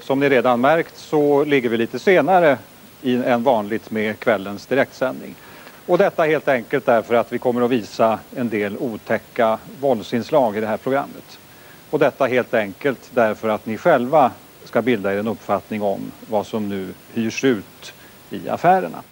Som ni redan märkt så ligger vi lite senare i- än vanligt med kvällens direktsändning. Och detta helt enkelt därför att vi kommer att visa en del otäcka våldsinslag i det här programmet. Och detta helt enkelt därför att ni själva ska bilda er en uppfattning om vad som nu hyrs ut i affärerna.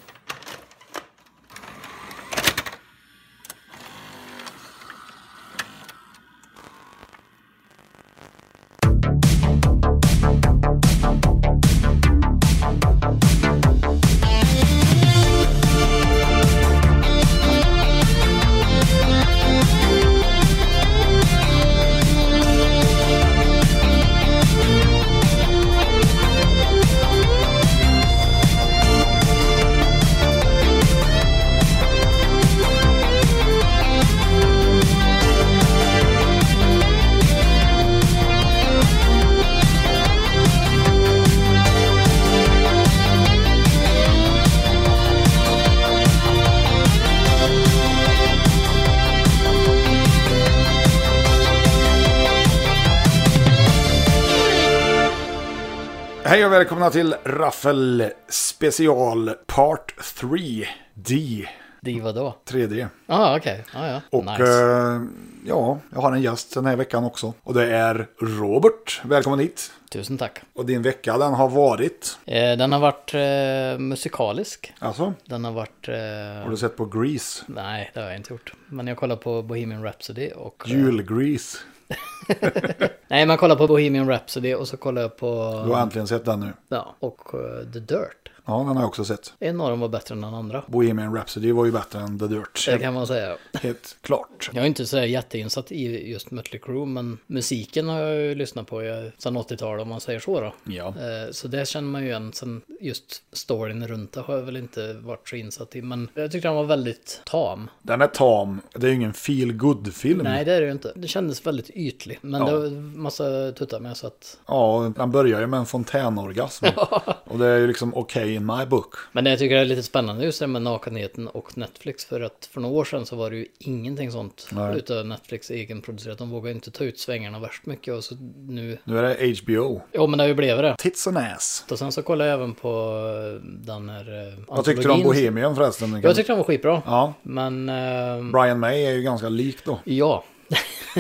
Hej och välkomna till Raffel Special Part 3D. Det var då? 3D. Ah, okej. Ah, ja. Och nice. eh, ja, jag har en gäst den här veckan också. Och det är Robert. Välkommen hit. Tusen tack. Och din vecka den har varit. Eh, den har varit eh, musikalisk. Alltså, Den har varit... Eh, har du sett på Grease? Nej, det har jag inte gjort. Men jag kollar på Bohemian Rhapsody och... Eh, Julgrease. nej, man kollar på Bohemian Rhapsody och så kollar jag på... Du har äntligen sett den nu. Ja, och eh, The Dirt. Ja, den har jag också sett. En av dem var bättre än den andra. Bohemian Rhapsody var ju bättre än The Dirt. Det kan man säga. Helt klart. Jag är inte så där jätteinsatt i just Mötley Crüe, men musiken har jag ju lyssnat på eh, sedan 80-talet om man säger så då. Ja. Eh, Så det känner man ju igen. Sen just storyn runt det har jag väl inte varit så insatt i. Men jag tyckte den var väldigt tam. Den är tam. Det är ju ingen feel good film Nej, det är det ju inte. Det kändes väldigt ytlig. Men Ja. det var massa tuttar med så att... Ja, den börjar ju med en fontänorgasm. och det är ju liksom okej in my book. Men det jag tycker är lite spännande just det med nakenheten och Netflix. För att för några år sedan så var det ju ingenting sånt Nej. utav Netflix egenproducerat. De vågade inte ta ut svängarna värst mycket. Och så nu... Nu är det HBO. Jo, men det har ju blivit det. Tits and ass. Och sen så kollade jag även på eh, den här... eh, Vad tyckte du om antologin. Bohemian förresten? Jag tyckte den var skitbra. Ja, Men... ehm, Brian May är ju ganska lik då. Ja.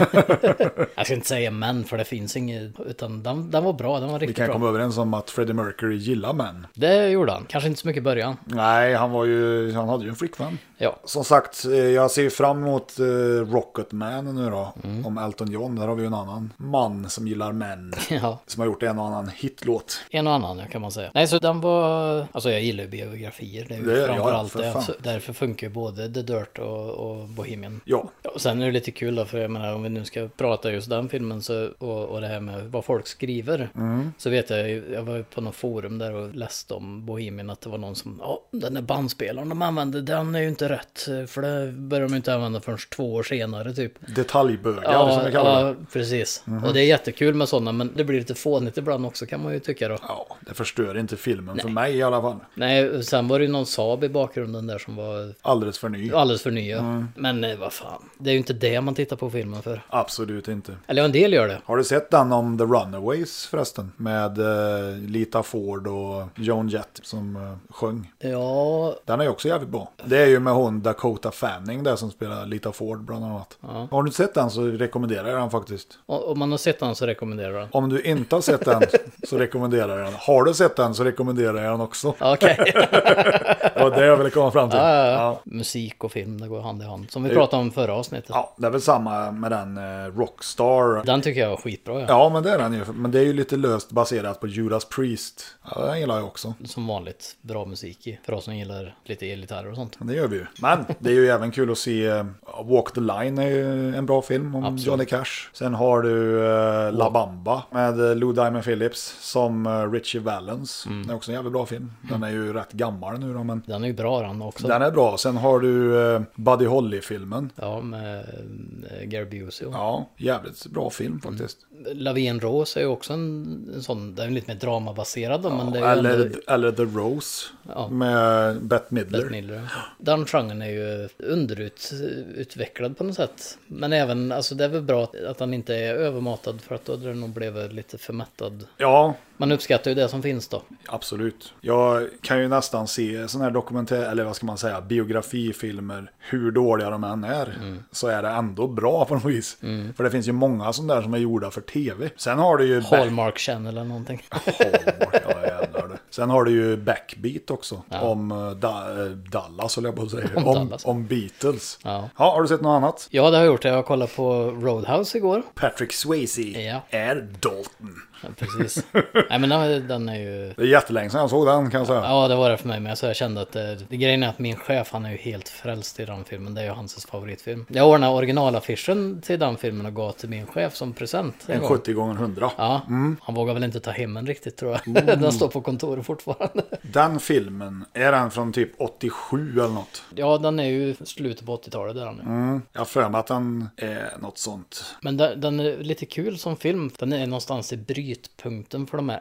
jag ska inte säga men, för det finns inget. Utan den, den var bra, den var Vi riktigt kan bra. komma överens om att Freddie Mercury gillar män. Det gjorde han. Kanske inte så mycket i början. Nej, han, var ju, han hade ju en flickvän. Ja. Som sagt, eh, jag ser fram emot eh, Rocketman nu då. Om Elton John, där har vi ju en annan man som gillar män. ja. Som har gjort en och annan hitlåt. En och annan ja, kan man säga. Nej, så den var... Alltså jag gillar ju biografier. Det är ju Det- ja, framförallt för det. fan. Så därför funkar ju både The Dirt och, och Bohemian. Ja, Ja, och sen är det lite kul då, för jag menar om vi nu ska prata just den filmen så, och, och det här med vad folk skriver. Mm. Så vet jag, ju- jag var ju på något forum där och läste om Bohemian att det var någon som, ja den där bandspelaren de använde, den är ju inte rätt. För det började de ju inte använda förrän två år senare typ. detaljbögar som vi kallar det. Mhm. precis. Och det är jättekul med sådana, men det blir lite fånigt ibland också kan man ju tycka då. Ja, det förstör inte filmen för mig i alla fall. Nej, sen var det ju någon Saab i bakgrunden där som var Alldeles för ny. alldeles för nya. Mm. Men eh, vad fan, det är ju inte det man tittar på filmen för. Absolut inte. Eller ja, en del gör det. Har du sett den om The Runaways förresten? Med eh, Lita Ford och Joan Jett som eh, sjöng. Ja, Den är ju också jävligt bra. Det är ju med hon Dakota Fanning där som spelar Lita Ford bland annat. Har du inte sett den så rekommenderar jag den faktiskt. o- om man har sett den så rekommenderar jag den. Om du inte har sett den så rekommenderar jag den. Har du sett den så rekommenderar jag den också. Okej. Det var det jag ville komma fram till. Ja. Musik och film, det går hand i hand. Som vi pratade om förra avsnittet. ja, det är väl samma med den eh, Rockstar. Den tycker jag var skitbra ja. Ja, men det är den ju. Men det är ju lite löst baserat på Judas Priest. Ja, den gillar jag också. Som vanligt, bra musik i. För oss som gillar lite elgitarrer och sånt. Men det gör vi ju. Men det är ju även kul att se eh, Walk the Line är ju en bra film om Absolut. Johnny Cash. Sen har du eh, La Bamba med eh, Lou Diamond Phillips som eh, Richie Valens. Mm. Det är också en jävligt bra film. Den är ju rätt gammal nu då, men Den är ju bra den också. den är bra. Sen har du eh, Buddy Holly-filmen. Ja, med eh, Gary Busey. och Ja, jävligt bra film Mm. faktiskt. Lavien Rose är ju också en, en sån, den är lite mer dramabaserad då, men det är ju Eller, ändå eller The Rose Ja. med Bette Midler. Bette Midler. Den genren är ju underutvecklad på något sätt. Men även, alltså det är väl bra att, att han inte är övermatad för att då hade den nog blivit lite förmättad. Ja, Man uppskattar ju det som finns då. Absolut. Jag kan ju nästan se sådana här dokumentär, eller vad ska man säga, biografifilmer, hur dåliga de än är, Mm. så är det ändå bra på något vis. För det finns ju många sådana där som är gjorda för tv. Sen har du ju... back- Hallmark Channel eller någonting. Hallmark, ja, jävlar det. Sen har du ju Backbeat också, om eh, da, eh, Dallas höll jag på att säga. Om, om, Dallas. Beatles. Ja. har du sett något annat? Ja, det har jag gjort. Jag har kollat på Roadhouse igår. Patrick Swayze Ja. är Dalton. Ja, precis. Nej, men den, den är ju... Det är jättelänge sedan jag såg den kan jag säga. Ja, det var det för mig med. Så jag kände att eh, det, det grejen är att min chef, han är ju helt frälst i den filmen. Det är ju hans favoritfilm. Jag ordnade originalaffischen till den filmen och gav till min chef som present. en En gång. 70 gånger 100. Ja, Mm. han vågar väl inte ta hem den riktigt tror jag. den står på kontoret fortfarande. Den filmen, är den från typ 87 eller något? Ja, den är ju slutet på 80-talet där nu. Jag har för mig att den är något sånt. Men den, den är lite kul som film. Den är någonstans i brytpunkten för de här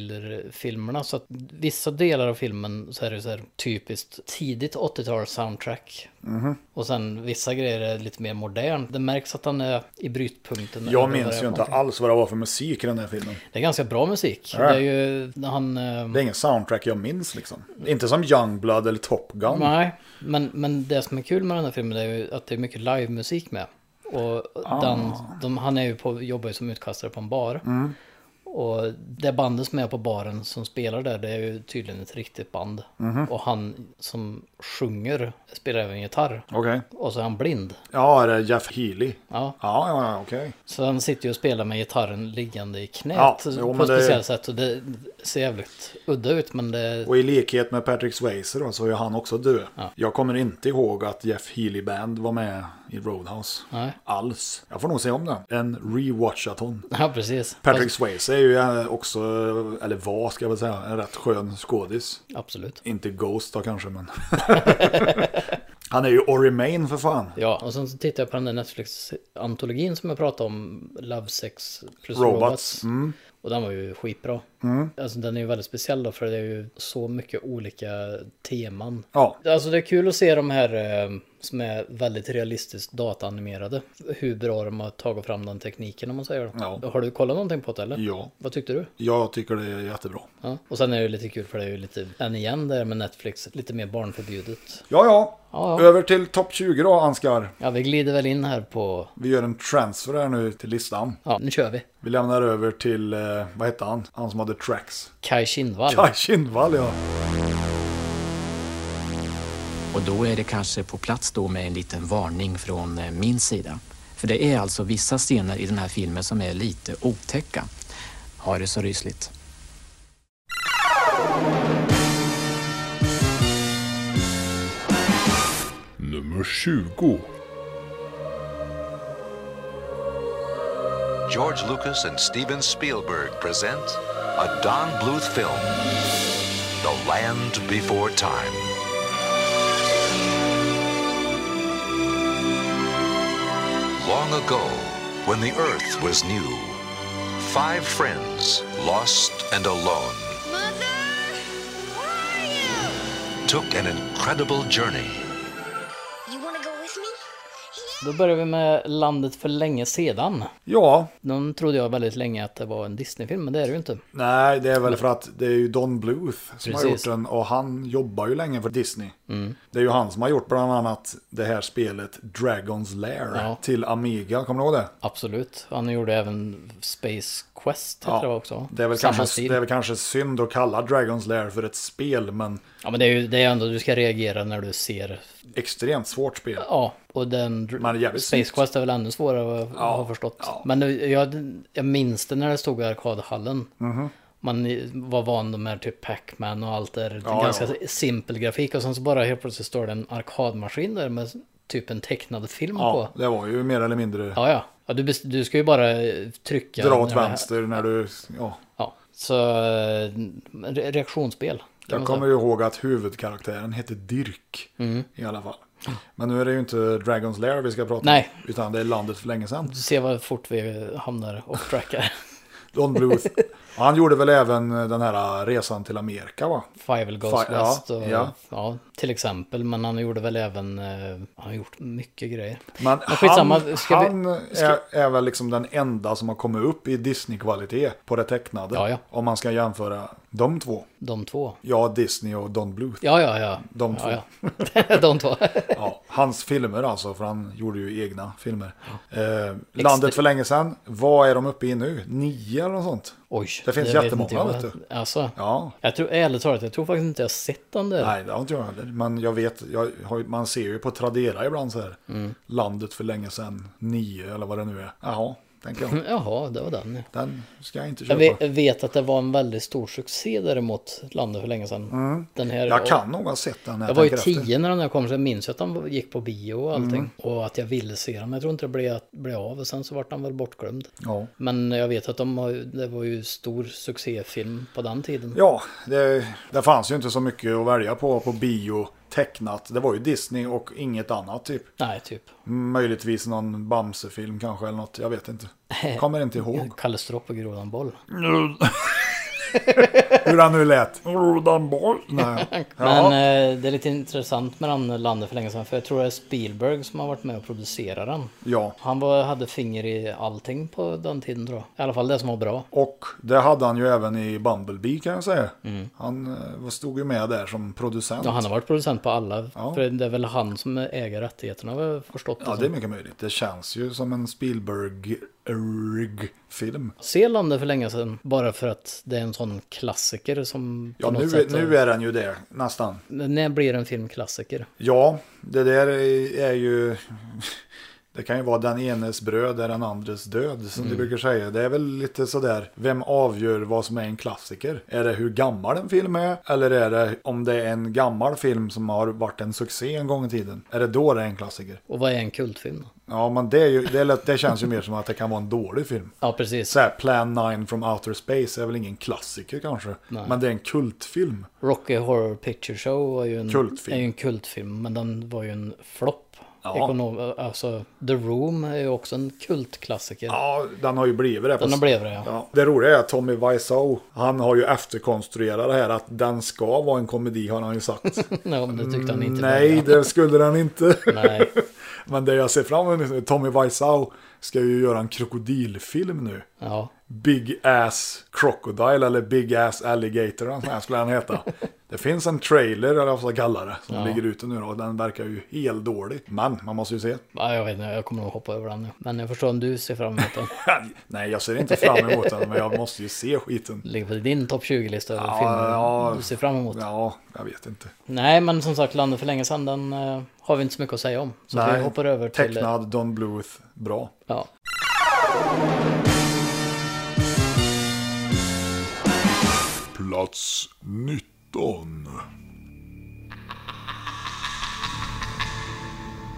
action-thriller-filmerna. Så att vissa delar av filmen så är det så här typiskt tidigt 80-tals soundtrack. Mm-hmm. Och sen vissa grejer är lite mer modern. Det märks att den är i brytpunkten. Jag Eller vad det minns är ju för inte någonting. alls vad det var för musik i den här filmen. Det är ganska bra musik. Ja. Det är ju när han... eh, Det är ingen soundtrack jag minns liksom. Inte som Youngblood eller Top Gun. Nej, men, men det som är kul med den här filmen är ju att det är mycket livemusik med. Och Ah. den, de, han är ju på, jobbar ju som utkastare på en bar. Mm. Och det bandet som är på baren som spelar där, det är ju tydligen ett riktigt band. Mhm. Och han som sjunger spelar även gitarr. Okej. Och så är han blind. Ja, är det Jeff Healy? Ja. Ja, ja, ja, okej. Så han sitter ju och spelar med gitarren liggande i knät Ja, jo, på men ett det- speciellt sätt. Och det ser jävligt udda ut, men det... Och i likhet med Patrick Swayze då, så är han också död. Jag kommer inte ihåg att Jeff Healy Band var med i Roadhouse. Nej. Alls. Jag får nog se om den. En rewatchaton. Ja, precis. Patrick Swayze är ju eh, också, eller var ska jag väl säga, en rätt skön skådis. Absolut. Inte Ghost då kanske, men... han är ju Orimain för fan. Ja, och sen så tittar jag på den där Netflix-antologin som jag pratade om, Love Sex plus Robots. Robots. Mm. Och den var ju skitbra. Alltså den är ju väldigt speciell då, för det är ju så mycket olika teman. Ja, Alltså det är kul att se de här eh, som är väldigt realistiskt dataanimerade. Hur bra de har tagit fram den tekniken om man säger. Ja. Har du kollat någonting på det eller? ja. Vad tyckte du? Jag tycker det är jättebra. Ja. Och sen är det ju lite kul för det är ju lite, än igen där med Netflix, lite mer barnförbjudet. Ja, ja. Ja, ja. Över till topp 20 då, Ansgar. Ja, vi glider väl in här på, Vi gör en transfer här nu till listan. ja nu kör vi. Vi lämnar över till, eh, vad hette han? Han som hade tracks. Kai Kindvall. Kaj Kindvall, ja. Och då är det kanske på plats då med en liten varning från eh, min sida. För det är alltså vissa scener i den här filmen som är lite otäcka. Ha det så rysligt. Nummer 20. George Lucas and Steven Spielberg present a Don Bluth film, The Land Before Time. Long ago, when the Earth was new, five friends, lost and alone, Mother, where are you? took an incredible journey. You want to go with me? Då börjar vi med Landet för länge sedan. Ja, Den trodde jag väldigt länge att det var en Disney-film, men det är det ju inte. nej, det är väl för att det är ju Don Bluth som har gjort Precis. Mm. den och han jobbar ju länge för Disney. Det är ju han som har gjort bland annat det här spelet Dragon's Lair Ja. till Amiga, kommer du ihåg det? Absolut. Han gjorde även Space Quest, heter det också. Det är, väl Samma kanske, stil. det är väl kanske synd att kalla Dragon's Lair för ett spel, men Ja, men det är ju det är ändå du ska reagera när du ser. extremt svårt spel. Ja, och den... Men det är jävligt Space snyggt. Quest är väl ännu svårare vad jag har förstått. ja. Men det- jag, jag minns det när det stod i arkadhallen. Mhm. Man var van de här typ Pac-Man och allt där. Ja, ganska ja. simpel grafik och sen så bara helt plötsligt står det en arkadmaskin där med typ en tecknad film på. Ja, det var ju mer eller mindre Ja, ja. ja du, bes- du ska ju bara eh, trycka. dra åt när det här- vänster när du... Ja. Ja, så eh, re- reaktionsspel. kan Jag man säga. kommer ju ihåg att huvudkaraktären hette Dirk Mm. i alla fall. Men nu är det ju inte Dragon's Lair vi ska prata Nej. om, utan det är landet för länge sedan. Se vad fort vi hamnar och trackar. Don Bluth, Och han gjorde väl även eh, den här resan till Amerika va? Five Goes Fi- ja, West och, ja. ja. till exempel. Men han gjorde väl även, eh, han har gjort mycket grejer. Men skitsamma, han, ska vi- han eh, Är, är väl liksom den enda som har kommit upp i Disney-kvalitet på det tecknade. Ja, ja. Om man ska jämföra de två. De två. Ja, Disney och Don Bluth. Ja, ja, ja. De två. Ja, ja. De två. Ja, hans filmer alltså, för han gjorde ju egna filmer. Eh, landet för länge sedan, vad är de uppe i nu? Nio eller något sånt? Oj. Det finns vet jättemånga, inte jag. vet du. Alltså. Ja. Jag tror, ärligt talat, jag tror faktiskt inte jag har sett den där. Nej, det har inte jag heller. Men jag vet, jag har, ju- man ser ju på Tradera ibland så här. Mm. Landet för länge sedan, nio eller vad det nu är. Jaha, tänker jag. Jaha, det var den. ja. Den ska jag inte Jag köpa. ve- vet att det var en väldigt stor succé däremot, landet för länge sedan. Den här, Mm. Jag kan nog ha sett den när Jag var ju tänker efter. Mm. tio när den här kom, så jag minns ju att han gick på bio och allting. Och att jag ville se den, men jag tror inte det blev, att- blev av. Och sen så vart han väl bortglömd. Ja. Men jag vet att de har, ju- det var ju stor succéfilm på den tiden. Ja, det, det fanns ju inte så mycket att välja på på bio tecknat. Det var ju Disney och inget annat typ. Nej, typ. Möjligtvis någon Bamse-film kanske eller något. Jag vet inte. Kommer inte ihåg Kalle Stropp och Grodan Boll. hur han nu lät. Nej. Men Ja. eh, det är lite intressant med den landet för länge sedan. För jag tror det är Spielberg som har varit med och producerat den. ja. Han var, hade finger i allting på den tiden tror jag. I alla fall det som var bra. Och det hade han ju även i Bumblebee kan jag säga. Han eh, stod ju med där som producent. Mm. Ja, han har varit producent på alla. Ja. För det är väl han som äger rättigheterna har jag förstått det Ja, som. det är mycket möjligt. Det känns ju som en Spielberg-film. Se landet för länge sedan. Bara för att det är en sån klassiker som... Ja, på något nu, sätt- nu är den ju det, nästan. När blir en film klassiker? Ja, det där är ju... Det kan ju vara den enes bröd är den andres död, som Mm. du brukar säga. Det är väl lite sådär, vem avgör vad som är en klassiker? Är det hur gammal en film är? Eller är det om det är en gammal film som har varit en succé en gång i tiden? Är det då det är en klassiker? Och vad är en kultfilm? Ja, men det, är ju, det, är lätt, det känns ju mer som att det kan vara en dålig film. Ja, precis. Så här, Plan 9 from Outer Space är väl ingen klassiker kanske, men det är en kultfilm. Rocky Horror Picture Show var ju en Kultfilm. Är ju en kultfilm, men den var ju en flopp. Ja. Ekonom, alltså, The Room är ju också en kultklassiker. Ja, den har ju blivit det. Den har fast- blivit det, ja. Ja, det roliga är att Tommy Wiseau, han har ju efterkonstruerat det här att den ska vara en komedi har han ju sagt. Nej, men det tyckte han inte. Nej, var det skulle den inte. Nej. Men det jag ser fram emot nu, Tommy Wiseau ska ju göra en krokodilfilm nu. Ja. Big Ass Crocodile eller Big Ass Alligator eller något sånt här skulle den heta. Det finns en trailer eller vad man ska kalla det som ligger ute nu då, och den verkar ju helt dålig. Men man måste ju se. ja, jag vet inte, jag kommer nog hoppa över den nu. Men jag förstår om du ser fram emot den. Nej, jag ser inte fram emot den men jag måste ju se skiten. Ligger på din topp 20-lista över Ja, filmer ja. du ser fram emot. Ja, jag vet inte. Nej, men som sagt, Landet för länge sedan, den eh, har vi inte så mycket att säga om. Så vi hoppar över till... eh, Tecknad, Don Bluth, bra. Ja. Plats 19.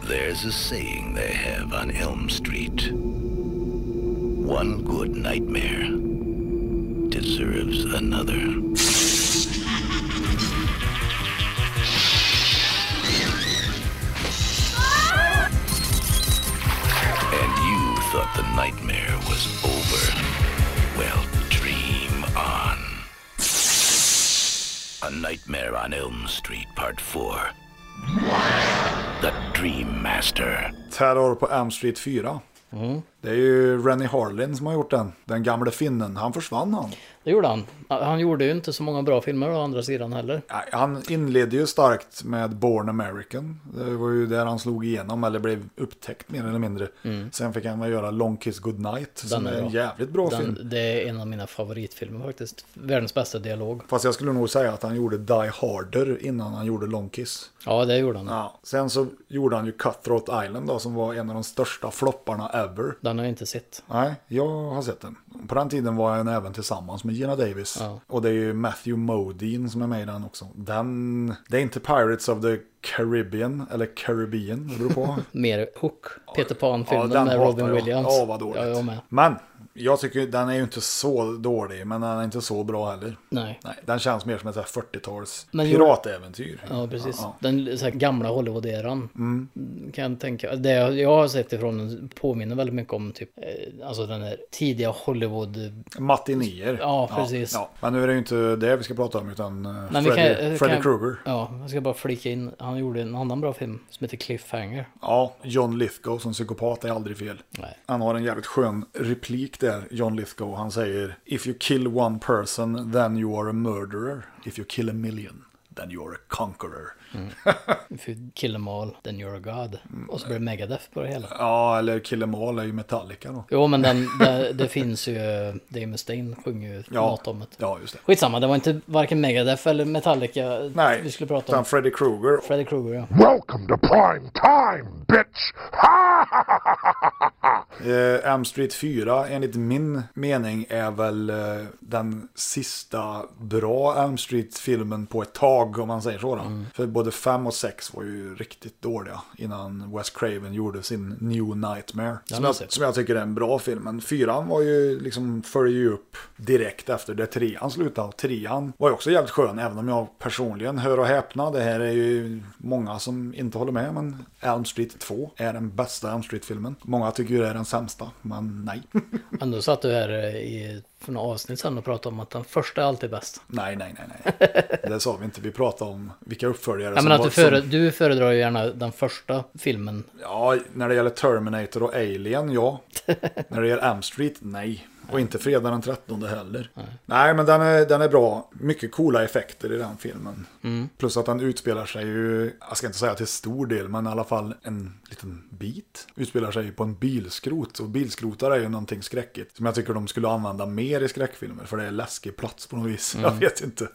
There's a saying they have on Elm Street. One good nightmare deserves another. And you thought the nightmare was over. Well, dream on. A Nightmare on Elm Street, Part 4. The Dream Master. Terror på Elm Street 4. Mm. Det är ju Rennie Harlin som har gjort den. Den gamle finnen. Han försvann han. Det gjorde han. Han gjorde ju inte så många bra filmer å andra sidan heller. Nej, Han inledde ju starkt med Born American. Det var ju där han slog igenom eller blev upptäckt mer eller mindre. Sen fick han väl göra Long Kiss Goodnight som Mm. är är en bra. jävligt bra film. Den, det är en av mina favoritfilmer faktiskt. Världens bästa dialog. Fast jag skulle nog säga att han gjorde Die Harder innan han gjorde Long Kiss. Ja, det gjorde han. Ja. Sen så gjorde han ju Cutthroat Island då som var en av de största flopparna ever. Den har jag inte sett. Nej, jag har sett den. På den tiden var han även tillsammans med Gina Davis. Ja. Och det är ju Matthew Modine som är med i den också. Den, det är inte Pirates of the Caribbean, eller Caribbean, det beror på. Mer Hook, Peter Pan-filmen den med hatar Robin jag. Williams. Ja, vad dåligt. Ja, jag med. Men jag tycker den är ju inte så dålig, men den är inte så bra heller. Nej. Nej, den känns mer som ett så här 40-tals Men gjorde- piratäventyr. Ja, precis. Den så här, gamla Hollywood-eran. Mm. Kan jag tänka. Det jag jag har sett ifrån den påminner väldigt mycket om typ, eh, alltså den här tidiga Hollywood. Matinéer. Ja, precis. Men nu är det ju inte det vi ska prata om, utan eh, Men vi kan- Freddy, eh, Freddy kan- Krueger. Ja, jag ska bara flika in. Han gjorde en annan bra film som heter Cliffhanger. Ja, John Lithgow som psykopat är aldrig fel. Nej. Han har en jävligt skön replik där, John Lithgow. Han säger If you kill one person, then you are a murderer. If you kill a million, then you are a conqueror. If you kill them all, then you're a god. Mm. Och så blir det Megadeth på det hela. Ja, eller kill em all är ju Metallica då. Jo, men den, det, det finns ju, Dave Mustaine sjunger ju Ja, något om det. ja just det. Skitsamma, det var inte varken Megadeth eller Metallica Nej, vi skulle prata utan om. Freddy Krueger. Freddy Krueger, ja. Welcome to prime time, bitch! Ha ha ha ha ha ha ha! Eh, Elm Street 4 enligt min mening är väl eh, den sista bra Elm Street-filmen på ett tag om man säger så. Då. Mm. För både 5 och 6 var ju riktigt dåliga innan Wes Craven gjorde sin New Nightmare. Som har jag, jag sett. som jag tycker är en bra film. Men 4 var ju liksom följer ju upp direkt efter det 3 slutade. Och 3 var ju också jävligt skön även om jag personligen hör och häpna. Det här är ju många som inte håller med men Elm Street 2 är den bästa Elm Street-filmen. Många tycker ju det är den sämsta men nej. Men då satt du här eh, i, för några avsnitt sedan och pratade om att den första är alltid bäst. nej, nej, nej, nej. Det sa vi inte. Vi pratade om vilka uppföljare Ja, men att var- du, före, som... du föredrar ju gärna den första filmen. Ja, när det gäller Terminator och Alien, ja. när det gäller Elm Street, nej. Och inte Fredag den 13 heller. Nej, men den är, den är bra. Mycket coola effekter i den filmen. Mm. Plus att den utspelar sig ju, jag ska inte säga till stor del, men i alla fall en liten bit. Utspelar sig ju på en bilskrot. Och bilskrotar är ju någonting skräckigt. Som jag tycker de skulle använda mer i skräckfilmer. För det är läskig plats på något vis. Mm. Jag vet inte.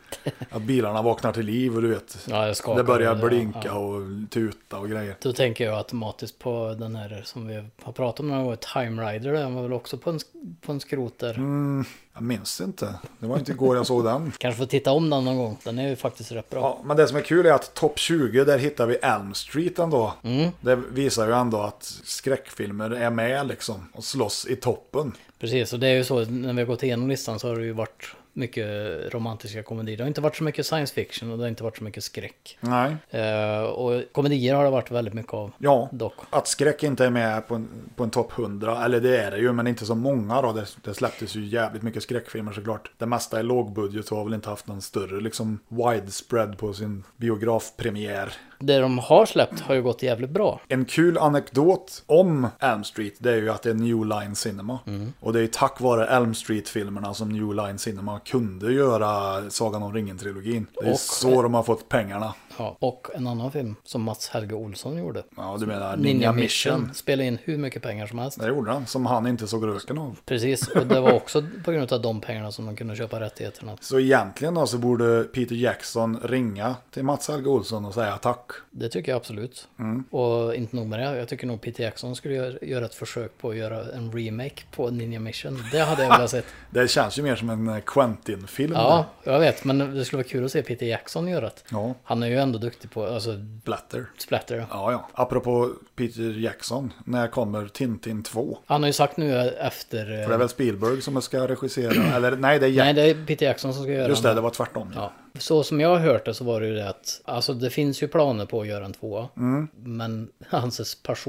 Att bilarna vaknar till liv och du vet. Ja, jag skakar. det börjar Ja, blinka ja. och tuta och grejer. Då tänker jag automatiskt på den här som vi har pratat om några gånger, Time Rider. Den var väl också på en, sk- på en skrot där. Mm. Jag minns inte. Det var inte igår jag såg den. Kanske får titta om den någon gång. Den är ju faktiskt rätt bra. Ja, men det som är kul är att topp 20, där hittar vi Elm Street ändå. Det visar ju ändå att skräckfilmer är med liksom och slåss i toppen. Precis, och det är ju så när vi har gått igenom listan så har det ju varit mycket romantiska komedier. Det har inte varit så mycket science fiction och det har inte varit så mycket skräck. Nej. Eh, och komedier har det varit väldigt mycket av. Ja, Dock. att skräck inte är med på en, på en topp 100, eller det är det ju, men inte så många då. Det, det släpptes ju jävligt mycket skräckfilmer såklart. Det mesta är lågbudget och har väl inte haft någon större liksom widespread på sin biografpremiär. Det de har släppt har ju gått jävligt bra. En kul anekdot om Elm Street det är ju att det är New Line Cinema. Och det är ju tack vare Elm Street-filmerna som New Line Cinema kunde göra Sagan om ringen-trilogin. Det är Och- så de har fått pengarna. Ja. Och en annan film som Mats Helge Olsson gjorde. Ja, du menar Ninja, Ninja Mission. Mission. Spelade in hur mycket pengar som helst. Det gjorde han, som han inte såg röken av. Precis, och det var också på grund av de pengarna som de kunde köpa rättigheterna. Så egentligen då så borde Peter Jackson ringa till Mats Helge Olsson och säga tack. Det tycker jag absolut. Mm. Och inte nog med det, jag tycker nog Peter Jackson skulle göra, göra ett försök på att göra en remake på Ninja Mission. Det hade jag velat sett. Det känns ju mer som en eh, Quentin-film. Ja, jag vet, men det skulle vara kul att se Peter Jackson göra det. Ja. Han är ju ändå duktig på alltså, Blatter. splatter. Ja, ja. Apropå Peter Jackson, när kommer Tintin 2? Han har ju sagt nu efter... eh, För det är väl Spielberg som ska regissera? Eller nej, det är Nej, Jack. det är Peter Jackson som ska göra Just det, det var tvärtom. Ja. Så som jag har hört det så var det ju det att, alltså det finns ju planer på att göra en tvåa. Mm. Men hans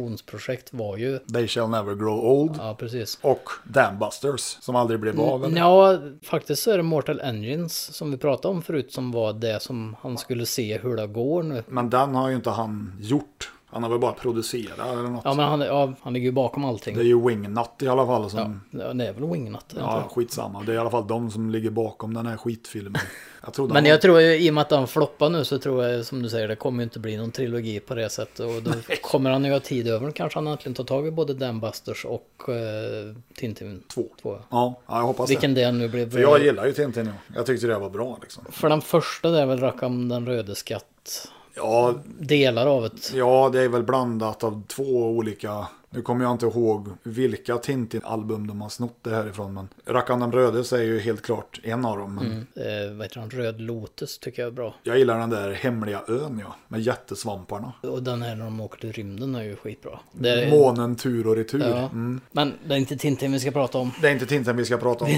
passionsprojekt var ju, They shall never grow old. ja precis. Och Dambusters, som aldrig blev av. eller? Ja, faktiskt så är det Mortal Engines som vi pratade om förut som var det som han skulle se hur det går nu. Men den har ju inte han gjort. Han har väl bara producerat eller något. Ja, men han, ja, han ligger ju bakom allting. Det är ju Wingnut i alla fall som... Ja, det är väl Wingnut? Ja. skitsamma. Det är i alla fall de som ligger bakom den här skitfilmen. Jag trodde Men han... jag tror ju i och med att han floppar nu så tror jag som du säger det kommer ju inte bli någon trilogi på det sättet. Och då kommer han ju ha tid över. Kanske han äntligen tar tag i både Dambusters och eh, Tintin. Två. Två. Ja, ja, jag hoppas Vilken det. det nu blev. Alltså, För jag gillar ju Tintin. ja. Jag tyckte det var bra liksom. För den första det är väl Rackham den röde skatt. Ja, Delar av ett. ja, det är väl blandat av två olika Nu kommer jag inte ihåg vilka Tintin-album de har snott det här ifrån, men Rackarn den Rödes är ju helt klart en av dem. Men Eh, vad heter han? Röd Lotus tycker jag är bra. Jag gillar den där hemliga ön, ja, med jättesvamparna. Och den här när de åker till rymden är ju skitbra. Det är, Månen tur och retur. ja. Mm. Men det är inte Tintin vi ska prata om. Det är inte Tintin vi ska prata om.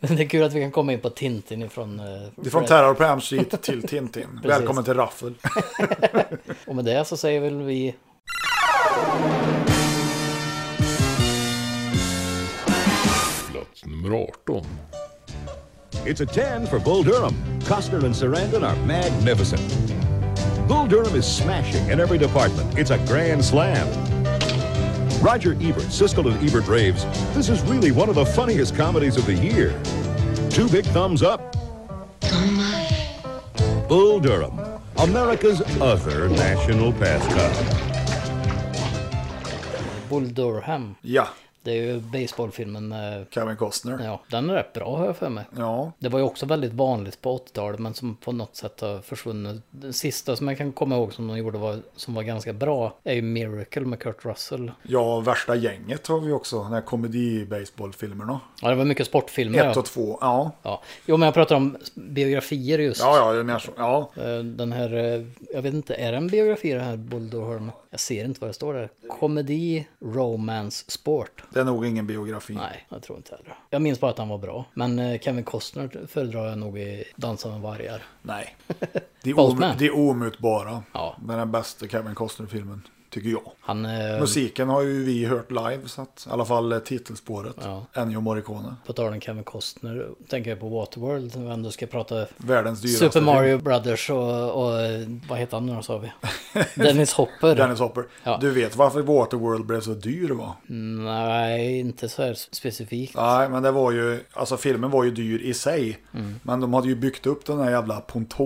Men det är kul att vi kan komma in på Tintin ifrån... eh, Det är från Fred. Terror på Elm Street till Tintin. Precis. Välkommen till Raffel. Och med det så säger väl vi... Plats nummer 18. It's a 10 for Bull Durham. Costner and Sarandon are magnificent. Bull Durham is smashing in every department. It's a grand slam. Roger Ebert, Siskel and Ebert raves. This is really one of the funniest comedies of the year. Two big thumbs up. Bull Durham, America's other national pastime. Bull Durham. Ja, Det är ju baseballfilmen med... Kevin Costner. Ja, den är rätt bra har jag för mig. Ja, Det var ju också väldigt vanligt på 80-talet men som på något sätt har försvunnit. Den sista som jag kan komma ihåg som de gjorde var, som var ganska bra är ju Miracle med Kurt Russell. ja värsta gänget har vi också. Den här komedi-baseballfilmerna. Ja, det var mycket sportfilmer. Ett ja. och två, ja. Ja. Jo, men jag pratar om biografier just. Ja, ja, jag menar så. Ja. Eh, Den här, eh, jag vet inte, är det en biografi den här Bulldorholm? Jag ser inte vad det står där. Komedi, romance, sport. Det är nog ingen biografi. Nej, jag tror inte heller. Jag minns bara att han var bra. Men eh, Kevin Costner föredrar jag nog i Dansa med vargar. Nej. Det är, Both om, men. det är omutbara. Ja. Men den bästa Kevin Costner-filmen, tycker jag. Han, eh, Musiken har ju vi hört live, så att, i alla fall eh, titelspåret. Ennio Morricone. på tal om Kevin Costner, tänker jag på Waterworld. Om vi ändå ska prata Världens dyraste Super film. Mario Brothers och, och eh, vad heter han nu då sa vi? Dennis Hopper. Dennis Hopper. Ja. Mm. Du vet varför Waterworld blev så dyr va? Nej, inte så här specifikt. Nej, men det var ju, alltså filmen var ju dyr i sig. Mm. Men de hade ju byggt upp den här jävla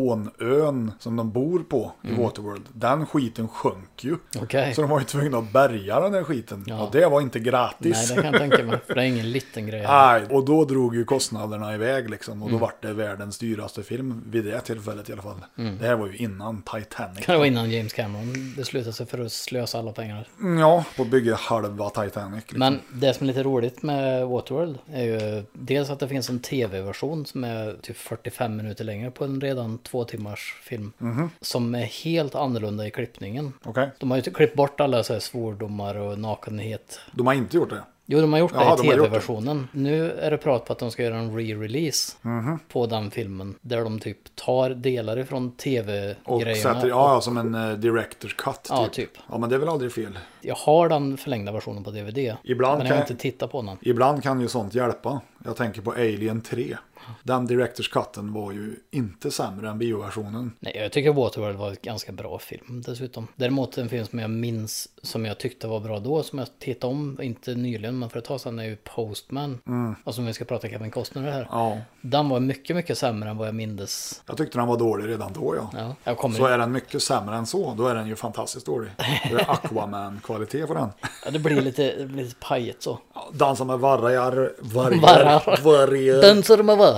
pontonön som de bor på i Waterworld. Den skiten sjönk ju. Mm. Okej. Så de var ju tvungna att bärga den här skiten. Och det Ah. var inte Nej, gratis. det kan jag tänka mig. För det är ingen liten grej. Nej, och då drog ju kostnaderna iväg liksom. Mm. Och då vart det världens dyraste film vid det tillfället i alla fall. Det här var ju innan Titanic. Mm. Kan det vara innan James Cameron beslutade sig för att slösa alla pengar. Mm, Ja, på att bygga halva Titanic. Liksom. Men det som är lite roligt med Waterworld är ju dels att det finns en tv-version som är typ 45 minuter längre på en redan två timmars film. Som är helt annorlunda i klippningen. Okej, De har ju klippt bort alla så här svordomar och nakenhet. de har inte gjort det. Jo, de har gjort Jaha, det i de har gjort det. tv-versionen. Nu är det prat på att de ska göra en re-release Mhm. på den filmen. Där de typ tar delar ifrån Och tv-grejerna. sätter, ja, ja, som en eh, director's cut typ. Ja, typ. Ja, men det är väl aldrig fel. Jag har den förlängda versionen på DVD. Ibland men jag har kan- inte tittat på den. Ibland kan ju sånt hjälpa. Jag tänker på Alien 3. Den director's cutten var ju inte sämre än bioversionen. Nej, jag tycker Waterworld var en ganska bra film dessutom. Däremot en film som jag minns som jag tyckte var bra då, som jag tittade om, inte nyligen men för ett tag sedan, är ju Postman. Och som vi ska prata Kevin Costner här. Mm. Ja, Den var mycket, mycket sämre än vad jag mindes. jag tyckte den var dålig redan då ja. Ja, jag kommer Så är den mycket sämre än så, då är den ju fantastiskt dålig. Det är Aquaman-kvalitet på den. ja, det blir lite, det blir lite pajigt så. Ja, Dansa med vargar, vargar, Vargar. vargar. Dansar med vargar.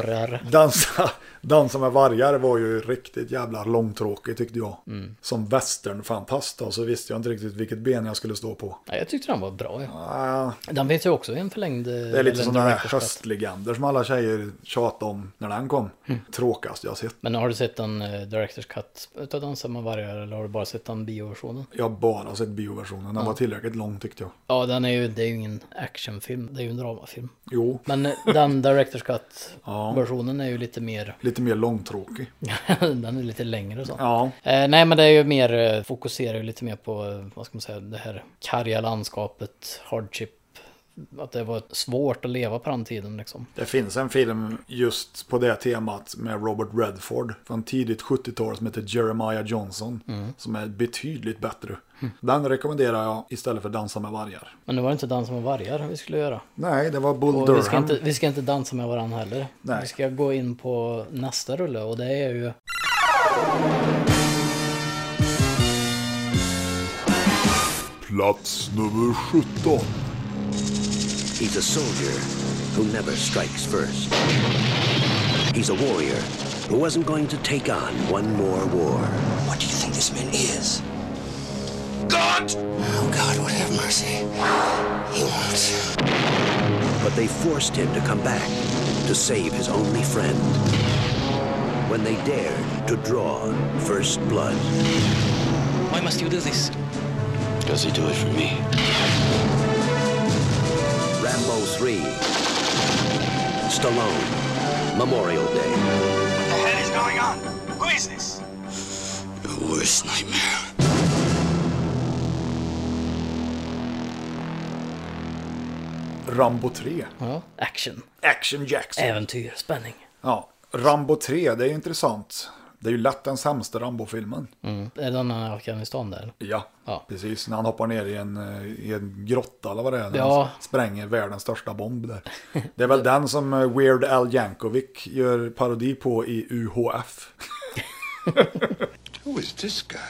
Dansa, dansa med vargar var ju riktigt jävla långtråkig tyckte jag. Som westernfantast då, så visste jag inte riktigt vilket ben jag skulle stå på. Ja, jag tyckte den var bra. Ja. Ah, Den finns ju också i en förlängd... eh, Det är lite som den här höstlegender som alla tjejer tjatade om när den kom. Tråkigast jag sett. Men har du sett en eh, Directors Cut utav Dansa med vargar eller har du bara sett den bioversionen? Jag har bara sett bioversionen. Den var tillräckligt lång tyckte jag. Ja, den är ju, det är ju ingen actionfilm, det är ju en dramafilm. Jo, Men eh, den Directors Cut-versionen är ju lite mer, lite mer långtråkig. den är lite längre och så. Ja, Eh, nej, men det är ju mer, eh, fokuserar ju lite mer på, eh, vad ska man säga, det här karga landskapet, hardship. Att det var svårt att leva på den tiden liksom. det finns en film just på det temat med Robert Redford från tidigt 70-tal som heter Jeremiah Johnson. Mm. Som är betydligt bättre. Den rekommenderar jag istället för Dansa med vargar. Men det var inte dansa med vargar vi skulle göra. Nej, det var Bull Och vi, ska Durham. inte, vi ska inte dansa med varandra heller. Nej. Vi ska gå in på nästa rulle och det är ju Plats nummer 17. He's a soldier who never strikes first. He's a warrior who wasn't going to take on one more war. What do you think this man is? God! Oh, God would have mercy. He won't. But they forced him to come back to save his only friend. When they dared to draw first blood. Why must you do this? Does he do it for me? Rambo 3. Stallone. Memorial Day. What the hell is going on? Who is this? Your worst nightmare. Rambo 3. Ja, action. Action Jackson. Äventyr, spänning. Ja, Rambo 3, det är ju intressant. Det är ju lätt den sämsta Rambo-filmen. Mm. Är den i Afghanistan där? Ja, ja, precis. När han hoppar ner i en, eh, i en grotta eller vad det är. När Ja. han spränger världens största bomb där. Det är väl den som eh, Weird Al Yankovic gör parodi på i UHF. Who is this guy?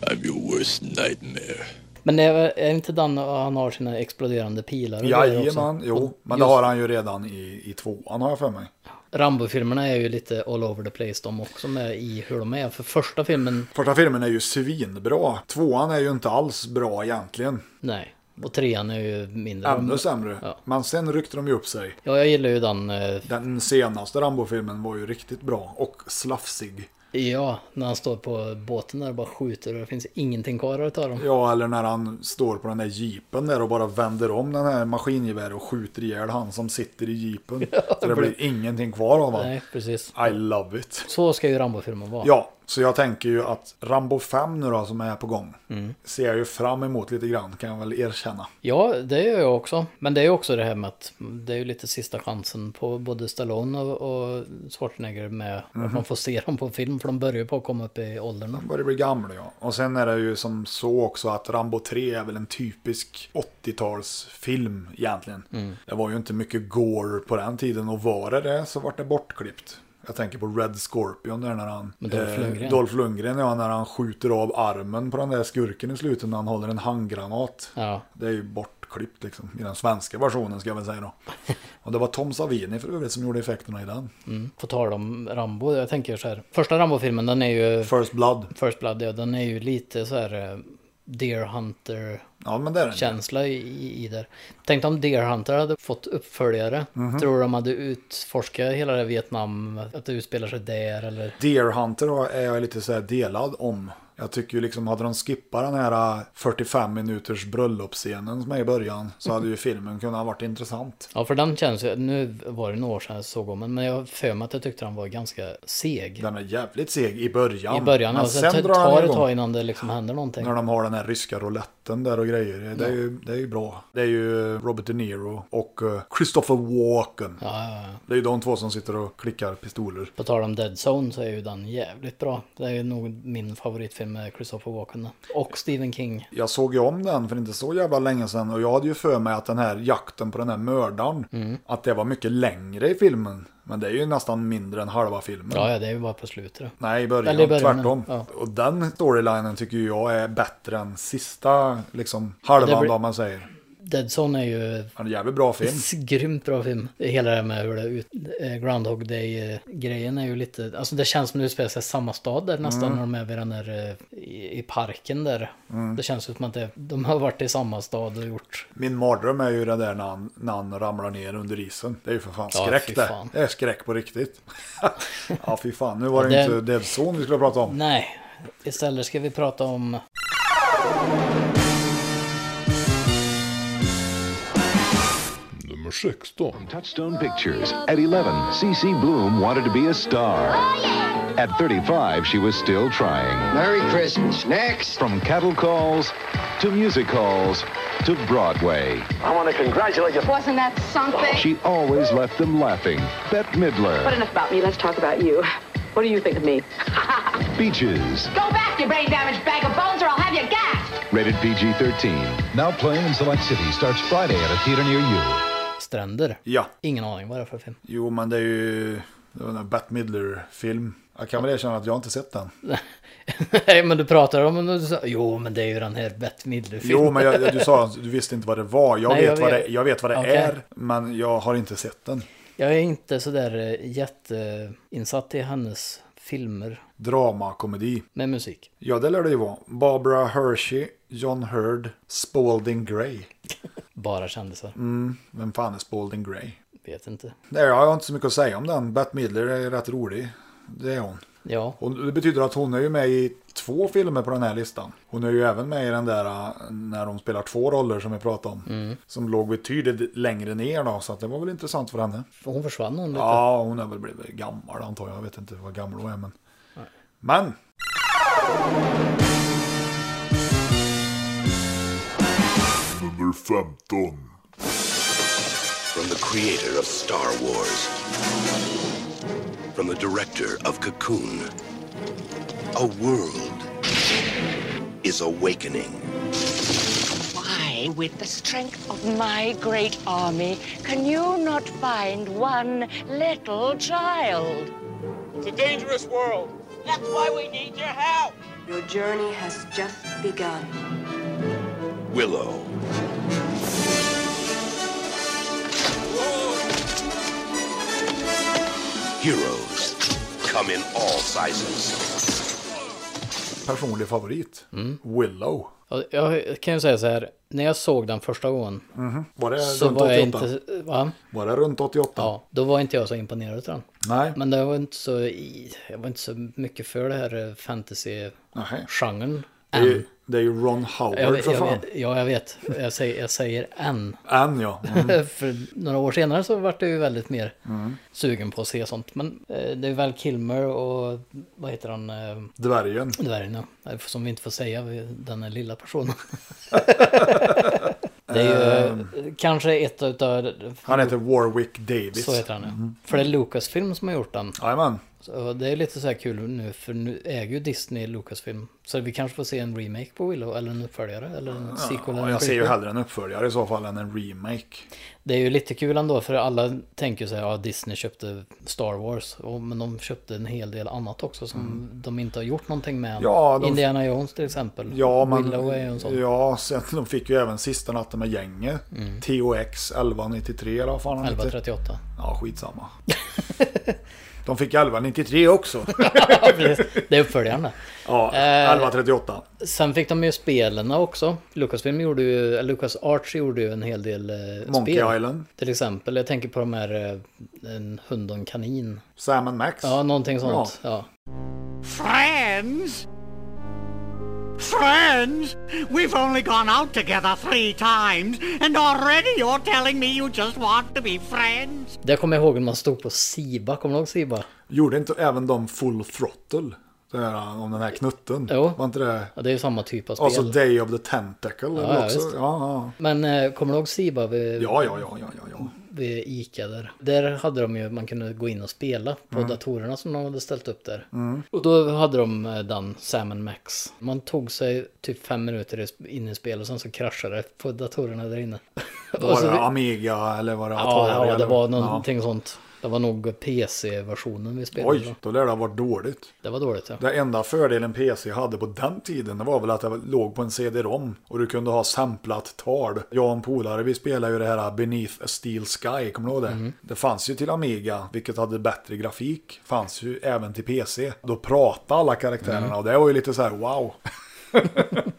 I'm your worst nightmare. Men är, är inte den och han har sina exploderande pilar? och grejer också? Jajamän, jo. Och Men det just har han ju redan i, i tvåan har jag för mig. Rambo-filmerna är ju lite all over the place de också med i hur de är. För första filmen, Första filmen är ju svinbra. Tvåan är ju inte alls bra egentligen. nej. Och trean är ju mindre. Ännu sämre. Men sen ryckte de ju upp sig. Ja, jag gillar ju den. eh, Den senaste Rambo-filmen var ju riktigt bra och slafsig. Ja, när han står på båten där och bara skjuter och det finns ingenting kvar att ta dem. Ja, eller när han står på den där jeepen där och bara vänder om den här maskingeväret och skjuter ihjäl han som sitter i jeepen. Så det blir ingenting kvar av honom. Nej, precis. I love it. Så ska ju Rambo-filmen vara. Ja, så jag tänker ju att Rambo 5 nu då som är på gång ser jag ju fram emot lite grann kan jag väl erkänna. Ja, det gör jag också. Men det är ju också det här med att det är ju lite sista chansen på både Stallone och, och Schwarzenegger med Mhm. att man får se dem på film. För de börjar ju på att komma upp i åldrarna. Han börjar bli gammal ja. Och sen är det ju som så också att Rambo 3 är väl en typisk 80-talsfilm egentligen. Mm. Det var ju inte mycket gore på den tiden och var det det så vart det bortklippt. Jag tänker på Red Scorpion där när han... eh, Med Dolph Lundgren. Dolph Lundgren ja, när han skjuter av armen på den där skurken i slutet när han håller en handgranat. Ja. Det är ju bortklippt liksom. I den svenska versionen ska jag väl säga då. Och det var Tom Savini för övrigt som gjorde effekterna i den. Mm. På tal om Rambo, jag tänker så här. Första Rambo-filmen den är ju... First Blood. First Blood, ja. Den är ju lite så här... eh, Deer Hunter Ja, men det är den. känsla i, i, i där. Tänk om Deer Hunter hade fått uppföljare. Mhm. Tror du de hade utforskat hela det Vietnam, att det utspelar sig där eller? Deer Hunter har- är jag lite så här delad om. Jag tycker ju liksom, hade de skippat den här äh, 45 minuters bröllopsscenen som är i början så hade ju filmen kunnat ha varit intressant. Ja, för den känns ju, nu var det några år sedan jag såg om den, men jag har för mig att jag tyckte den var ganska seg. Den är jävligt seg i början. I början, men och sen, sen sen drar den tar det ett igång. tag innan det liksom händer någonting. När de har den här ryska rouletten där och grejer. Det, Ja. är, ju, det är ju bra. Det är ju äh, Robert De Niro och eh, Christopher Walken. Det är ju de två som sitter och klickar pistoler. På tal om Dead Zone så är ju den jävligt bra. Det är ju nog min favoritfilm med Christopher Walken. Och Stephen King. Jag såg ju om den för inte så jävla länge sedan och jag hade ju för mig att den här jakten på den här mördaren, Mm. att det var mycket längre i filmen. Men det är ju nästan mindre än halva filmen. Ja, ja, det är ju bara på slutet. då. Nej, i början, Eller i början, tvärtom. ja. Och den storylinen tycker ju jag är bättre än sista liksom, halvan, Det blir- vad man säger. Dead Zone är ju En jävligt bra film. Grymt bra film. Hela det här med hur det ut, eh, Groundhog Day-grejen är ju lite, alltså det känns som det utspelar sig i samma stad där nästan Mm. när de är vid den där, eh, i, i parken där. Mm. Det känns ju som att det, de har varit i samma stad och gjort, Min mardröm är ju det där när han, när han ramlar ner under isen. Det är ju för fan Ja, skräck fy det. fan. Det är skräck på riktigt. ja, fy fan. Nu var Ja, det ju den- inte Dead Zone vi skulle prata om. nej. Istället ska vi prata om Nummer 16. Touchstone Pictures. At 11, CeCe Bloom wanted to be a star. At 35, she was still trying. Merry Christmas. Next. From cattle calls to music halls to Broadway. I want to congratulate you. Wasn't that something? She always left them laughing. Bette But Midler. enough about me. Let's talk about you. What do you think of me? Beaches. Go back, you brain damaged bag of bones, or I'll have you gassed. Rated PG 13. Now playing in select cities starts Friday at a theater near you. Stränder. Ja. Ingen aning vad det är för film. Jo, men det är ju det var en Bat Midler-film. Jag kan väl erkänna att jag inte sett den. nej, men du pratar om, och du sa, jo men det är ju den här Bette Midler-filmen. Jo, men jag, jag- du sa att du visste inte vad det var. Jag, Nej, vet, jag Vad vet. det, jag vet vad det Okej. är, men jag har inte sett den. Jag är inte sådär eh, jätteinsatt i hennes filmer Dramakomedi. med musik. Ja, det lär det ju vara. Barbara Hershey, John Hurd, Spalding Gray. Bara kändisar. Mm, vem fan är Spalding Gray? Vet inte. Nej, jag har inte så mycket att säga om den. Bette Midler är rätt rolig. Det är hon. Ja. Och det betyder att hon är ju med i två filmer på den här listan. Hon är ju även med i den där äh, när de spelar två roller som vi pratade om. Mm. Som låg betydligt längre ner då, så att det var väl intressant för henne. Hon försvann hon lite. Ja, hon är väl blivit gammal antar jag. Jag vet inte vad gammal hon är, men... Nej. Men! Nummer 15. From the creator of Star Wars, from the director of Cocoon, a world is awakening. Why, with the strength of my great army, can you not find one little child? It's a dangerous world. That's why we need your help. Your journey has just begun. Willow. Heroes come in all sizes. Personlig favorit. Mm. Willow. Ja, Jag kan ju säga så här, när jag såg den första gången. Mhm. Var det så runt var jag 88? inte, va? Var det runt 88? Ja, då var inte jag så imponerad av den. Nej. Men det var inte så, i- jag var inte så mycket för det här eh, fantasy-genren. Det är, ju, det är ju Ron Howard Jag vet, för jag fan. vet, ja, jag vet. Jag säger, jag säger än. Eh, Än ja. Mm. för några år senare så vart det ju väldigt mer Mm. sugen på att se sånt. Men eh, det är väl Kilmer och vad heter han? Eh, Dvärgen. Dvärgen, ja. Eh, Som vi inte får säga, vi- den här lilla personen. det är Ehm. ju eh, kanske ett utav... Han heter Warwick Davis. Så heter han ja. Mm. För det är Lucasfilm som har gjort den. Jajamän. Så det är lite så här kul nu, för nu äger ju Disney Lucasfilm. Så vi kanske får se en remake på Willow, eller en uppföljare, eller en sequel. Ja, eller en jag ser ju prequel. hellre en uppföljare i så fall än en remake. Det är ju lite kul ändå för alla tänker sig att ja, Disney köpte Star Wars. Och, men de köpte en hel del annat också som de inte har gjort någonting med. än. Mm. Ja, de- Indiana Jones till exempel. Ja, men, Willow är ju en sån. ja, sen de fick ju även sista natten med gänget. Mm. THX 1193 eller vad fan han heter. 1138. Ja, skitsamma. de fick 1193 också. Ja, precis. det är uppföljaren det. ja, Eh, 1138. Sen fick de ju spelen också. Lucasfilm gjorde ju, eller Lucas Arts gjorde ju en hel del eh, Monkey spel. Island. Till exempel, jag tänker på de här eh, En hund och en kanin. Sam and Max. Ja, någonting sånt. Ja. Friends? Friends? We've only gone out together three times, and already you're telling me you just want to be friends? Det kommer jag ihåg när man stod på Siba, kommer du ihåg Siba? Gjorde inte även de Full Throttle? Det här, om den här knutten. Jo. Var inte det? Ja, det är ju samma typ av spel. Och så Day of the Tentacle. Ja, Ja, ja, också. visst. Ja, ja. Men eh, kommer du ihåg Siba? Vid, Ja, ja, ja, ja, ja, ja. Vid Ica där. Där hade de ju, man kunde gå in och spela på Mm. datorerna som de hade ställt upp där. Mm. Och då hade de eh, den Sam Max. Man tog sig typ fem minuter i- in i spel och sen så kraschade det på datorerna där inne. Och Var så- det Amiga eller var det Ja, ja, det eller- var Ja. någonting sånt. Det var nog PC-versionen vi spelade. Oj, då lär det ha varit dåligt. Det var dåligt ja. Den enda fördelen PC hade på den tiden det var väl att det låg på en CD-ROM och du kunde ha samplat tal. Jag och en polare vi spelade ju det här Beneath a Steel Sky, kommer du ihåg det? Det fanns ju till Amiga, vilket hade bättre grafik. Fanns ju även till PC. Då pratade alla karaktärerna och det var ju lite så här wow.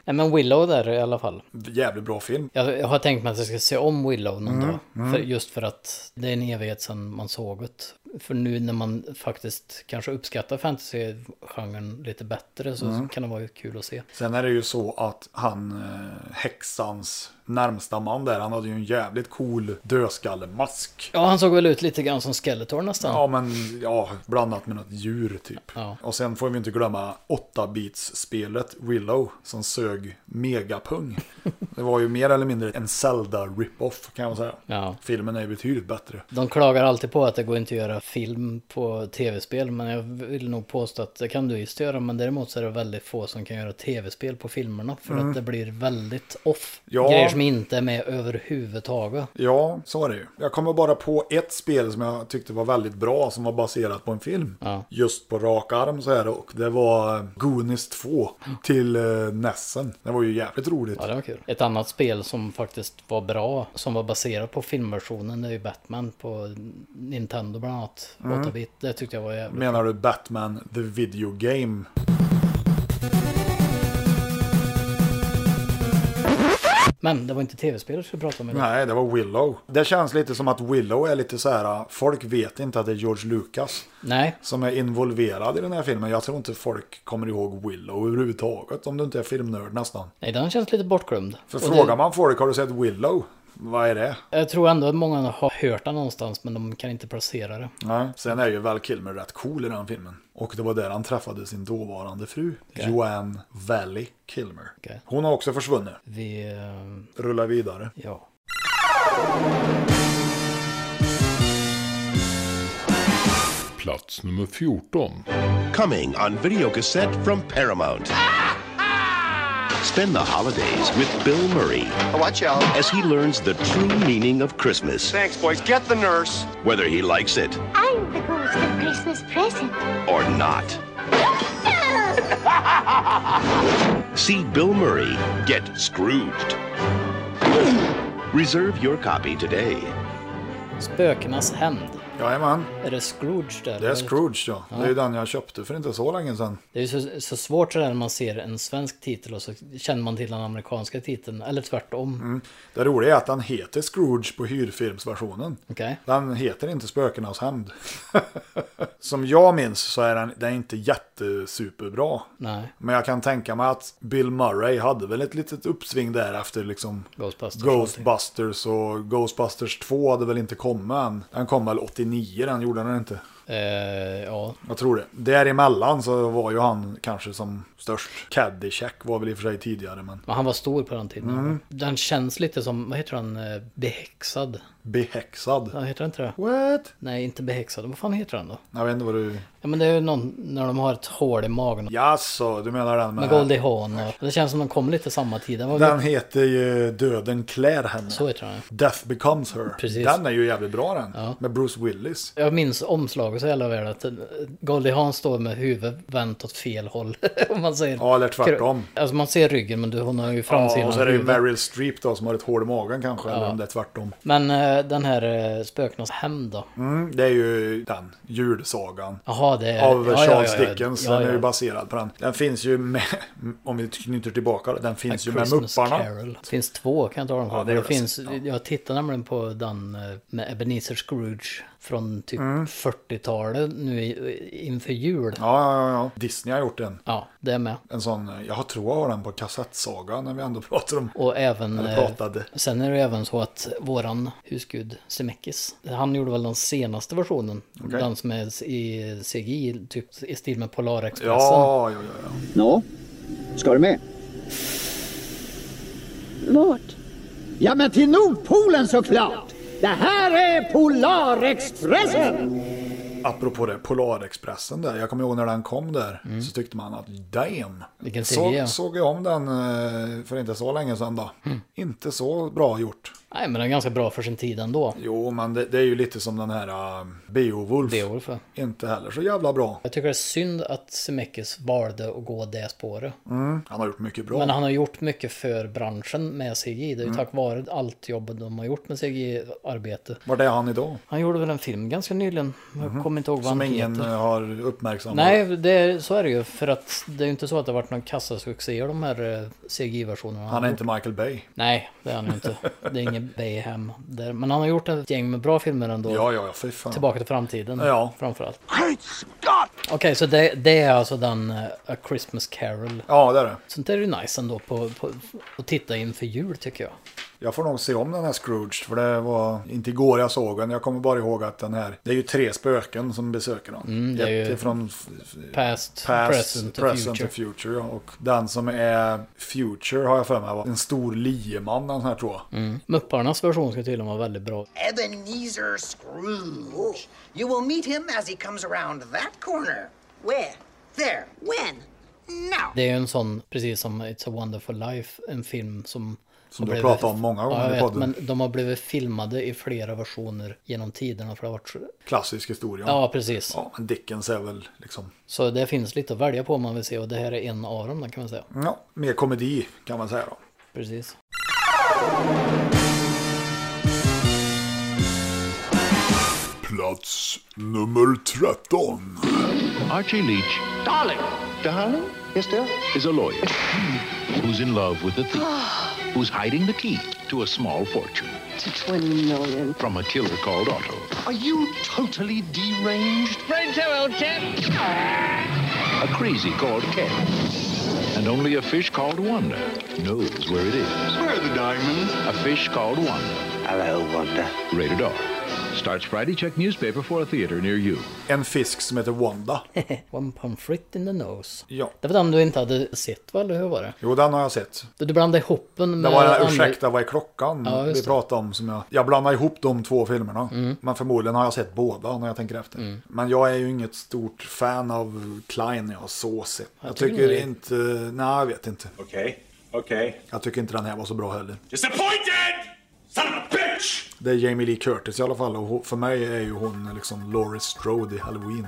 Nej, men Willow där i alla fall. Jävligt bra film. Jag, jag har tänkt mig att jag ska se om Willow någon Mm, dag. mm. För, just för att det är en evighet sedan man såg det. För nu när man faktiskt kanske uppskattar fantasygenren lite bättre så Mm. kan det vara kul att se. Sen är det ju så att han, eh, häxans närmsta man där, han hade ju en jävligt cool dödskallemask. Ja, han såg väl ut lite grann som Skeletor nästan. Ja, men ja, blandat med något djur typ. Och sen får vi inte glömma 8-bits-spelet Willow som sög megapung. Det var ju mer eller mindre en Zelda-rip-off kan man säga. Ja. Filmen är ju betydligt bättre. De klagar alltid på att det går inte att göra film på tv-spel, men jag vill nog påstå att det kan du just göra, men däremot så är det väldigt få som kan göra tv-spel på filmerna, för Mm. att det blir väldigt off. Ja. Grejer som inte är med överhuvudtaget. Ja, så är det ju. Jag kommer bara på ett spel som jag tyckte var väldigt bra som var baserat på en film. Just på rak arm så här och det var eh, Goonies 2 till eh, Nessen. Det var ju jävligt roligt. Ja, det var kul. Ett annat spel som faktiskt var bra, som var baserat på filmversionen, det är ju Batman på Nintendo bland annat. Mm. 8-bit. Det tyckte jag var jävligt Menar du Batman the Video Game? Men det var inte tv-spel vi skulle prata om idag. Nej, det var Willow. Det känns lite som att Willow är lite så här, äh, folk vet inte att det är George Lucas Nej. som är involverad i den här filmen. Jag tror inte folk kommer ihåg Willow överhuvudtaget, om du inte är filmnörd nästan. Nej, den känns lite bortglömd. För Och frågar det- man folk, har du sett Willow? Vad är det? Jag tror ändå att många har hört den någonstans men de kan inte placera det. Nej. Sen är ju Val Kilmer rätt cool i den filmen. Och det var där han träffade sin dåvarande fru, Okej. Joanne Valley Kilmer. Hon har också försvunnit. Vi... eh, Rulla vidare. Ja. Plats nummer 14. Coming on videocassette from Paramount. Spend the holidays with Bill Murray. Watch out. As he learns the true meaning of Christmas. Thanks, boys. Get the nurse. Whether he likes it I'm the ghost of Christmas present. or not. See Bill Murray get Scrooged. Reserve your copy today. Spökenas hämnd. Jajamän. Är det Scrooge där? Det är Scrooge ja. Det är ju den jag köpte för inte så länge sedan. Det är ju så, så svårt sådär när man ser en svensk titel och så känner man till den amerikanska titeln. Eller tvärtom. Mm. Det roliga är att den heter Scrooge på hyrfilmsversionen. Okej. Den heter inte Spökenas hämnd. Som jag minns så är den, den är inte jättesuperbra. Nej. Men jag kan tänka mig att Bill Murray hade väl ett litet uppsving där efter liksom Ghostbusters. Ghostbusters och Ghostbusters 2 hade väl inte kommit än. Den kom väl 89 den, gjorde den inte? Eh, ja. Jag tror det. Däremellan så var ju han kanske som störst. Caddyshack var väl i och för sig tidigare men Men han var stor på den tiden. Mm. Den känns lite som, vad heter den, Eh, behäxad? behäxad. Ja, heter den inte det? What? Nej, inte behäxad. Vad fan heter den då? Jag vet inte vad du... Ja, men det är ju någon när de har ett hål i magen. Jaså, du menar den med... Med Goldie Hawn och... Det känns som de kom lite samma tid. Den var Den heter ju Döden klär henne. Så heter den. Death becomes her. Precis. Den är ju jävligt bra den. Med Bruce Willis. Jag minns omslaget så jävla väl att Goldie Hawn står med huvudet vänt åt fel håll. Om man säger. Ja, eller tvärtom. Alltså man ser ryggen men du, hon har ju framsidan Ja, och så av är det ju huvudet. Meryl Streep då som har ett hål i magen kanske. Ja. Eller om det är tvärtom. Men eh, den här eh, Spökenas hämnd då? Mm, det är ju den, julsagan. Jaha, det är- Av ja, ja, Charles ja, ja. Dickens. Ja, den ja. är ju baserad på den. Den finns ju med, om vi knyter tillbaka det, den finns A ju med Christmas Mupparna. Carol. Det finns två kan jag ta dem Ja, på. det det gör det. finns, Jag tittar nämligen på den eh, med Ebenezer Scrooge från typ Mm. 40-talet nu i- inför jul. Ja, ja, ja, ja. Disney har gjort en. Ja, det är med. En sån, jag tror jag har den på kassettsaga när vi ändå pratar om. Och även... Eller eh, pratade. Sen är det även så att våran husgud Semekis, han gjorde väl den senaste versionen. Okej. Den som är i CGI, typ i stil med Polarexpressen. Ja, alltså. ja, ja. ja. Nå, ska du med? Vart? Ja, men till Nordpolen såklart! Det här är Polarexpressen! Apropå det, Polarexpressen där. Jag kommer ihåg när den kom där. Så tyckte man att damn. Mm. Vilken serie. Mm. så, såg jag om den eh, för inte så länge sedan då. Inte så bra gjort. Nej, men den är ganska bra för sin tid ändå. Jo, men det, det är ju lite som den här eh, Beowulf. Beowulf, ja. Inte heller så jävla bra. Jag tycker det är synd att Semekis valde att gå det spåret. Mm. Han har gjort mycket bra. Men han har gjort mycket för branschen med CGI. Det är ju Mm. tack vare allt jobb de har gjort med CGI-arbete. Var är han idag? Han gjorde väl en film ganska nyligen. Jag Mhm. kommer inte ihåg vad Som han ingen heter. eh, har uppmärksammat. Nej, det är, så är det ju. För att det är ju inte så att det har varit någon kassasuccé i de här eh, CGI-versionerna. Han är inte Michael Bay. Nej, det är han ju inte. Det är ingen Bayhem. Där. Men han har gjort ett gäng med bra filmer ändå. Ja, ja, ja, fy fan. Tillbaka till framtiden. Ja. Framförallt. Okej, så det, det är alltså den eh, A Christmas Carol. Ja, det är det. Sånt där är ju nice ändå på, på, att titta inför jul tycker jag. Jag får nog se om den här Scrooge, för det var inte igår jag såg den. Jag kommer bara ihåg att den här, det är ju tre spöken som besöker dem. Mm, det är ju Ett från past, present och future. och future. ja. Och den som är future har jag för mig var en stor lieman, den här tror jag. Mm. Mupparnas version ska tydligen vara väldigt bra. Ebenezer Scrooge. You will meet him as he comes around that corner. Where? There. When? Now. Det är ju en sån, precis som It's a wonderful life, en film som... Som har du pratat om många gånger ja, jag i vet, podden. Men de har blivit filmade i flera versioner genom tiderna för det har varit... så- Klassisk historia. Ja, precis. Ja, men Dickens är väl liksom, Så det finns lite att välja på om man vill se och det här är en av dem kan man säga. ja, mer komedi kan man säga då. Precis. Plats nummer 13. Archie Leach Darling! Darling? Yes, dear? is a lawyer who's in love with a thief. who's hiding the key to a small fortune. To 20 million. From a killer called Otto. Are you totally deranged? Brains are old chap. A crazy called Ken. And only a fish called Wanda knows where it is. Where are the diamonds? A fish called Wanda. Hello, Wanda. Rated R. Starts Friday. Check newspaper for a theater near you. En fisk som heter Wanda. One pomfrit in the nose. Ja. Det var den du inte hade sett va, eller hur var det? Jo, den har jag sett. Du, du blandade ihop den Det med... var, andra- ursäkta, vad är klockan Ja, just vi det. Mm. pratade om? Som jag, jag blandar ihop de två filmerna. Men förmodligen har jag sett båda när jag tänker efter. Men jag är ju inget stort fan av Klein jag så sett. Jag, tycker tycker det. inte... Nej, jag vet inte. Okay, okay. Jag tycker inte den här var så bra heller. Disappointed! Son of a bitch! Det är Jamie Lee Curtis i alla fall. Och ho- för mig är ju hon liksom Laurie Strode i Halloween.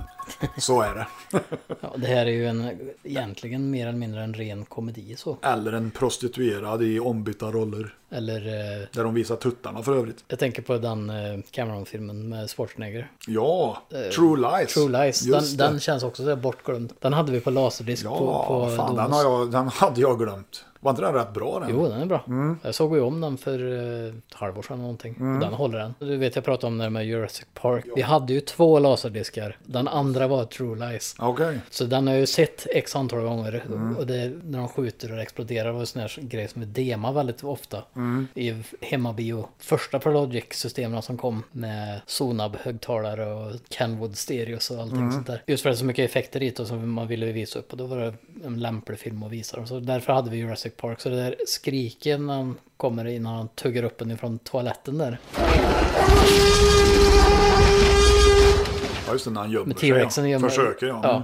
Så är det. Ja, det här är ju en, egentligen mer eller mindre en ren komedi så. Eller en prostituerad i ombytta roller. Eller... Eh, Där de visar tuttarna för övrigt. jag tänker på den eh, Cameron-filmen med Schwarzenegger. Ja, Eh, True Lies. True Lies. Den, Just den det. känns också så här bortglömd. Den hade vi på laserdisk Ja, på, på fan, den, Domus. har jag, den hade jag glömt. Var inte den rätt bra den? Jo, den är bra. Jag såg ju om den för eh, ett halvår sedan någonting. Mm. Och den håller den. Du vet, jag pratade om det med Jurassic Park. Vi hade ju två laserdiskar. Den andra var True Lies. Okej. Så den har jag ju sett x antal gånger. Och det, när de skjuter och det exploderar var en sån här grej som vi demar väldigt ofta. Mm. I hemmabio. Första Prologic-systemen som kom med Sonab-högtalare och Kenwood-stereos och allting Mm. sånt där. Just för att det är så mycket effekter i det och som man ville visa upp. Och då var det en lämplig film att visa dem. Så därför hade vi Jurassic Park. Så det där skriken när han kommer innan han tuggar upp en ifrån toaletten där. Ja, just det, när han gömmer Med sig, ja. T-rexen gömmer- Försöker, ja. ja.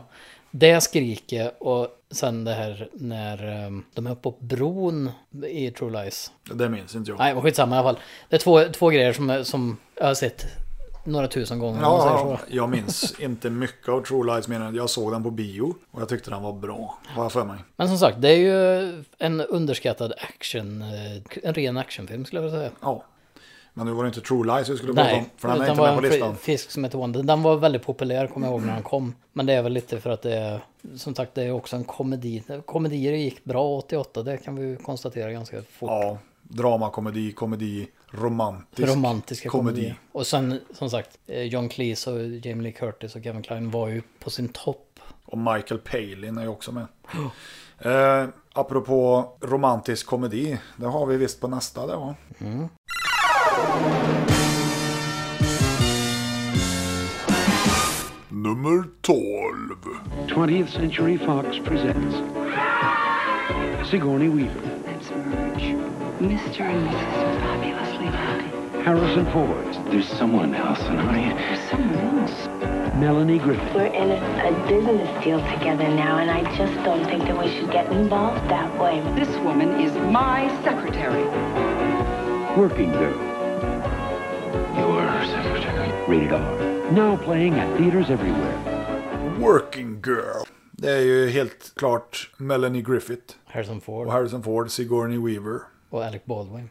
Det skriket och sen det här när ehm, de är uppe på bron i True Lies. Mm. Det minns inte jag. Nej, men skitsamma i alla fall. Det är två, två grejer som, eh, som jag har sett några tusen gånger. om man säger Ja, så. jag minns inte mycket av True Lies, men jag såg den på bio och jag tyckte den var bra, har jag för mig. Men som sagt, det är ju en underskattad action, eh, en ren actionfilm skulle jag vilja säga. Ja. Men nu var det inte True Lies vi skulle prata om, för den är utan inte med var på en fri- listan. fisk som heter Wanda. Den var väldigt populär, kommer jag ihåg, när den kom. Men det är väl lite för att det är, som sagt, det är också en komedi. Komedier gick bra 88, det kan vi ju konstatera ganska fort. Ja, drama, komedi, komedi, romantisk romantiska komedi. Och sen, som sagt, eh, John Cleese och Jamie Lee Curtis och Kevin Kline var ju på sin topp. Och Michael Palin är ju också med. Eh, apropå romantisk komedi, det har vi visst på nästa det va? Nummer 12. 20th Century Fox presents Sigourney Weaver, Mr. and Mrs. Fabulously Happy. Harrison Ford, There's someone else, and I. There's someone else. Melanie Griffith, We're in a, a business deal together now, and I just don't think that we should get involved that way. This woman is my secretary. Working Girl, Your secretary. rated R. Now playing at theaters everywhere. Working Girl. Det är ju helt klart Melanie Griffith. Harrison Ford. Och Harrison Ford, Sigourney Weaver. Och Alec Baldwin.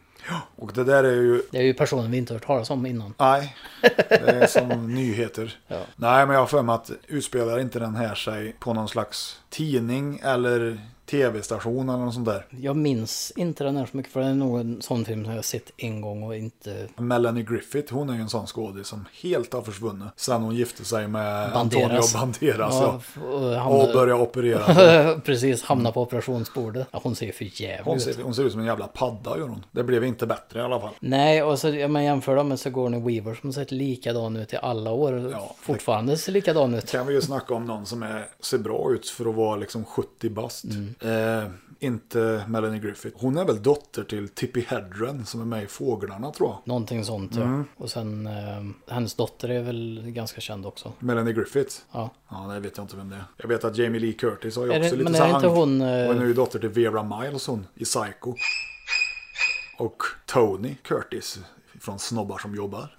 Och det där är ju... Det är ju personen vi inte hört talas om innan. Nej, det är som nyheter. Nej, men jag har för mig att utspelar inte den här sig på någon slags tidning eller tv-station eller något sånt där. Jag minns inte den här så mycket för det är nog en sån film som jag har sett en gång och inte... Melanie Griffith, hon är ju en sån skådis som helt har försvunnit sen hon gifte sig med Banderas. Antonio Banderas. Ja, och, och hamnade- började operera sig. Precis, hamna på operationsbordet. Ja, hon ser ju för jävligt Hon ut. ser, hon ser ut som en jävla padda gör hon. Det blev inte bättre i alla fall. Nej, och så ja, men jämför dem med Sigourney Weaver som har sett likadan ut i alla år. fortfarande ser likadan ut. Kan vi ju snacka om någon som är, ser bra ut för att vara liksom 70 bast. Eh, inte Melanie Griffith. Hon är väl dotter till Tippi Hedren som är med i Fåglarna tror jag. Någonting sånt Mm. ja. Och sen eh, hennes dotter är väl ganska känd också. Melanie Griffith? Ja. Ja, nej vet jag inte vem det är. Jag vet att Jamie Lee Curtis har ju Är det- också lite men är det inte ankn- hon, eh, Hon är ju dotter till Vera Miles hon, i Psycho. Och Tony Curtis från Snobbar som jobbar.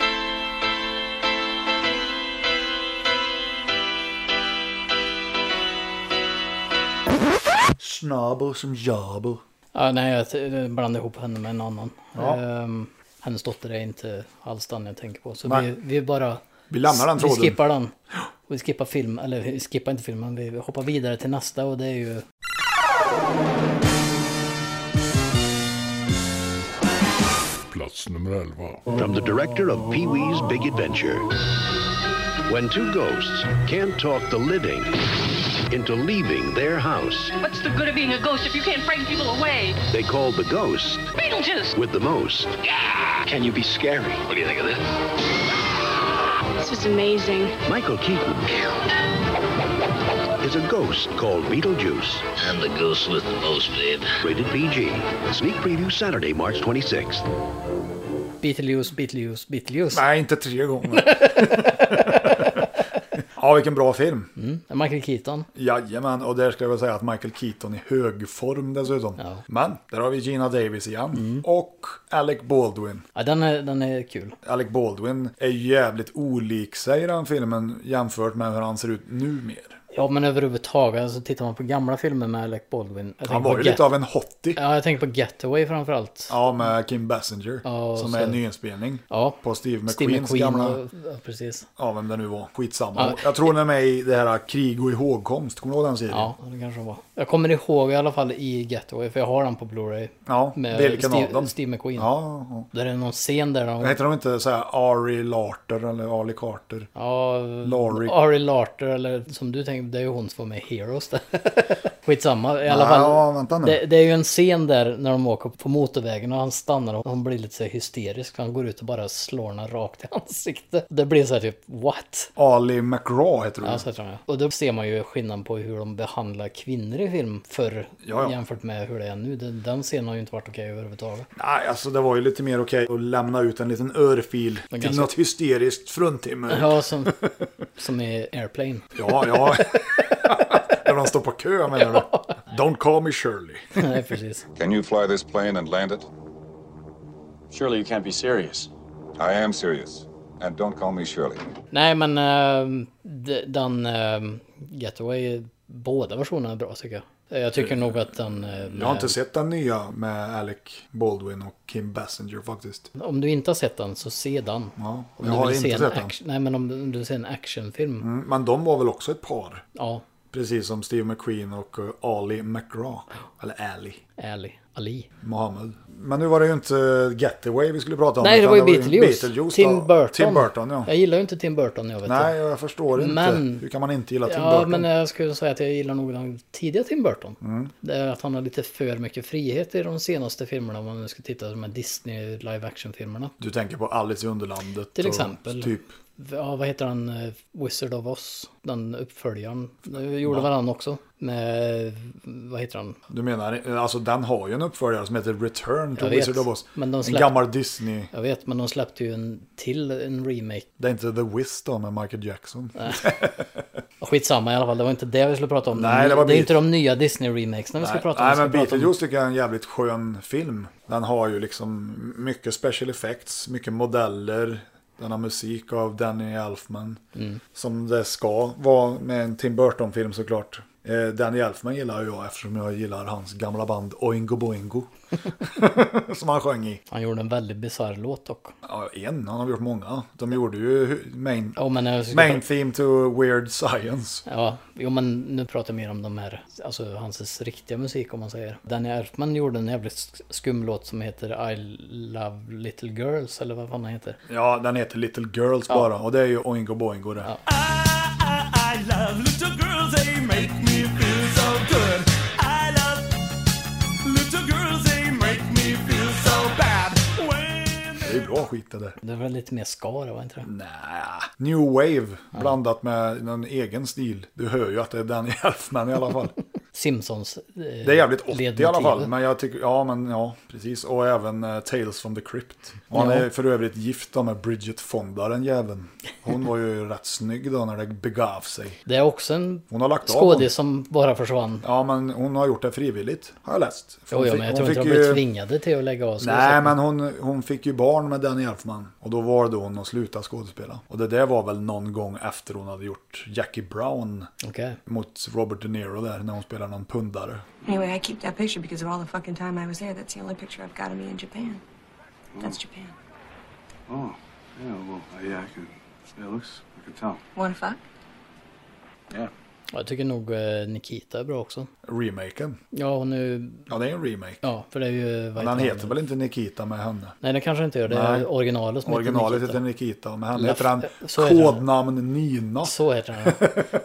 Snabo som jabo. Ja, nej, jag t- blandade ihop henne med en annan. Ja. Ehm, hennes dotter är inte alls den jag tänker på. Så Nej. vi, vi bara... Vi lämnar den tråden. Vi skippar den. Vi skippar film, eller vi skippar inte filmen, vi hoppar vidare till nästa och det är ju... Plats nummer 11. From the director of Pee Wee's Big Adventure. When two ghosts can't talk the living into leaving their house, What's the good of being a ghost if you can't frighten people away? they call the ghost Beetlejuice! with the most. Can you be scary? What do you think of this? This was amazing. Michael Keaton is a ghost called Beetlejuice. I'm the ghost with the most, babe. Rated PG. Sneak preview Saturday, March 26th. Beetlejuice, Beetlejuice, Beetlejuice. Nej, inte tre gånger. ja, vilken bra film. Mm. Michael Keaton. Jajamän, och där ska jag väl säga att Michael Keaton i hög form dessutom. Men, där har vi Gina Davis igen. Och Alec Baldwin. Ja, den är, den är kul. Alec Baldwin är jävligt olik sig i den filmen jämfört med hur han ser ut numer. Ja, men överhuvudtaget, alltså, tittar man på gamla filmer med Alec Baldwin. Han jag tänker var på ju Get- lite av en hottie. Ja, jag tänker på Getaway framförallt. Ja, med Kim Basinger. Ja, som så- är en nyinspelning. På Steve McQueens Steve McQueen gamla... och- ja, precis. Ja, vem det nu var. Skitsamma. Ja. Jag tror den är med i det här Krig och ihågkomst. Kommer du ihåg den serien? Ja, det kanske var. Jag kommer ihåg i alla fall i Getaway, för jag har den på Blu-ray. Ja, med vilken av Steve, dem? Steve McQueen. Ja, ja. Där är det någon scen där de... Heter de inte så här Ari Larter eller Ali Carter? Ja, Laurie. Ari Larter eller som du tänker, det är ju hon som var med i Heroes där. Skitsamma, i alla Ja, fall. ja, vänta nu. Det, det är ju en scen där när de åker på motorvägen och han stannar och hon blir lite så här hysterisk. Han går ut och bara slår henne rakt i ansiktet. Det blir så här typ what? Ali McGraw heter hon. Ja, så tror jag. Och då ser man ju skillnaden på hur de behandlar kvinnor i film förr Ja, ja. jämfört med hur det är nu. Den, den scenen har ju inte varit okej överhuvudtaget. Nej, alltså det var ju lite mer okej att lämna ut en liten örfil till ganska- något hysteriskt fruntimmer. Ja, som, som i Airplane. Ja, ja. När de står på kö menar du? Don't call me Shirley. Nej, precis. Can you fly this plane and land it? Surely you can't be serious. I am serious. And don't call me Shirley. Nej, men eh, de- den uh, Getaway, båda versionerna är bra tycker jag. Eh, Jag tycker nog att den... eh, Jag har med- inte sett den nya med Alec Baldwin och Kim Basinger faktiskt. Om du inte har sett den, så se den. Ja, om jag du har vill se inte en sett den. action, Nej, men om du, om du ser en actionfilm. Mm, men de var väl också ett par? Ja. Precis som Steve McQueen och eh, Ali McGraw. Eller Ali. Ali. Ali. Mohammed. Men nu var det ju inte eh, Getaway vi skulle prata om. Nej, det utan var ju Beetlejuice. Tim då. Burton. Tim Burton, ja. Jag gillar ju inte Tim Burton, jag vet Nej, det. jag förstår inte. Men- Hur kan man inte gilla Tim ja, Burton? men eh, jag skulle säga att jag gillar nog den tidiga Tim Burton. Mm. Det är att han har lite för mycket frihet i de senaste filmerna om man nu ska titta på de här Disney live action-filmerna. Du tänker på Alice i Underlandet. Till och exempel. Typ. Ja, vad heter han? Eh, Wizard of Oz. Den uppföljaren. Det gjorde väl han också. Med, vad heter han? Du menar, eh, alltså den har ju en uppföljare som heter Return to Jag vet, Wizard of Oz. men de en släpp- gammal Disney. Jag vet, men de släppte ju en till en remake. Det är inte The Wiz då med Michael Jackson. Skitsamma i alla fall, det var inte det vi skulle prata om. Nej, det var det är Beat- inte de nya Disney-remakes när vi ska Nej, prata om. nej vi ska men prata om- Beetlejuice tycker jag är en jävligt skön film. Den har ju liksom mycket special effects, mycket modeller. Den har musik av Danny Elfman. Mm. Som det ska vara med en Tim Burton-film såklart. Eh, Danny Elfman gillar jag eftersom jag gillar hans gamla band Oingo Boingo. som han sjöng i. Han gjorde en väldigt bisarr låt dock. Ja, en. Han har gjort många. De gjorde ju hu- main, Ja, men jag ska- main theme to Weird Science. Ja, jo men nu pratar jag mer om de här, alltså hans riktiga musik om man säger. Danny Elfman gjorde en jävligt sk- skum låt som heter I Love Little Girls, eller vad fan den heter. Ja, den heter Little Girls Ja. bara. Och det är ju Oingo Boingo det. I love little girls, they make me feel so good. I love little girls, they make me feel so bad. Det är bra skit det där. Det var lite mer ska det, var inte det? Nej. Ah, New Wave blandat med någon egen stil. Du hör ju att det är Danny Elfman i alla fall. Simpsons. eh, Det är jävligt 80 i alla fall. ledmotiv. Men jag tycker, ja men ja, precis. Och även eh, Tales from the Crypt. Och han Ja. är för övrigt gift då med Bridget Fonda, den jäveln. Hon var ju rätt snygg då när det begav sig. Det är också en Hon har lagt av honom. skådis som bara försvann. Ja, men hon har gjort det frivilligt, har jag läst. För Jo, hon jo, fick- men jag hon tror inte de fick blev ju- tvingade till att lägga av Nej, men hon, hon fick ju barn med Danny Elfman. Och då var det hon att sluta skådespela. Och det där var väl någon gång efter hon hade gjort Jackie Brown Okej. mot Robert De Niro där när hon spelar någon pundare. Anyway, I keep that picture because of all the fucking time I was there. That's the only picture I've got of me in Japan. That's Japan. Oh, yeah, well, yeah, I can. Yeah, it looks. I can tell. Wanna fuck? Yeah. Jag tycker nog eh, Nikita är bra också. Remaken. Ja, och nu... Ja, det är en remake. Ja, för det är ju... vad Men han heter heter väl inte Nikita med henne? Nej, det kanske inte gör. Det är Nej. originalet som Originalet heter heter Nikita. Nikita och med henne La- heter han så heter han. kodnamn Nina. Så heter han.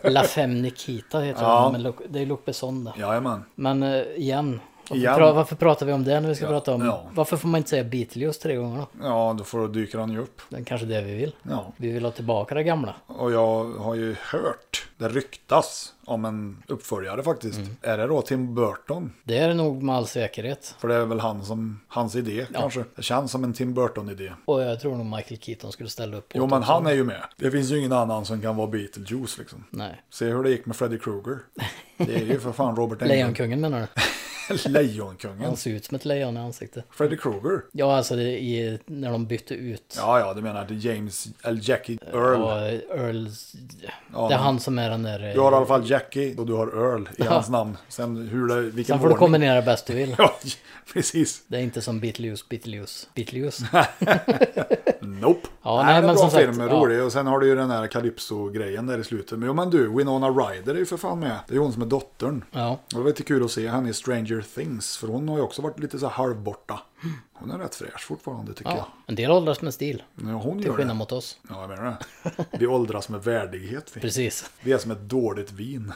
ja. La Femme Nikita heter Ja. han. Men Luc- det är Luc Besson det. Jajamän. Men eh, igen. Varför, Igen. Pra, varför pratar vi om det när vi ska prata om... ja. Varför får man inte säga Beatles tre gånger då? Ja, då får dyker han ju upp. Det är kanske det vi vill. Ja. Vi vill ha tillbaka det gamla. Och jag har ju hört, det ryktas om en uppföljare faktiskt. Mm. Är det då Tim Burton? Det är det nog med all säkerhet. För det är väl han som, hans idé Ja. kanske. Det känns som en Tim Burton-idé. Och jag tror nog Michael Keaton skulle ställa upp. Jo åt men också. han är ju med. Det finns ju ingen annan som kan vara Beetlejuice liksom. Nej. Se hur det gick med Freddy Krueger. Det är ju för fan Robert Englund. Lejonkungen menar du? Lejonkungen. Han ser ut som ett lejon i ansiktet. Freddy Krueger. Ja, alltså det, i, när de bytte ut. Ja, ja, du menar att det är James, eller Jackie Earl. Och Earls... Ja, det är men- han som är den där... eh, Du har i alla fall Jackie och du har Earl i Ja. hans namn. Sen hur det, vilken Sen får du ordning- kombinera bäst du vill. Ja, precis. Det är inte som Beetlejuice, Beetlejuice, Beetlejuice. Nope. Ja, nej, nej, men bra som film, sagt. ja. rolig. Och sen har du ju den här Calypso-grejen där i slutet. Men jo, men du, Winona Ryder är ju för fan med. Det är ju hon som är dottern. Ja. Och det var lite kul att se henne i Stranger Things. För hon har ju också varit lite så här halvborta. Hon är rätt fräsch fortfarande tycker Mm. Ja, en del åldras med stil. jag. Ja, hon Till gör det. skillnad mot oss. Ja, jag menar det. Vi åldras med värdighet. Vi. Precis. Vi är som ett dåligt vin.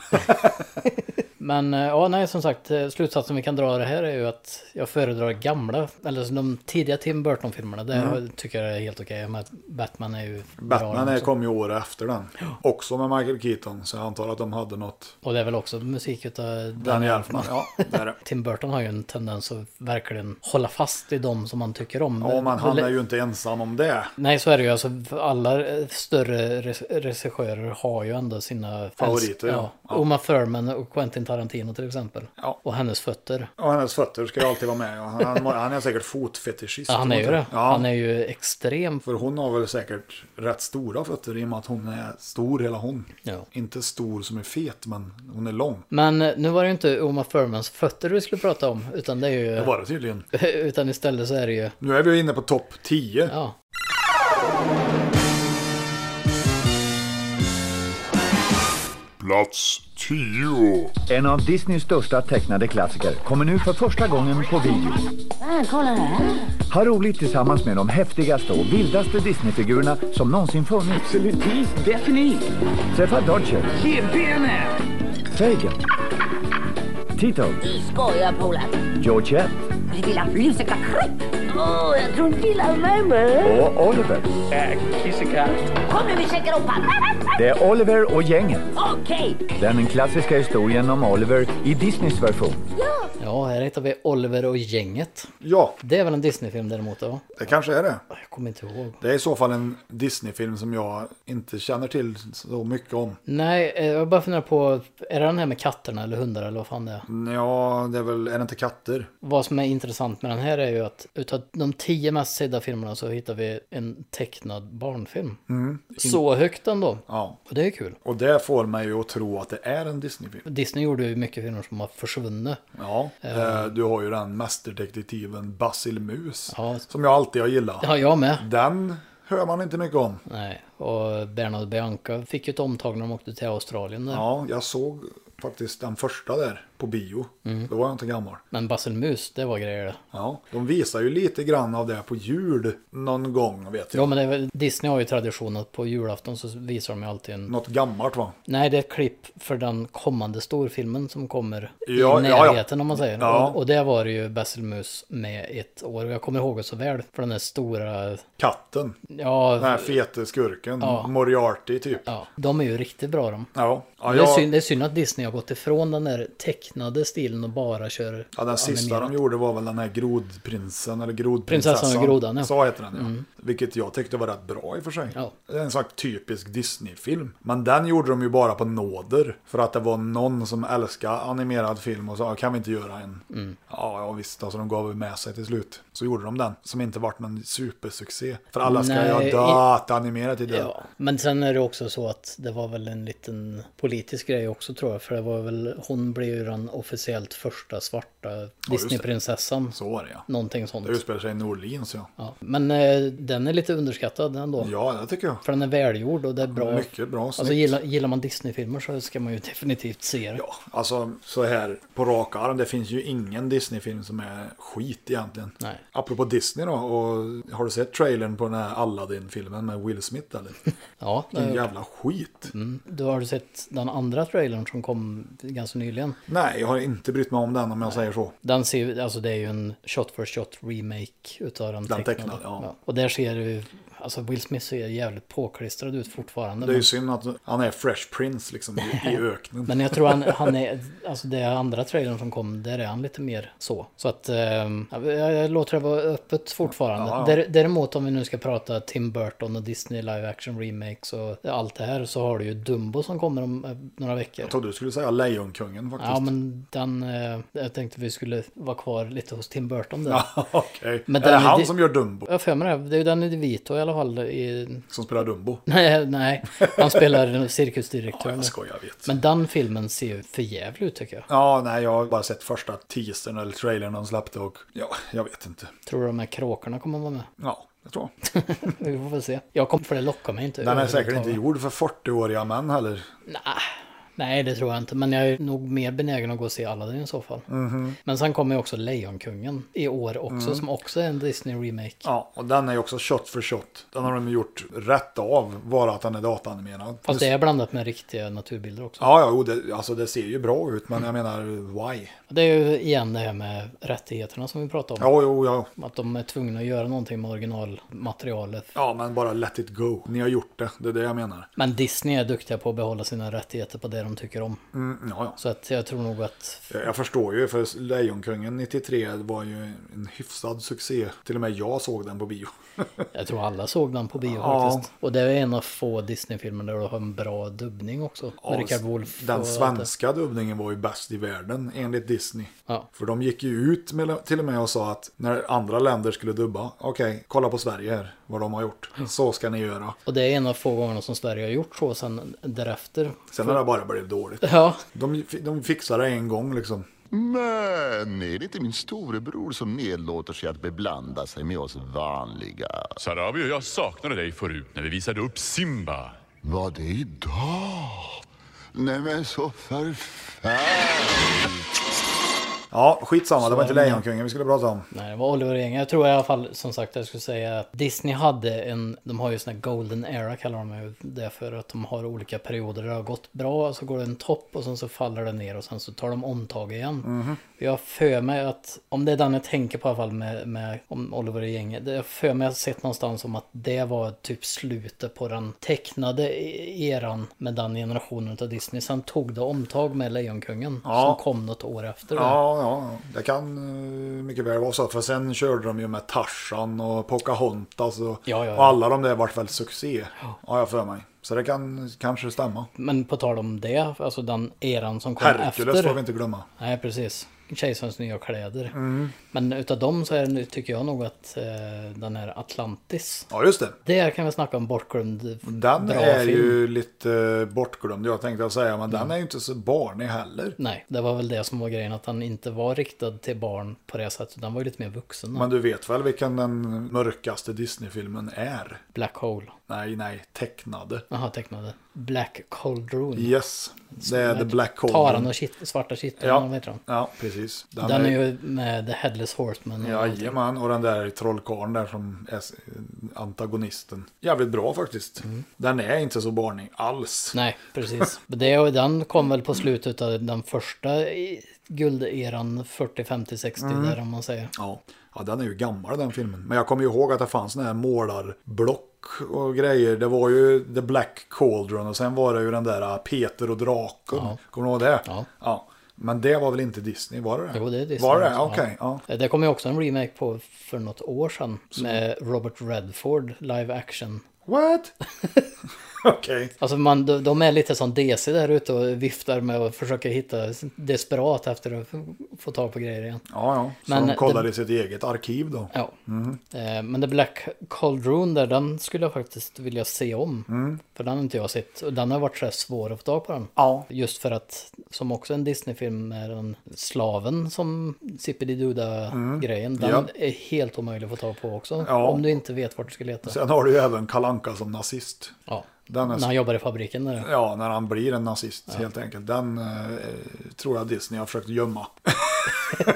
Men eh, ja, nej, som sagt, eh, slutsatsen vi kan dra av det här är ju att jag föredrar gamla, eller så de tidiga Tim Burton-filmerna. Det Mm. tycker jag är helt okej. Men Batman är ju bra Batman den är- också. kom ju år efter den. Också med Michael Keaton. Så jag antar att de hade något. Och det är väl också musik utav Danny Elfman. Ja, det är det. Tim Burton har ju en tendens att verkligen hålla fast i dem som man tycker om. Ja, men han Eller- är ju inte ensam om det. Nej, så är det ju. Alltså, alla eh, större res- regissörer har ju ändå sina... Favoriter, Ja. ja. Ja. Uma Thurman och Quentin Tarantino till exempel. Och hennes fötter. Och hennes fötter ska ju alltid vara med. Och Han, han är säkert fotfetischist. Ja, han är ju det. Ja. Han är ju extrem. För hon har väl säkert rätt stora fötter i och med att hon är stor hela hon. Ja. Inte stor som är fet, men hon är lång. Men eh, nu var det ju inte Uma Thurmans fötter vi skulle prata om, utan det är ju... Det var det tydligen. Utan istället så är det ju... Nu är vi inne på topp 10. Ja. Plats 10. En av Disneys största tecknade klassiker kommer nu för första gången på video. Fan, kolla här. Ha roligt tillsammans med de häftigaste och vildaste Disneyfigurerna som någonsin funnits. Absolutely, definitivt. Träffa Dodger, Tjena! Fagin, Tito, Du skojar polare. Georgette Ditt lilla flusiga kryp. Åh, jag tror inte illa om mig men. och Oliver. Äh, kissekatt. Kom nu vi käkar upp han. Det är Oliver och gänget. Okej. Den klassiska historien om Oliver i Disneys version. Ja, här hittar vi Oliver och gänget. Ja. Det är väl en Disney-film däremot, ja. Det kanske är det. Jag kommer inte ihåg. Det är i så fall en Disney-film som jag inte känner till så mycket om. Nej, eh, jag bara funderar på, är det den här med katterna eller hundar eller vad fan det är? Ja, det är väl, är det inte katter? Vad som är intressant med den här är ju att utav de tio mest sedda filmerna så hittar vi en tecknad barnfilm. Mm. Så högt ändå. Ja. Och det är kul. Och det får mig ju att tro att det är en Disney-film. Disney gjorde ju mycket filmer som har försvunnit. Ja, Eh. eh, du har ju den mästerdetektiven Basil Mus. Ja. Som jag alltid har gillat. Ja, jag med. Den hör man inte mycket om. Nej, och Bernard Bianca fick ju ett omtag när de åkte till Australien där. Ja, jag såg faktiskt den första där på bio. Då var jag inte gammal. Men Basil Mus, det var grejer det. Ja, de visar ju lite grann av det på jul någon gång vet jag. Ja, men det är väl, Disney har ju tradition att på julafton så visar de ju alltid en... Något gammalt va? Nej, det är ett klipp för den kommande storfilmen som kommer Ja, i ja, ja. närheten om man säger. Ja. Och, och det var det ju Basil Mus med ett år. Jag kommer ihåg det så väl. För den där stora... Katten. Ja, Den här fete skurken. Ja. Moriarty typ. Ja. de är ju riktigt bra de. Ja, ja, det, är jag- synd, det är synd att Disney har gått ifrån den där tecknade stilen och bara kör Ja, den sista animerat. de gjorde var väl den här grodprinsen eller grodprinsessan. Prinsessan och grodan, ja. Så heter den ja. Mm. Vilket jag tyckte var rätt bra i och för sig. Ja. Det är En sån här typisk Disney-film. Men den gjorde de ju bara på nåder. För att det var någon som älskade animerad film och sa "Ah, kan vi inte göra en? Mm. Ja, ja visst, alltså de gav ju med sig till slut. Så gjorde de den. Som inte vart någon supersuccé. För alla ska Nej, ju i- ha dött animerat i Ja, döden. Ja, men sen är det också så att det var väl en liten politisk grej också tror jag. För det var väl, hon blev ju den officiellt första svarta det. Disneyprinsessan. Så var det ja. Någonting sånt. Det utspelar sig i Norlins ja. Ja. Men eh, den är lite underskattad ändå. Ja, det tycker jag. För den är välgjord och det är bra. Mycket bra, Alltså snyggt. gillar, gillar man Disney-filmer så ska man ju definitivt se det. Ja. Alltså så här på rak arm, det finns ju ingen Disney-film som är skit egentligen. Nej. Apropå Disney då, och har du sett trailern på den här Aladdin-filmen med Will Smith eller? Ja, det har Vilken jag jävla skit. Du har sett den andra trailern som kom ganska nyligen. Nej, jag har inte brytt mig om den om jag säger så. Den ser, ju- alltså det är ju en shot for shot remake utav den, Den tecknade, ja. Och där ser du, alltså Will Smith ser jävligt påklistrad ut fortfarande. Det är ju men- synd att han är Fresh Prince liksom i, i öknen. Men jag tror han, han är, alltså det andra trailern som kom, där är han lite mer så. Så att ehm, jag, jag låter det vara öppet fortfarande. Ja, ja. Där- Däremot om vi nu ska prata Tim Burton och Disney live action remakes och allt det här så har du ju Dumbo som kommer om eh, några veckor. Jag trodde du skulle säga Lejonkungen faktiskt. Ja men den, eh, jag tänkte vi skulle vara kvar lite hos Tim Burton där. Ja, okej. Men Är det den- han som gör Dumbo? Jag har för mig det, det är ju Danny DeVito i alla fall. I... Som spelar Dumbo? Nej, nej. han spelar cirkusdirektör. Ja, jag skojar, jag vet. Men den filmen ser ju för jävlig ut tycker jag. Ja, nej, jag har bara sett första teasern eller trailern de släppte och ja, jag vet inte. Tror du de här kråkorna kommer vara med? Ja, jag tror. Vi får väl se. Jag kommer, för det lockar mig inte. Den är säkert inte överhuvudtaget. gjord för 40-åriga män heller. Nej, det tror jag inte. Men jag är nog mer benägen att gå och se Aladdin i så fall. Mhm. Men sen kommer ju också Lejonkungen i år också, Mm. som också är en Disney-remake. Ja, och den är ju också shot för shot. Den har de gjort rätt av, bara att den är dataanimerad. Fast det är blandat med riktiga naturbilder också. Ja, ja, jo, det, alltså det ser ju bra ut, men jag menar why? Det är ju igen det här med rättigheterna som vi pratade om. Ja, jo, ja. Att de är tvungna att göra någonting med originalmaterialet. Ja, men bara let it go. Ni har gjort det, det är det jag menar. Men Disney är duktiga på att behålla sina rättigheter på det de tycker om. Mm, ja, ja. Så att jag tror nog att... Jag jag förstår ju, för Lejonkungen 93 var ju en hyfsad succé. Till och med jag såg den på bio. Jag tror alla såg den på bio Ja. faktiskt. Och det är en av få Disney-filmer där du har en bra dubbning också. Ja, Med Richard Wolff. Den och allt det. svenska dubbningen var ju bäst i världen enligt Disney. För de gick ju ut med, till och med och sa att när andra länder skulle dubba, okej, kolla på Sverige här, vad de har gjort. Så ska ni göra. Och det är en av få gångerna som Sverige har gjort så sen därefter. Sen har det bara blivit dåligt. Ja. De, de fixade det en gång liksom. Men är Eh, det inte min storebror som nedlåter sig att beblanda sig med oss vanliga? Sarabi och jag saknade dig förut när vi visade upp Simba. Var det idag? Nej men så förfärligt. Ja, skitsamma, det var Så inte är det. Lejonkungen vi skulle prata om. Nej, det var Oliver Enga. Jag tror i alla fall som sagt jag skulle säga att Disney hade en, de har ju sån här golden era kallar de ju det för att de har olika perioder där det har gått bra, så går det en topp och sen så faller det ner och sen så tar de omtag igen. Mhm. Jag har för mig att, om det är den jag tänker på i alla fall med, med om Oliver och gänget, det jag har för mig att jag sett någonstans om att det var typ slutet på den tecknade e-, eran med den generationen av Disney. Sen tog det omtag med Lejonkungen Ja. som kom något år efter. det. Ja, ja, det kan eh, mycket väl vara så. För sen körde de ju med Tarzan och Pocahontas och, Ja, ja, ja. och alla de där vart väl succé. Har jag för mig. Så det kan kanske stämma. Men på tal om det, alltså den eran som kom Hercules efter. får vi inte glömma. Nej, precis. Kejsarens nya kläder. Mm. Men utav dem så är det, nu- tycker jag nog att eh, den här Atlantis. Ja, just det. Där kan vi snacka om bortglömd Den bra är film. ju lite eh, bortglömd, jag tänkte jag säga. Men den Mm. är ju inte så barnig heller. Nej, det var väl det som var grejen, att den inte var riktad till barn på det sättet. Den var ju lite mer vuxen. Men du vet väl vilken den mörkaste Disney-filmen är? Black Hole. Nej, nej, tecknade. Jaha, tecknade. Black Cauldron. Yes, det är The Black Hole. Taran och kit- svarta kitteln, Ja. ja. vet du. Ja, precis. Den, är ju med The Headless Horseman. och allting. Jajamän, och den där trollkarlen där som är s- antagonisten. Jävligt bra faktiskt. Mm. Den är inte så barnig alls. Nej, precis. Men Det, och den kom väl på slutet av den första i- gulderan 40, 50, 60 Mm. där om man säger. Ja. ja, den är ju gammal den filmen. Men jag kommer ju ihåg att det fanns sådana här målarblock och grejer. Det var ju The Black Cauldron och sen var det ju den där äh, Peter och draken. Ja. Kommer du ihåg det? Ja. Men det var väl inte Disney, var det det? Jo, det är Disney Var det? också, Eh, Okej, ja. Det kom ju också en remake på för något år sedan Så. med Robert Redford, live action. What? Okej. Alltså man, de, de är lite som DC där ute och viftar med och försöker hitta desperat efter att få- få tag på grejer igen. Ja, ja. Så Men de kollar det- i sitt eget arkiv då. Ja. Mm. Eh, Men The Black Cauldron där, den skulle jag faktiskt vilja se om. Mm. För den har inte jag sett. Och den har varit så här svår att få tag på den. Ja. Just för att, som också en Disney-film, med den slaven som Zippidi-Duda-grejen. Den Mm. Ja. är helt omöjlig att få tag på också. Ja. Om du inte vet vart du ska leta. Sen har du ju även Kalanka som nazist. Ja. Den är- När han jobbar i fabriken där. Ja, när han blir en nazist helt enkelt. Den eh, tror jag Disney har försökt gömma.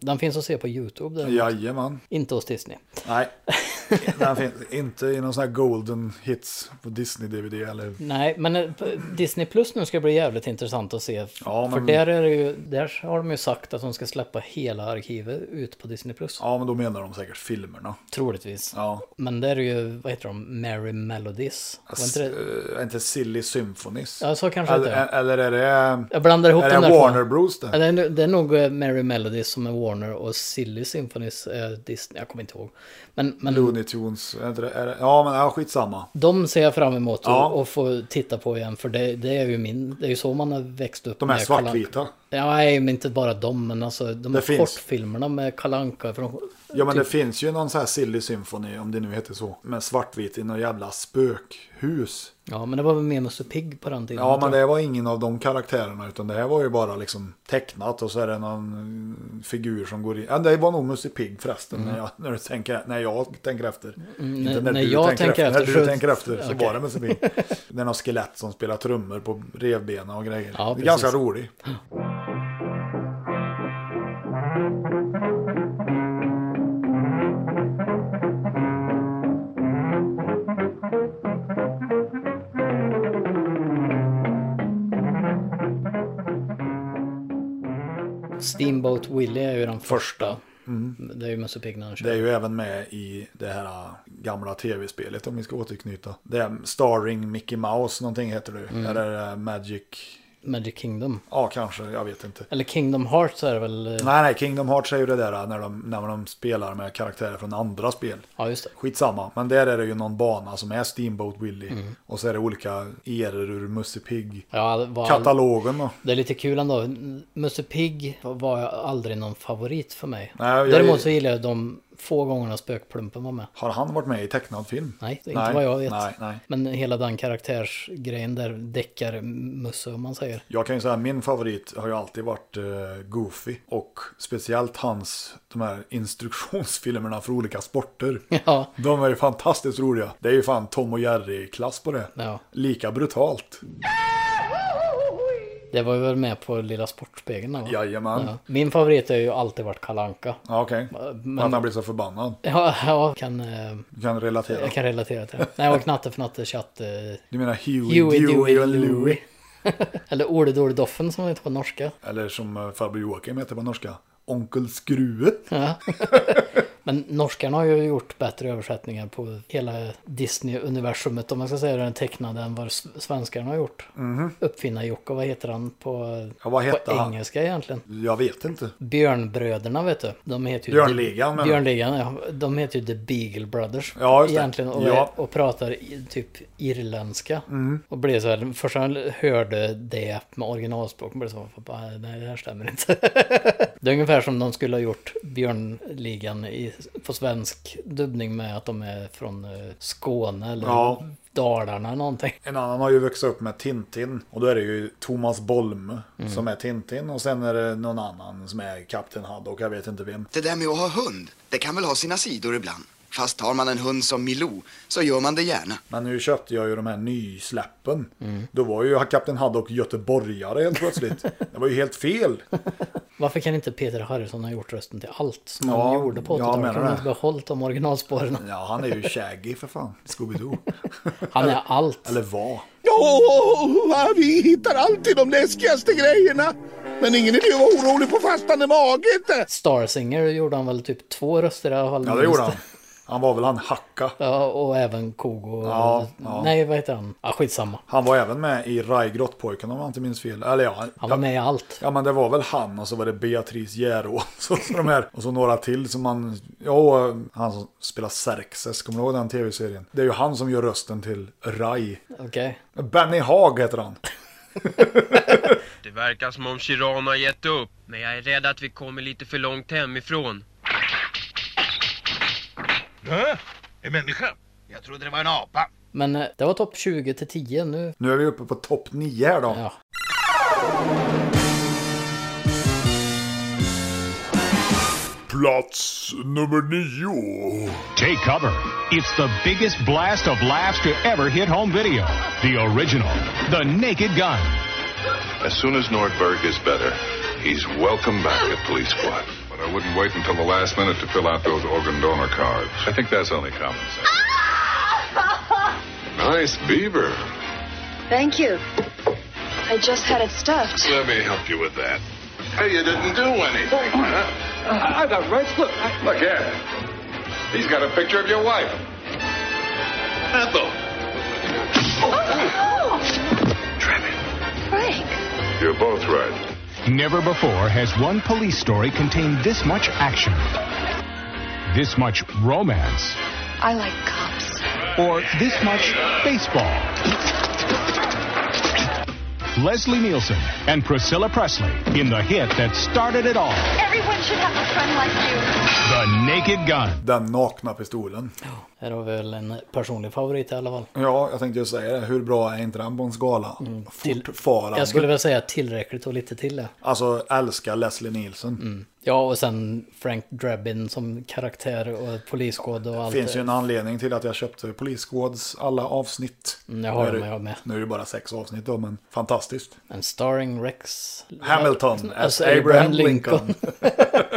Den finns att se på YouTube. Där. Jajamän. Inte hos Disney. Nej, den finns inte i någon sån här golden hits på Disney-DVD eller... Nej, men eh, p- Disney Plus nu ska bli jävligt intressant att se. Ja, För men- där, är det ju, där har de ju sagt att de ska släppa hela arkivet ut på Disney Plus. Ja, men då menar de säkert filmerna. Troligtvis. Ja. Men där är ju, vad heter de, Mary Melodies? Var inte det... Eh, Är inte Silly Symphonies? Ja, så kanske eller, det är. Eller Alltså, är det... Jag blandar ihop är den det där två. Warner Bros det? Ja, det, är, nog- det är nog eh, Mary Melodies som är Warner och Silly Symphonies är Disney. Jag kommer inte ihåg. Men, men Looney Tunes, är inte det, är det, ja men ja, skitsamma. de ser jag fram emot att Ja. att få titta på igen. För det, det är ju min, det är ju så man har växt upp De är med Kalle Anka. svartvita. Ja, nej, men inte bara de, men alltså de Det här finns. kortfilmerna med Kalanka från... Ja men det Typ. finns ju någon sån här Silly Symphony, om det nu heter så, med svartvit i något jävla spökhus. Ja, men det var väl mer Musse Pigg på den tiden. Ja, men tror jag. det var ingen av de karaktärerna utan det här var ju bara liksom tecknat och så är det någon mm, figur som går in. Ja, det var nog Musse Pigg förresten Mm. när, jag, när, du tänker, när jag tänker efter. Mm, Inte när- när jag tänker När efter du så- tänker efter så Okej. var det Musse Pigg. det är någon skelett som spelar trummor på revbena och grejer. Ja, det är precis. ganska rolig. Steamboat Willie är ju den första. Mm. Det är ju Musse Pigg när han kör. Det är ju även med i det här äh, gamla tv-spelet om vi ska återknyta. Det är Starring Mickey Mouse någonting heter det. Mm. Eller eh, Magic... Magic Kingdom. Ja, kanske. Jag vet inte. Eller Kingdom Hearts är det väl? eh, Nej, nej, Kingdom Hearts är ju det där äh, när de, när de spelar med karaktärer från andra spel. Ja, just det. Skitsamma, men där är det ju någon bana som är Steamboat Willie. Mm. Och så är det olika eror ur Musse Pigg. Ja, det var- Katalogen då. Det är lite kul ändå. Musse Pigg var jag aldrig någon favorit för mig. Nej, jag- Däremot så gillar jag de få gångerna Spökplumpen var med. Har han varit med i tecknad film? Nej, det är Nej, inte vad jag vet. nej, nej. Men hela den karaktärsgrejen där, deckarmusse om man säger. Jag kan ju säga min favorit har ju alltid varit eh, Goofy. Och speciellt hans, de här instruktionsfilmerna för olika sporter. Ja. De är ju fantastiskt roliga. Det är ju fan Tom och Jerry-klass på det. Ja. Lika brutalt. Det var ju väl med på Lilla Sportspegeln va? Jajamän. Ja. Min favorit har ju alltid varit Kalanka. Ja, Okej, Eh, Men- han har blivit så förbannad. Ja, ja kan, eh, Du kan relatera. jag kan relatera till det. Nej, och Knatte Fnatte Tjatt. eh, Du menar Huey, Dewey, och Louie? Eller Ole Dole Doffen som det heter på norska. Eller som eh, farbror Joakim heter på norska, Onkel Skruet. Ja. Men norskarna har ju gjort bättre översättningar på hela Disney-universumet om man ska säga den tecknade än vad s- svenskarna har gjort. Mhm. Uppfinnar-Jocke, vad heter han på, Ja, vad hette på han? engelska egentligen? Jag vet inte. Björnbröderna vet du. De heter ju Björnligan, menar The, du? Björnligan, ja. De heter ju The Beagle Brothers. Ja, just det. egentligen. Och, Ja. och pratar i, typ irländska. Mm. Och blev så här, först när jag hörde det med originalspråk, blev så här, "Fan, nej det här stämmer inte. det är ungefär som de skulle ha gjort Björnligan i, på svensk dubbning med att de är från eh, Skåne eller Ja. Dalarna någonting. En annan har ju vuxit upp med Tintin och då är det ju Thomas Bolm Mm. som är Tintin och sen är det någon annan som är Kapten Haddock, jag vet inte vem. Det där med att ha hund, det kan väl ha sina sidor ibland. Fast har man en hund som Milou, så gör man det gärna. Men nu köpte jag ju de här nysläppen. Mm. Då var ju Kapten Haddock göteborgare helt plötsligt. det var ju helt fel. Varför kan inte Peter Harrison ha gjort rösten till allt som Ja, han gjorde på jag 80-talet? menar Kan han det. inte behållit de originalspåren? Ja, han är ju Shaggy för fan. Scooby-Doo. Han är allt. Eller var. Ja, vi hittar alltid de läskigaste grejerna. Men ingen idé att vara orolig på fastande mage inte. Starsinger gjorde han väl typ två röster i alla fall. Ja, det gjorde han. Han var väl han Hacka. Ja, och även Kogo. Ja, ja. Nej, vad heter han? Ja, skitsamma. Han var även med i Rai Grottpojken om jag inte minns fel. Eller ja, Han var med i allt. Ja men det var väl han och så var det Beatrice Järå. Så, så de här, och så några till som man... Ja, och eh, han som spelar Xerxes, kommer du ihåg den tv-serien? Det är ju han som gör rösten till Rai. Okej. Benny Haag heter han. Det verkar som om Chiran har gett upp. Men jag är rädd att vi kommer lite för långt hemifrån. Hä? En människa? Jag trodde det var en apa. Men eh, det var topp 20 till 10 nu. Nu är vi uppe på topp 9 här då. Ja. Plats nummer nio. Take cover. It's the biggest blast of laughs to ever hit home video. The original, The Naked Gun. As soon as Nordberg is better, he's welcome back at Police Squad. But I wouldn't wait until the last minute to fill out those organ donor cards. I think that's only common sense. nice beaver. Thank you. I just had it stuffed. Let me help you with that. Hey, you didn't do anything, huh? I got rights. Look, Look at him. He's got a picture of your wife. Ethel. Frank. You're both right. Never before has one police story contained this much action, this much romance, I like cops. or this much baseball. Leslie Nielsen and Priscilla Presley in the hit that started it all Everyone should have a friend like you. The Naked Gun. Den nakna pistolen. Här har vi väl en personlig favorit i alla fall. Ja, jag tänkte just säga det. Hur bra är inte den på en skala? Fortfarande. Mm. Jag skulle väl säga tillräckligt och lite till det. Alltså, älskar Leslie Nielsen. Ja, och sen Frank Drabin som karaktär och poliskod och Det allt. finns ju det. en anledning till att jag köpte Polisgårds alla avsnitt. Mm, jag har Nu är det- dem, jag har med. Nu är det bara sex avsnitt då, men fantastiskt. En starring Rex... alltså, Hamilton as Abraham Lincoln.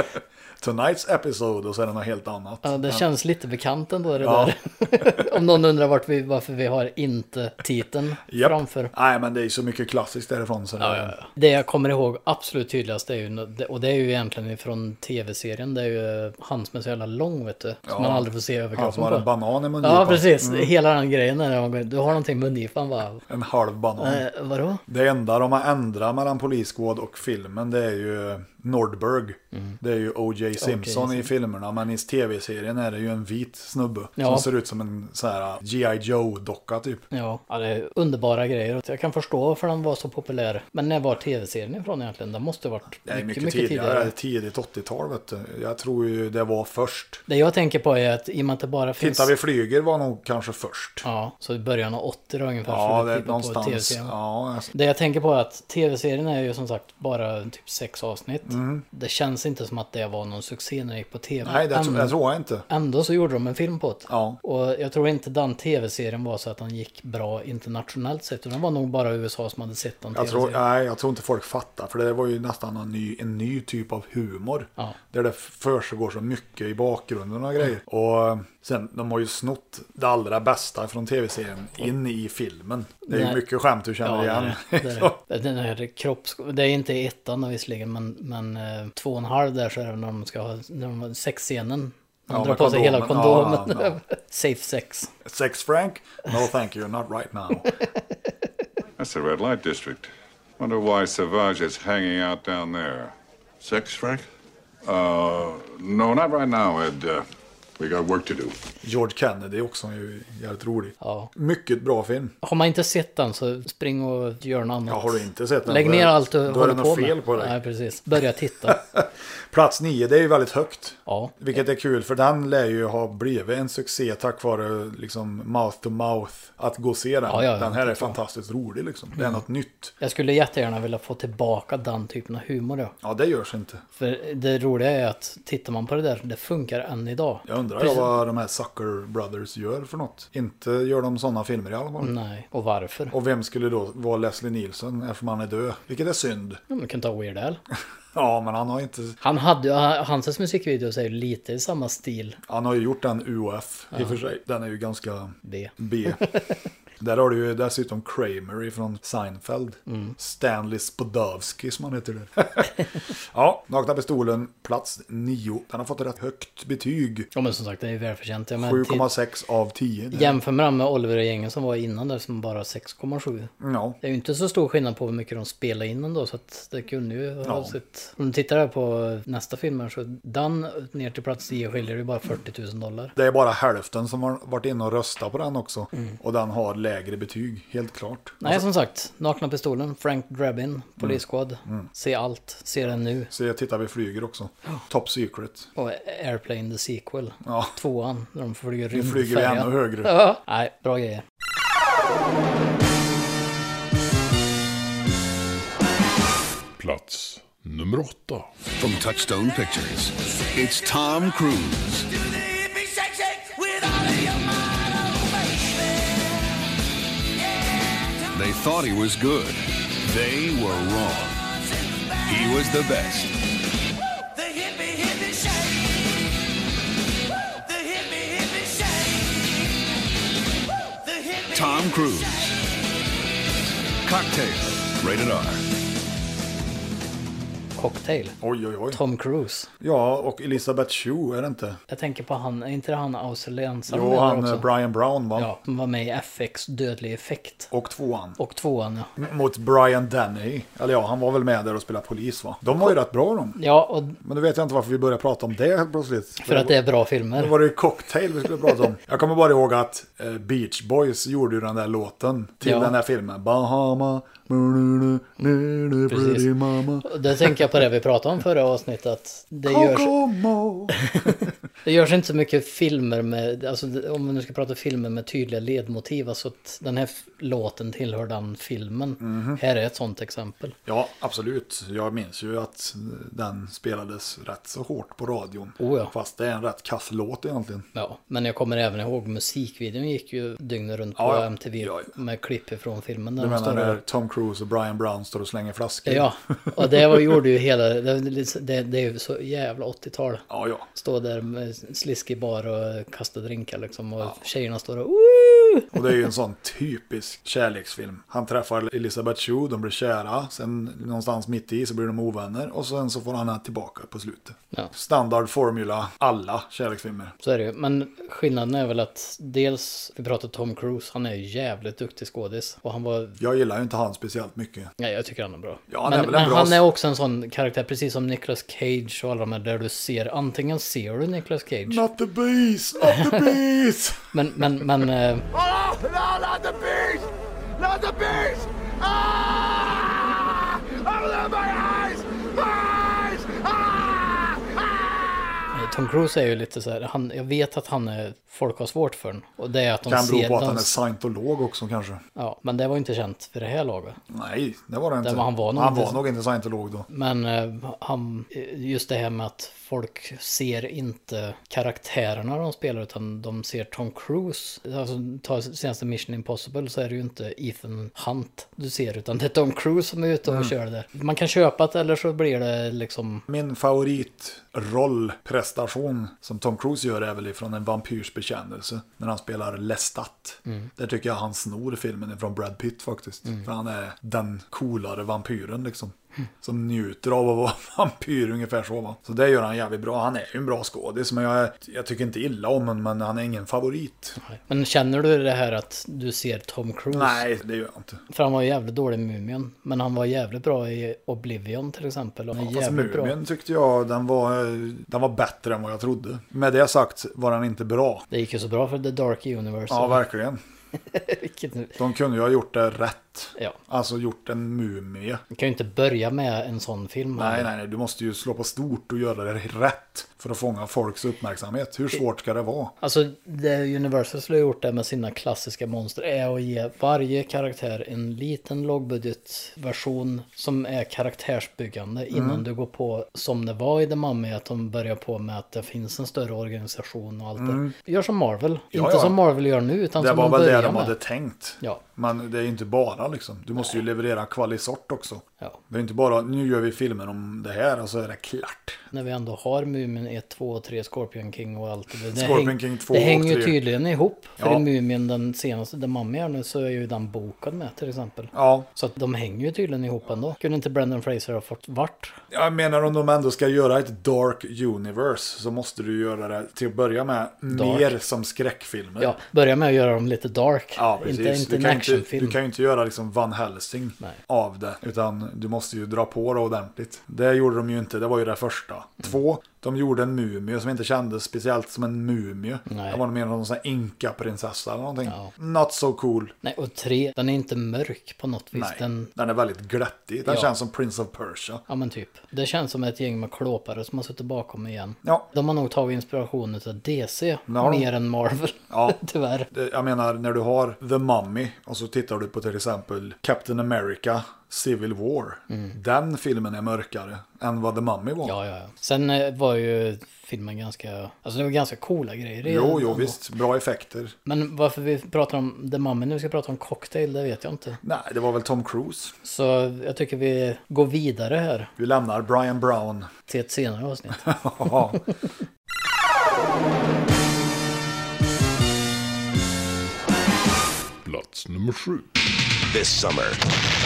Tonight's episode och så är det något helt annat. Ja, det Men- känns lite bekant ändå det Ja. där. Om någon undrar vart vi, varför vi har inte titeln Japp. framför. Nej, men det är ju så mycket klassiskt därifrån. Så det- Det jag kommer ihåg absolut tydligast är ju, och det är ju egentligen från tv-serien, det är ju han som är så jävla lång vet du. Som Ja. man aldrig får se över Han som kroppen har på. en banan i mungipan. Ja precis, Mm. hela den grejen när man går, du har någonting i mungipan bara. En halv banan. Eh, vadå? Det enda de har ändrat mellan Polisgård och filmen det är ju Nordberg. Det är ju O.J. Simpson i Mm. Simpson. filmerna men i tv-serien är det ju en vit snubbe. Ja. Som ser ut som en så här G.I. Joe-docka typ. Ja, ja, det är underbara grejer. Jag kan förstå varför den var så populär. Men när var tv-serien ifrån egentligen? Den måste ha varit Det är mycket, mycket, tidigare. tidigare. Tidigt 80-tal vet du. Jag tror ju det var först. Det jag tänker på är att i och med att det bara finns... Titta vi flyger var nog kanske först. Ja, så i början av 80 då ungefär. Ja, så det är titta på någonstans. TV-serien. Ja, alltså. Det jag tänker på är att tv-serien är ju som sagt bara typ sex avsnitt. Mm. Det känns inte som att det var någon succé när det gick på tv. Nej, det, tro- Ändå- det tror jag inte. Ändå så gjorde de en film på det. Ja. Och jag tror inte den tv-serien var så att den gick bra internationellt sett. Utan det var nog bara USA som hade sett den Jag tror, tv-serien. nej, jag tror inte folk fattar, för det var ju nästan en ny, en ny typ av humor. Ja. Mm. Där det försiggår så mycket i bakgrunden och grejer. Och eh, sen, de har ju snott det allra bästa från tv-serien in i filmen. Det är ju Nej. mycket skämt du känner Ja, det är igen. det. Det är det. Den här kropps... Det är inte i ettan då visserligen, men, men eh, två och en halv där så är det när de ska ha... När de har sexscenen. De Ja, drar med på sig hela kondomen. kondomen. Ja, Safe sex. Sex Frank? No thank you, not right now. That's the red light district. Wonder why Savage is hanging out down there. Sex, Frank? Uh, no, not right now, Ed. Uh, we got work to do. George Kennedy också är ju jävligt rolig. Ja. Mycket bra film. Har man inte sett den så spring och gör något annat. Ja, har du inte sett den, Lägg då- ner allt du då är det håller något på med. fel på dig. Nej, precis. Börja titta. Plats nio, det är ju väldigt högt. Ja. Vilket är kul, för den lär ju ha blivit en succé tack vare liksom mouth to mouth. Att gå och se den. Ja, Mm. ja, ja. den här är fantastiskt rolig liksom. Det är något nytt. Jag skulle jättegärna vilja få tillbaka den typen av humor då. Ja, det görs inte. För det roliga är att tittar man på det där, det funkar än idag. Jag undrar Precis. vad de här Sucker Brothers gör för något. Inte gör de sådana filmer i alla fall. Nej, och varför? Och vem skulle då vara Leslie Nielsen eftersom han är död? Vilket är synd. Ja, man kan ta Weird Al. Ja, men han har inte... Han hade ju, hans musikvideos är ju lite i samma stil. Han har ju gjort den UF i Ja. och för sig. Den är ju ganska B. B. Där har du ju dessutom Kramer från Seinfeld. Mm. Stanley Spodowski som han heter där. ja, Nakna Pistolen, plats 9. Den har fått rätt högt betyg. Ja men som sagt, det är ju välförtjänt. Jag menar, till- 7,6 av 10. Det- Jämför med den med Oliver och gängen som var innan där som bara 6,7. Ja. Det är ju inte så stor skillnad på hur mycket de spelade in ändå så att det kunde ju ha Ja. sett. Om du tittar här på nästa film här så Dan ner till plats 10 skiljer det bara 40 000 dollar. Det är bara hälften som har varit inne och röstat på den också. Och den har lägre betyg, helt klart. Mm. Nej som sagt, Nakna Pistolen, Frank Drabin, Polissquad. Mm. Se allt, se den nu. Så jag tittar, vi flyger också. Top Secret. Och Airplane the Sequel, Ja. tvåan, när de flyger Nu flyger vi rymdfärjan. ännu högre. Ja. Nej, bra grejer. Plats nummer åtta. From Touchstone Pictures, it's Tom Cruise. They thought he was good. They were wrong. He was the best. Tom Cruise. Cocktail. Rated R. Cocktail. Oj, oj, oj. Tom Cruise. Ja, och Elisabeth Shue, är det inte? Jag tänker på han, är inte det han australiensaren Jo, vi har han också? eh, Brian Brown va? Som var med i FX Dödlig Effekt. Och tvåan. Och tvåan ja. M- Mot Brian Denny. Eller ja, han var väl med där och spelade polis va? De var ju rätt bra de. Ja, och Men nu vet jag inte varför vi börjar prata om det helt plötsligt. för att det är bra filmer. Då var det ju Cocktail vi skulle prata om. Jag kommer bara ihåg att eh, Beach Boys gjorde ju den där låten till Ja. den där filmen. Bahama, nu, nu, nu, nu, nu, Precis. pretty mama. Och Där tänker jag på det vi pratade om förra avsnittet. Att det, görs, det görs inte så mycket filmer med, alltså, om vi nu ska prata filmer med tydliga ledmotiv. Alltså att den här f- låten tillhör den filmen. Mhm. Här är ett sånt exempel. Ja, absolut. Jag minns ju att eh, den spelades rätt så hårt på radion. Oh ja. Fast det är en rätt kass låt egentligen. Ja, men jag kommer även ihåg musikvideon gick ju dygnet runt på Ja, ja. MTV med klipp från filmen. Där Du de menar står och- när Tom Cruise och Brian Brown står och slänger flaskor? Ja, och det var, gjorde ju hela, det, det, det är ju så jävla 80-tal. Ja, ja. Stå där med sliskig bar och kasta drinkar liksom och tjejerna står och Och det är ju en sån typisk kärleksfilm. Han träffar Elisabeth Shue, de blir kära. Sen någonstans mitt i så blir de ovänner. Och sen så får han henne tillbaka på slutet. Ja. Standard formula, alla kärleksfilmer. Så är det ju. Men skillnaden är väl att dels, vi pratar Tom Cruise, han är ju jävligt duktig skådis. Och han var... Jag gillar ju inte han speciellt mycket. Nej, jag tycker han är bra. Ja, han men är väl en men bra- han är också en sån karaktär, precis som Nicolas Cage och alla de här, där du ser, antingen ser du Nicolas Cage. Not the beast, not the beast! men, men, men... eh, Oh, no, not the beast! Not the beast! Ah! Open my eyes! My eyes! Tom Cruise är ju lite så här, han, jag vet att han är, folk har svårt för honom. Och det är att de kan bero ser på att han är dans- scientolog också kanske. Ja, men det var ju inte känt för det här laget. Nej, det var det inte. var- han var nog han inte- var nog inte scientolog då. Men eh, han, eh, just det här med att folk ser inte karaktärerna de spelar utan de ser Tom Cruise. Alltså ta senaste Mission Impossible så är det ju inte Ethan Hunt du ser utan det är Tom Cruise som är ute och Mm. kör där. Man kan köpa det eller så blir det liksom... Min favoritrollprestation som Tom Cruise gör är väl ifrån En vampyrs bekännelse. När han spelar Lestat. Mm. Där tycker jag han snor filmen ifrån Brad Pitt faktiskt. Mm. För han är den coolare vampyren liksom. Som njuter av att vara vampyr ungefär så va. Så det gör han jävligt bra. Han är ju en bra skådis. Men jag, jag tycker inte illa om honom. Men han är ingen favorit. Men känner du det här att du ser Tom Cruise? Nej, det gör jag inte. För han var ju jävligt dålig i Mumien. Men han var jävligt bra i Oblivion till exempel. Och han är Fast jävligt bra. Mumien tyckte jag den var, den var bättre än vad jag trodde. Med det sagt var den inte bra. Det gick ju så bra för The Dark Universe. Ja, verkligen. De kunde ju ha gjort det rätt. Ja. Alltså gjort en mumie. Du kan ju inte börja med en sån film. Nej, nej, nej. Du måste ju slå på stort och göra det rätt för att fånga folks uppmärksamhet. Hur svårt ska det vara? Alltså det Universal skulle ha gjort det med sina klassiska monster är att ge varje karaktär en liten lågbudgetversion som är karaktärsbyggande innan Mm. du går på som det var i The Mummy att de börjar på med att det finns en större organisation och allt Mm. det. Gör som Marvel. Ja, inte ja. som Marvel gör nu utan det som var de väl det Alltså, de börjar med. hade tänkt. Ja. Men det är ju inte bara bara liksom. Du måste ju leverera kvalisort också. Det är inte bara nu gör vi filmer om det här och så är det klart. När vi ändå har Mumin 1, 2 och 3, Scorpion King och allt. Det, det Scorpion häng- King 2 Det och hänger ju 3. tydligen ihop. För Ja. i Mumin, den senaste, den mamma gör nu, så är ju den boken med till exempel. Ja. Så att de hänger ju tydligen ihop ändå. Kunde inte Brendan Fraser ha fått vart? Jag menar om de ändå ska göra ett dark universe så måste du göra det till att börja med Dark. mer som skräckfilmer. Ja, börja med att göra dem lite dark. Ja, precis. inte inte du, en kan ju inte, actionfilm. du kan ju inte göra liksom Van Helsing av det. Utan du måste ju dra på det ordentligt. Det gjorde de ju inte, det var ju det första. Mm. Två, de gjorde en mumie som inte kändes speciellt som en mumie. Det var mer någon sån här inka-prinsessa eller någonting. Not so cool. Nej, och tre, den är inte mörk på något vis. Nej, Den... den är väldigt glättig. Den Ja. känns som Prince of Persia. Ja men typ. Det känns som ett gäng med klåpare som har suttit bakom igen. Ja. De har nog tagit inspiration av DC Nu har de- mer än Marvel. Ja. Tyvärr. Det- Jag menar, när du har The Mummy och så tittar du på till exempel Captain America Civil War. Den filmen är mörkare än vad The Mummy var. Mm. Ja, ja, ja. Sen eh, var ju filmen ganska, alltså det var ganska coola grejer i Jo, den jo, ändå. visst. Bra effekter. Men varför vi pratar om The Mummy nu, vi ska prata om Cocktail, det vet jag inte. Nej, det var väl Tom Cruise. Så jag tycker vi går vidare här. Vi lämnar Brian Brown. Till ett senare avsnitt. Ja. Plats nummer sju. This summer,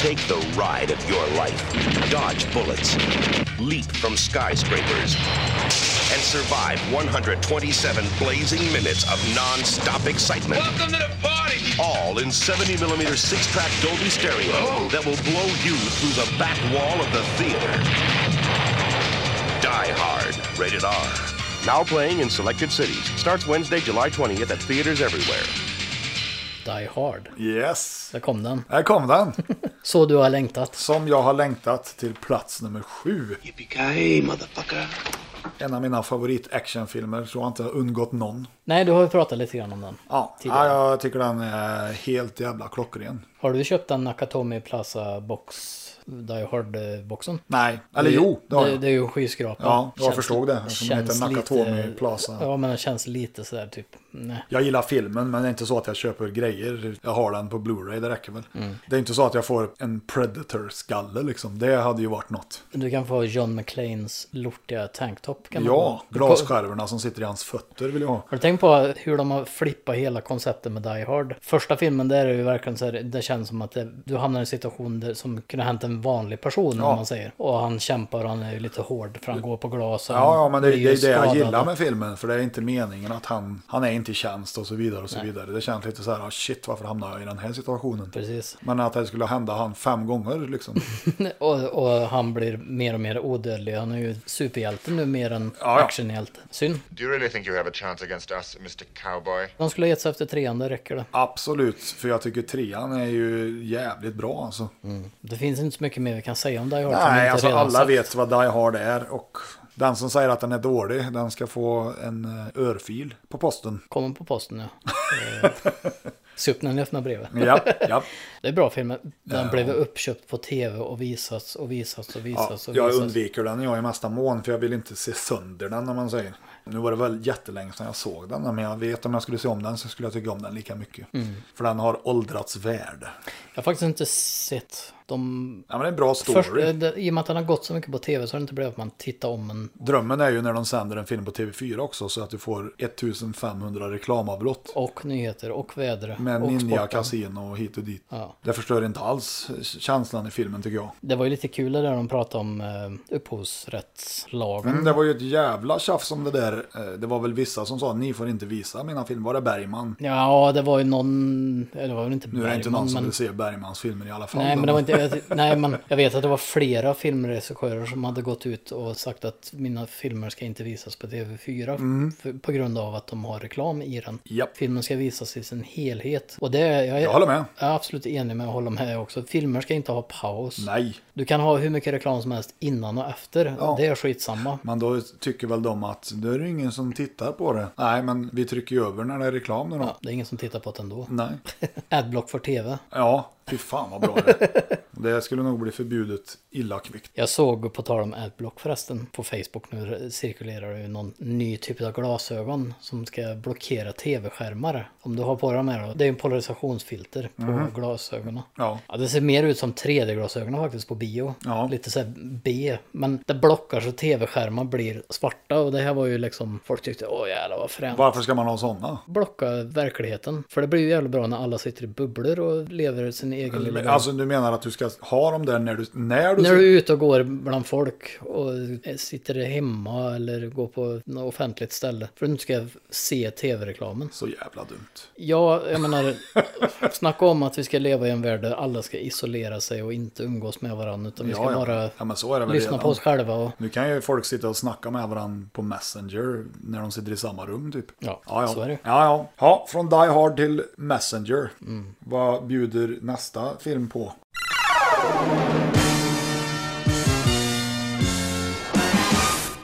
take the ride of your life. Dodge bullets, leap from skyscrapers, and survive 127 blazing minutes of non-stop excitement. Welcome to the party! All in 70 millimeter six-track Dolby stereo that will blow you through the back wall of the theater. Die Hard, rated R. Now playing in selected cities. Starts Wednesday, July 20th at theaters everywhere. Die Hard. Yes. Där kom den. Här kom den. Så du har längtat. Som jag har längtat till plats nummer sju. En av mina favorit-actionfilmer. Tror jag inte har undgått någon. Nej, du har ju pratat lite grann om den. Ja, Tidigare. ja, jag tycker den är helt jävla klockren. Har du köpt den Nakatomi Plaza box? Die Hard-boxen? Nej, eller jo, det Det, har det, jag. det är ju en skyskrapa. Ja, jag Känns- förstod det, eftersom den heter känns Nakatomi lite- Plaza. Ja, men den känns lite sådär typ, nej. Jag gillar filmen men det är inte så att jag köper grejer. Jag har den på Blu-ray, det räcker väl. Mm. Det är inte så att jag får en Predator-skalle liksom. Det hade ju varit något. Du kan få John McClanes lortiga tanktop. Kan man Ja, ha. Du ko- glasskärvorna som sitter i hans fötter vill jag ha. Har du tänkt på hur de har flippat hela konceptet med Die Hard? Första filmen där är det ju verkligen så här, det känns som att det, du hamnar i en situation där, som kunde ha hänt en vanlig person Ja. om man säger. Och han kämpar och han är ju lite hård för han går på glas. och Ja, han ja men det, det blir ju är det jag skadad. gillar med filmen. För det är inte meningen att han, han är inte i tjänst och så vidare och så Nej. vidare. Det känns lite så här, ah, shit varför hamnar jag i den här situationen? Precis. Men att det skulle hända han fem gånger liksom. Och, och han blir mer och mer odödlig. Han är ju superhjälte nu mer än Ja, ja. actionhjälte. Synd. Do you really think you have a chance against us, Mr. Cowboy? De skulle ha gett sig efter trean, det räcker det. Absolut, för jag tycker trean är ju jävligt bra alltså. Det finns inte så mycket mer vi Mm. kan säga om Die Hard. som vi Nej, inte alltså redan alla sagt. vet vad Die Hard är och den som säger att den är dålig, den ska få en eh, örfil på posten. Kommer på posten Eh, ja. Se upp när ni öppnar brevet. Ja, ja. Det är bra filmen. Den Ja. blev uppköpt på tv och visats och visats och Ja, visats och jag visats. undviker den jag i mesta mån för jag vill inte se sönder den om man säger. Nu var det väl jättelänge sedan jag såg den men jag vet om jag skulle se om den så skulle jag tycka om den lika mycket. Mm. För den har åldrats värd. Jag har faktiskt inte sett de... Ja, men det är en bra story. Först, eh, det- I och med att den har gått så mycket på tv så har det inte blivit att man tittar om en... Drömmen är ju när de sänder en film på TV4 också så att du får 1500 reklamavbrott. Och nyheter och väder. Med och Ninja sporten. Casino och hit och dit. Ja. Det förstör inte alls känslan i filmen tycker jag. Det var ju lite kul det där de pratade om eh, upphovsrättslagen. Mm, det var ju ett jävla tjafs om det där. Eh, Det var väl vissa som sa ni får inte visa mina filmer. Var det Bergman? Ja, det var ju någon... Eller det var väl inte Nu är det inte Bergman, någon som men- vill se Bergmans filmer i alla fall. Nej men, det var inte, jag, nej, men jag vet att det var flera filmregissörer som hade gått ut och sagt att mina filmer ska inte visas på TV4 Mm. för, på grund av att de har reklam i den. Japp. Filmen ska visas i sin helhet. Och det, är- jag, är- Jag håller med. Jag är absolut enig med och håller med också. Filmer ska inte ha paus. Nej. Du kan ha hur mycket reklam som helst innan och efter. Ja. Det är skitsamma. Men då tycker väl de att det är det ingen som tittar på det. Nej, men vi trycker ju över när det är reklam nu då. Det är ingen som tittar på det ändå. Nej. Adblock för TV. Ja, fy fan vad bra det är. Det skulle nog bli förbjudet illa kvickt. Jag såg, på tal om Adblock förresten, på Facebook nu cirkulerar det ju någon ny typ av glasögon som ska blockera tv-skärmar. Om du har på dem här då. Det är en polarisationsfilter på Mhm. glasögonen. Ja. Ja, det ser mer ut som 3D-glasögonen faktiskt på bio. Lite så här B. Men det blockar så tv-skärmar blir svarta och det här var ju liksom, folk tyckte åh jävlar vad fränt. Varför ska man ha sådana? Blocka verkligheten. För det blir ju jävligt bra när alla sitter i bubblor och lever sin egen lilla värld. Alltså du menar att du ska ha dem där när du... När du, När du är ute och går bland folk och sitter hemma eller går på något offentligt ställe. För att du inte ska se tv-reklamen. Så jävla dumt. Ja, jag menar, snacka om att vi ska leva i en värld där alla ska isolera sig och inte umgås med varandra. Utan vi ska Ja, ja. bara Ja, men så är det väl lyssna redan. på oss själva. Och... Nu kan ju folk sitta och snacka med varandra på Messenger när de sitter i samma rum typ. Ja, ja, så är det. Ja, ja. ja från Die Hard till Messenger. Mm. Vad bjuder nästa film på?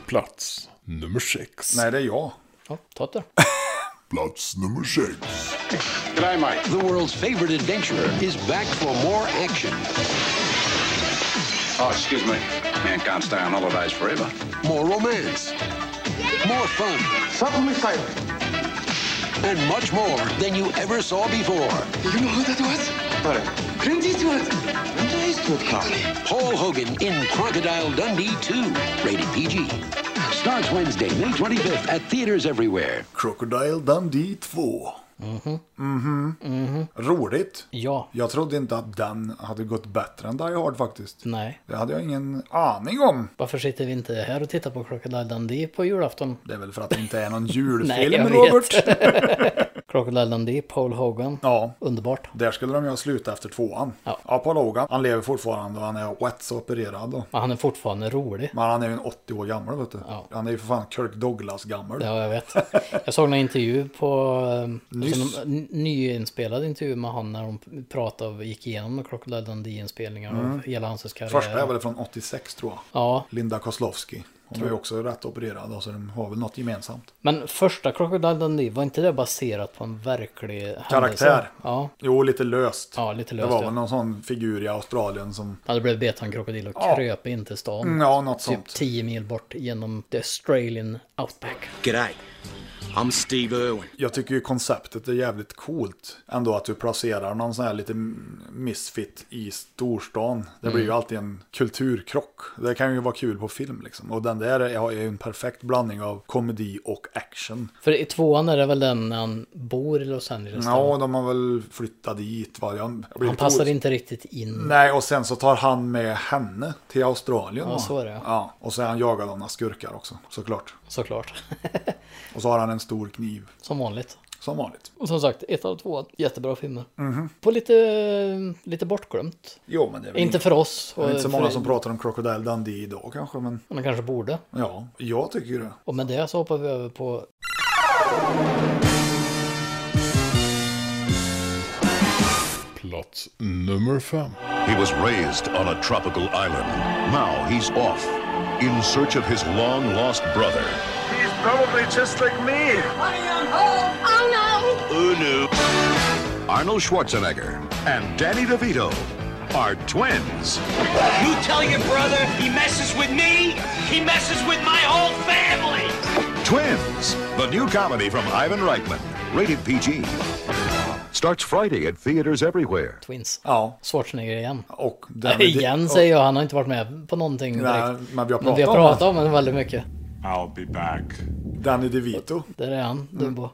Plats nummer sex. Nej, det är jag. Ja, ta det. Plats nummer sex. G'day, mate. The world's favorite adventurer is back for more action. Oh, excuse me. Man can't stay on holidays forever. More romance. More fun. Something exciting. And much more than you ever saw before. You know who that was? But Clint Eastwood. Clint Eastwood, Paul Hogan in Crocodile Dundee 2. Rated PG. Starts Wednesday, May 25th at theaters everywhere. Crocodile Dundee 2. Mhm. Mhm. Mhm. Roligt. Ja. Jag trodde inte att den hade gått bättre än Die Hard faktiskt. Nej. Det hade jag ingen aning om. Varför sitter vi inte här och tittar på Crocodile Dundee på julafton? Det är väl för att det inte är någon julfilm, Nej, jag Robert. vet. Crocodile Dundee, Paul Hogan. Ja. Underbart. Där skulle de ju ha slutat efter tvåan. Ja. Paul Hogan, han lever fortfarande och han är rätt så opererad då. Men han är fortfarande rolig. Men han är ju en 80 år gammal vet du. Han är ju för fan Kirk Douglas gammal. Ja, jag vet. Jag såg en intervju på... eh, Nyss. Alltså, en nyinspelad intervju med han när de pratade och gick igenom Crocodile Dundee-inspelningar och Mm. hela hans karriär. Första är väl från 86 tror jag. Ja. Linda Kozlovski. Hon Tror- är ju också rätt opererad då, så de har väl något gemensamt. Men första Crocodile Dundee, var inte det baserat på en verklig händelse? Karaktär. Ja. Jo, lite löst. Ja, lite det löst. var ja. väl någon sån figur i Australien som... Ja, det blev bet han krokodil och Ja. kröp in till stan. Mm, ja, något typ sånt. 10 mil bort genom the Australian outback. G'day. I'm Steve Irwin. Jag tycker ju konceptet är jävligt coolt. Ändå att du placerar någon sån här lite misfit i storstan. Det blir Mm. ju alltid en kulturkrock. Det kan ju vara kul på film liksom. Och den där är är ju en perfekt blandning av komedi och action. För i tvåan är det väl den när han bor i Los Angeles? Ja, de har väl flyttat dit. Va? Jag, jag blir han lite passar os- inte riktigt in. Nej, och sen så tar han med henne till Australien. Ja, va? så är det, ja. Ja, och så är han jagad av några skurkar också, såklart. Såklart. och så har han en stor kniv. Som vanligt. Som vanligt. Och som sagt, ett av två jättebra filmer. Mhm. På lite, lite bortglömt. Jo, men det är väl Inte för oss. Det är inte så och många för- som pratar om Crocodile Dundee idag kanske, men... Man kanske borde. Ja, jag tycker ju det. Och med det så hoppar vi över på Plats nummer fem. He was raised on a tropical island. Now he's off in search of his long lost brother. He's probably just like me. Honey, I'm home. Oh no. Arnold Schwarzenegger and Danny DeVito are twins. You tell your brother he messes with me, he messes with my whole family. Twins, the new comedy from Ivan Reitman, rated PG. Starts Friday at theaters everywhere. Twins. Ja. Schwarzenegger igen. Och därmed- igen och- säger jag, han har inte varit med på någonting direkt. Nej, men vi har men vi har pratat om pratat om honom väldigt mycket. I'll be back. Danny DeVito. Där är han, Mm. Dumbo.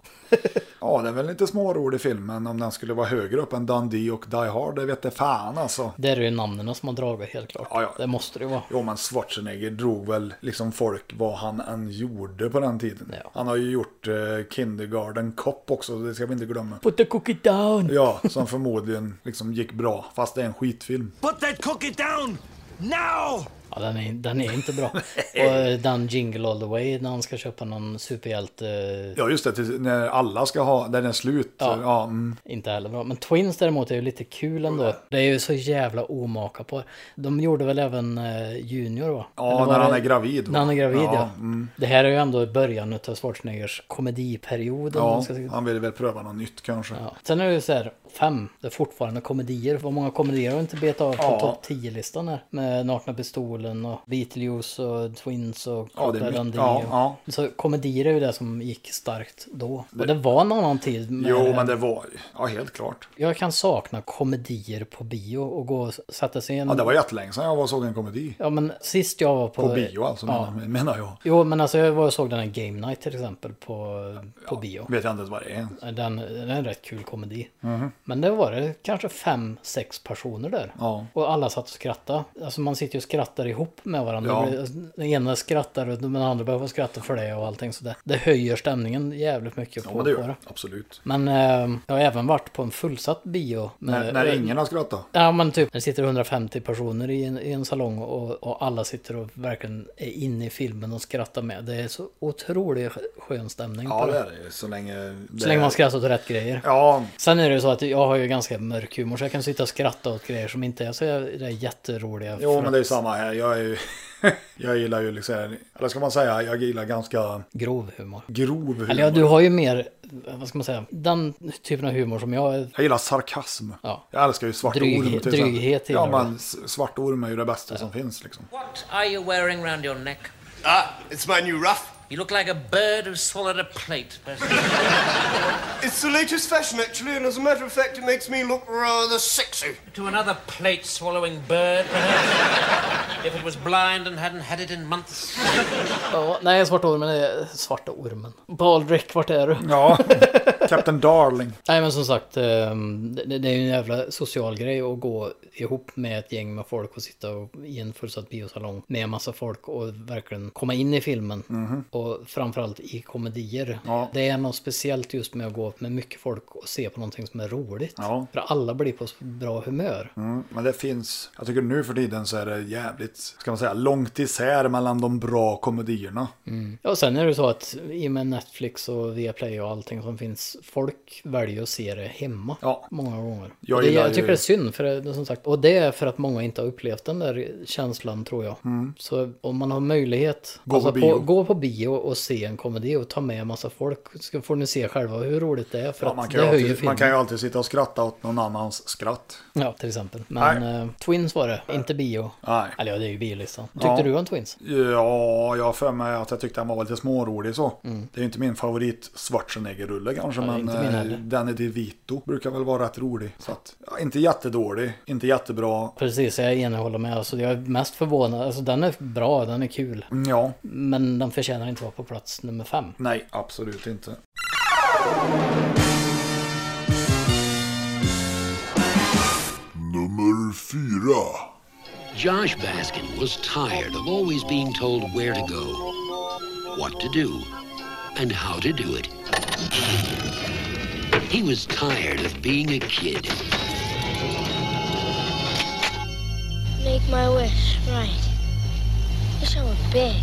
Ja, det är väl lite smårolig film, men om den skulle vara högre upp än Dundee och Die Hard, det vet det fan alltså. Det är ju namnen som har dragit helt klart. Ja, ja. Det måste det ju vara. Jo, men Schwarzenegger drog väl liksom folk vad han än gjorde på den tiden. Han har ju gjort eh, Kindergarten Cop också, det ska vi inte glömma. Put the cookie down! Ja, som förmodligen liksom gick bra, fast det är en skitfilm. Put that cookie down now. Ja, den, är, den är inte bra. Och eh, den Jingle All The Way när han ska köpa någon superhjälte... eh, Ja, just det. till- När alla ska ha, där den är slut. Ja. Ja. mm. Inte heller bra. Men Twins däremot är ju lite kul ändå. Det är ju så jävla omaka på. De gjorde väl även eh, Junior va? Ja, Eller var när han det- är gravid, va? När han är gravid ja. Ja, mm. Det här är ju ändå början av Schwarzeneggers komediperiod. om man ja Mm, ska säga. han ville väl pröva något nytt kanske. Sen är det ju så här, fem, det är fortfarande komedier. Vad många komedier har inte betat av på Ja. topp 10-listan här? Med Nakna Pistolen och Beetlejuice och Twins och Ja, det är Crocodile mycket- Dundee ja, och- ja. Så komedier är ju det som gick starkt då. Och Det- det var en annan tid. med Jo, det här. men det var, ja helt klart. Jag kan sakna komedier på bio och gå och sätta sig i en... Ja, det var jättelänge sedan jag var och såg en komedi. Ja, men sist jag var Mm. på... På bio alltså, menar- menar jag. Jo, men alltså jag var och såg den här Game Night till exempel på, på bio. Vet jag inte ens vad det är. Den, den är en rätt kul komedi. Mhm. Men det var det kanske fem, sex personer där. Ja. Och alla satt och skrattade. Alltså man sitter ju och skrattar ihop med varandra. Ja. Det blir- Den ena skrattar och den andra behöver skratta för det och allting. Så det, det höjer stämningen jävligt mycket Ja, på, men det på gör det. det. Absolut. Men eh, jag har även varit på en fullsatt bio. När, eh, när ingen har skrattat. Ja men typ, det sitter 150 personer i en, i en salong och, och alla sitter och verkligen är inne i filmen och skrattar med. Det är så otroligt skön stämning Ja, på det är det ju, Så länge... Så länge man skrattar åt rätt grejer. Ja. Sen är det ju så att jag har ju ganska mörk humor så jag kan sitta och skratta åt grejer som inte är så jä- det är jätteroliga. Jo, för men det är ju att- samma här. Jag är ju... Jag gillar ju liksom, eller ska man säga, jag gillar ganska... Grov humor. Grov humor. Eller ja, du har ju mer, vad ska man säga, den typen av humor som jag... Jag gillar sarkasm. Ja. Jag älskar ju Svart Dryg- Orm. till dryghet exempel. Ja, gillar men S- Svart Orm är ju det bästa som finns liksom. What are you wearing round your neck? Ah, it's my new ruff. You look like a bird who swallowed a plate. It's the latest fashion, actually, and as a matter of fact, it makes me look rather sexy. to another plate swallowing bird, perhaps. if it was blind and hadn't had it in months. Ja, nej, Svarta Ormen är Svarta Ormen. Baldrick, vart är du? Ja, Captain Darling. Nej men som sagt, ehm, det det är ju en jävla social grej att gå ihop med ett gäng med folk och sitta och- i en fullsatt biosalong med en massa folk och verkligen komma in i filmen. Mhm. Och framförallt i komedier. Det är något speciellt just med att gå med mycket folk och se på någonting som är roligt. För alla blir på så bra humör. Mm, men det finns, jag tycker nu för tiden så är det jävligt, ska man säga, långt isär mellan de bra komedierna. Ja, och sen är det så att i och med Netflix och Viaplay och allting som finns, folk väljer att se det hemma många gånger. Jag Jag, det, gillar jag ju- tycker det är synd, för det, som sagt, och det är för att många inte har upplevt den där känslan tror jag. Mm. Så om man har möjlighet, Gå på bio. gå på bio och se en komedi och ta med en massa folk, så får ni se själva hur roligt det är, för Ja, att man, kan det ju höjer alltid, filmen. man kan ju alltid sitta och skratta åt någon annans skratt. Ja, till exempel. Men eh, Twins var det, inte bio. Nej. Eller ja, det är ju biolistan. Tyckte Ja. du om Twins? Ja, jag har för mig att jag tyckte han var lite smårolig så. Det är ju inte min favorit Schwarzenegger-rulle kanske, Mm. Ja, det men är inte min eh, heller. Danny DeVito brukar väl vara rätt rolig. Så att, ja, inte jättedålig, inte jättebra. Precis, jag enig håller med. Alltså, jag är mest förvånad. Alltså, den är bra, den är kul. Mm, Ja. Men den förtjänar inte vara på plats nummer fem. Nej, absolut inte. Nummer fyra. Josh Baskin was tired of always being told where to go, what to do, and how to do it. He was tired of being a kid. Make my wish right. Wish I were big.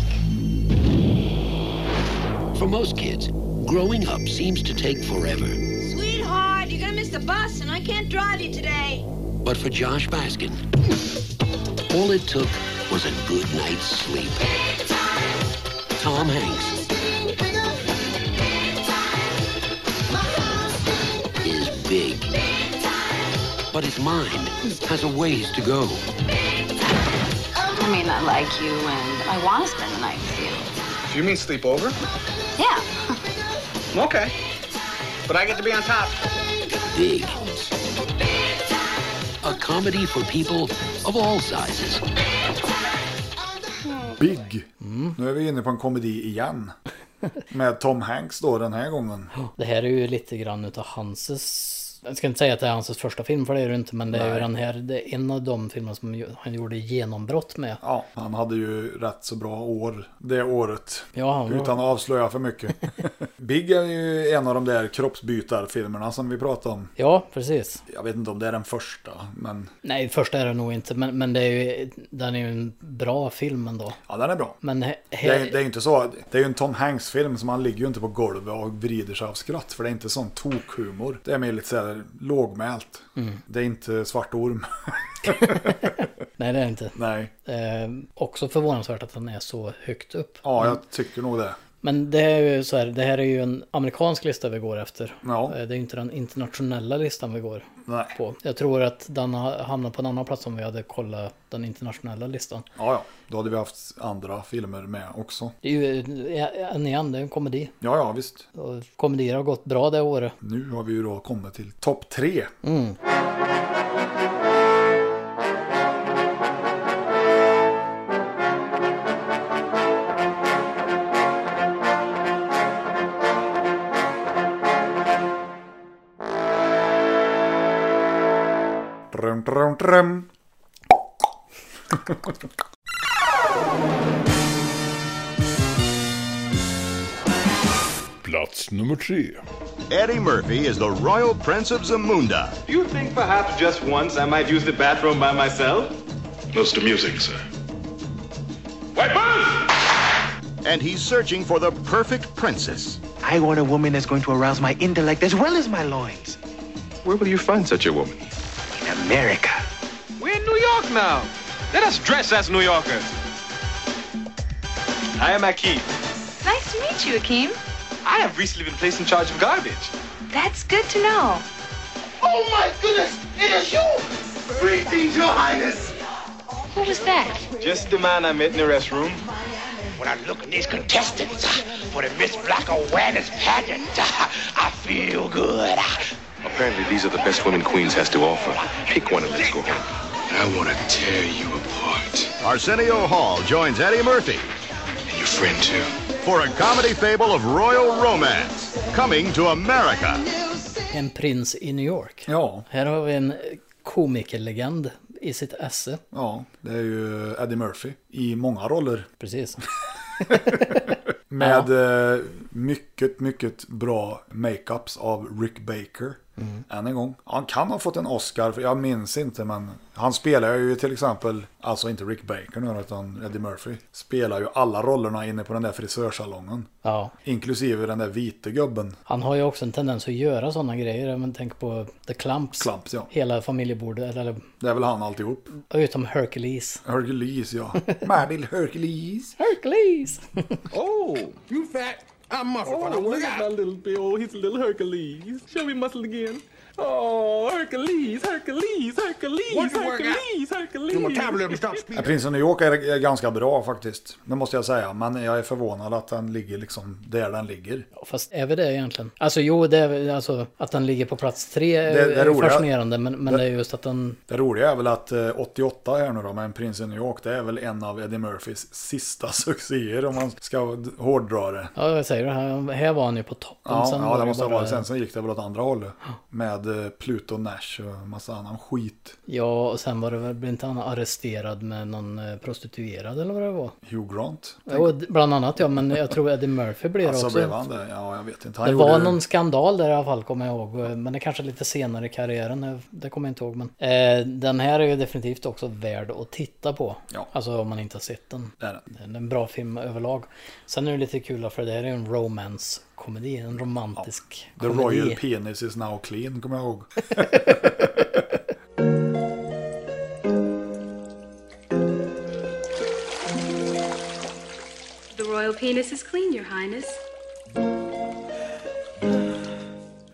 For most kids, growing up seems to take forever. Sweetheart, you're gonna miss the bus and I can't drive you today. But for Josh Baskin, all it took was a good night's sleep. Tom Hanks is big, but his mind has a ways to go. I mean, I like you and I want to spend the night with you. Do you mean sleep over? Yeah. Okay. But I get to be on top. Big. A comedy for people of all sizes. Big. Nu är vi inne på en komedi igen. Med Tom Hanks då den här gången. Det här är ju lite grann utav Hanses Jag ska inte säga att det är hans första film, för det är det inte, men det är ju Nej. den här, det är en av de filmer som ju- han gjorde genombrott med. Ja, han hade ju rätt så bra år det året. Ja, han var- Utan att avslöja för mycket. Big är ju en av de där kroppsbytarfilmerna som vi pratade om. Ja, precis. Jag vet inte om det är den första, men Nej, första är det nog inte, men, men det är ju, den är ju en bra film ändå. ja, den är bra. Men he, he, Det är, det är ju inte så. Det är ju en Tom Hanks-film som han ligger ju inte på golvet och vrider sig av skratt. För det är inte sån tokhumor. Det är mer lite såhär lågmält. Mm. Det är inte Svart Orm. nej, det är det inte. Nej. Eh, också förvånansvärt att den är så högt upp. Ja, Men- jag tycker nog det. Men det är ju så här, det här är ju en amerikansk lista vi går efter. Ja. Eh, Det är ju inte den internationella listan vi går Nej. på. Jag tror att den har hamnat på en annan plats om vi hade kollat den internationella listan. Ja, ja. Då hade vi haft andra filmer med också. Det är ju eh, en igen, det är en komedi. Ja, ja, visst. Och komedier har gått bra det året. Nu har vi ju då kommit till topp tre. Mm. Trum, trum, trum. Plats nummer tre. Eddie Murphy is the royal prince of Zamunda. Do you think perhaps just once I might use the bathroom by myself? Most amusing, sir. And he's searching for the perfect princess. I want a woman that's going to arouse my intellect as well as my loins. Where will you find such a woman? In America. We're in New York now. Let us dress as New Yorkers. I am Akeem. Nice to meet you, Akeem. I have recently been placed in charge of garbage. That's good to know. Oh my goodness! It is you! Greetings, Your Highness! What was that? Just the man I met in the restroom. When I look at these contestants for the Miss Black Awareness pageant, I feel good. Apparently, these are the best women Queens has to offer. Pick one and let's go home. I want to tear you apart. Arsenio Hall joins Eddie Murphy. And your friend, too. For a comedy fable of royal romance. Coming to America. En prins i New York. Ja. Här har vi en komikerlegend i sitt esse. Ja, det är ju Eddie Murphy i många roller. Precis. Med eh, mycket, mycket bra makeups av Rick Baker. Mm. Än en gång. Han kan ha fått en Oscar, för jag minns inte, men han spelar ju till exempel, alltså inte Rick Baker nu, utan Eddie Murphy. Spelar ju alla rollerna inne på den där frisörsalongen. Ja. Inklusive den där vita gubben. Han har ju också en tendens att göra sådana grejer. Men tänk på The Clumps. Clumps, ja. Hela familjebordet. Eller, eller, Det är väl han alltihop. utom Hercules. Hercules, ja. Madil Hercules. Hercules! oh, you fat. I'm muscle. Oh, look at my little Bill. He's a little Hercules. Show me muscle again. Oh, Hercules, Hercules, Hercules, Work your work out. Hercules, Hercules. Your metabolism stops speeding. Prins av New York är, är ganska bra faktiskt. Det måste jag säga. Men jag är förvånad att den ligger liksom där den ligger. Fast är vi det egentligen? Alltså jo, det är, väl- alltså, att den ligger på plats tre är, Det- det är roliga- fascinerande. Men, men det, är just att den... Det roliga är väl att eh, 88 här nu då, med en prins i New York, det är väl en av Eddie Murphys sista succéer om man ska d- hårdra det. Ja, jag säger det. Här, här var han ju på toppen. Ja, sen ja var det måste ha bara- varit. Sen så gick det väl åt andra hållet. Med eh, Pluto Nash och massa annan skit. Ja, och sen var det väl, blev inte han arresterad med någon eh, prostituerad eller vad det var? Hugh Grant. Jo, d- bland annat ja, men jag tror Eddie Murphy blev det Alltså också. blev han det? Ja, jag vet inte. Han det gjorde var ju- någon skandal där i alla fall kommer jag ihåg. eh, Men det kanske är lite senare i karriären. eh, Det kommer jag inte ihåg. Men, eh, den här är ju definitivt också värd att titta på. Ja. Alltså om man inte har sett den. Det är den. Det är en bra film överlag. Sen är det lite kul för det här är ju en romance-komedi. En romantisk The komedi. Royal Penis is now clean, kommer jag ihåg. The royal penis is clean, Your Highness.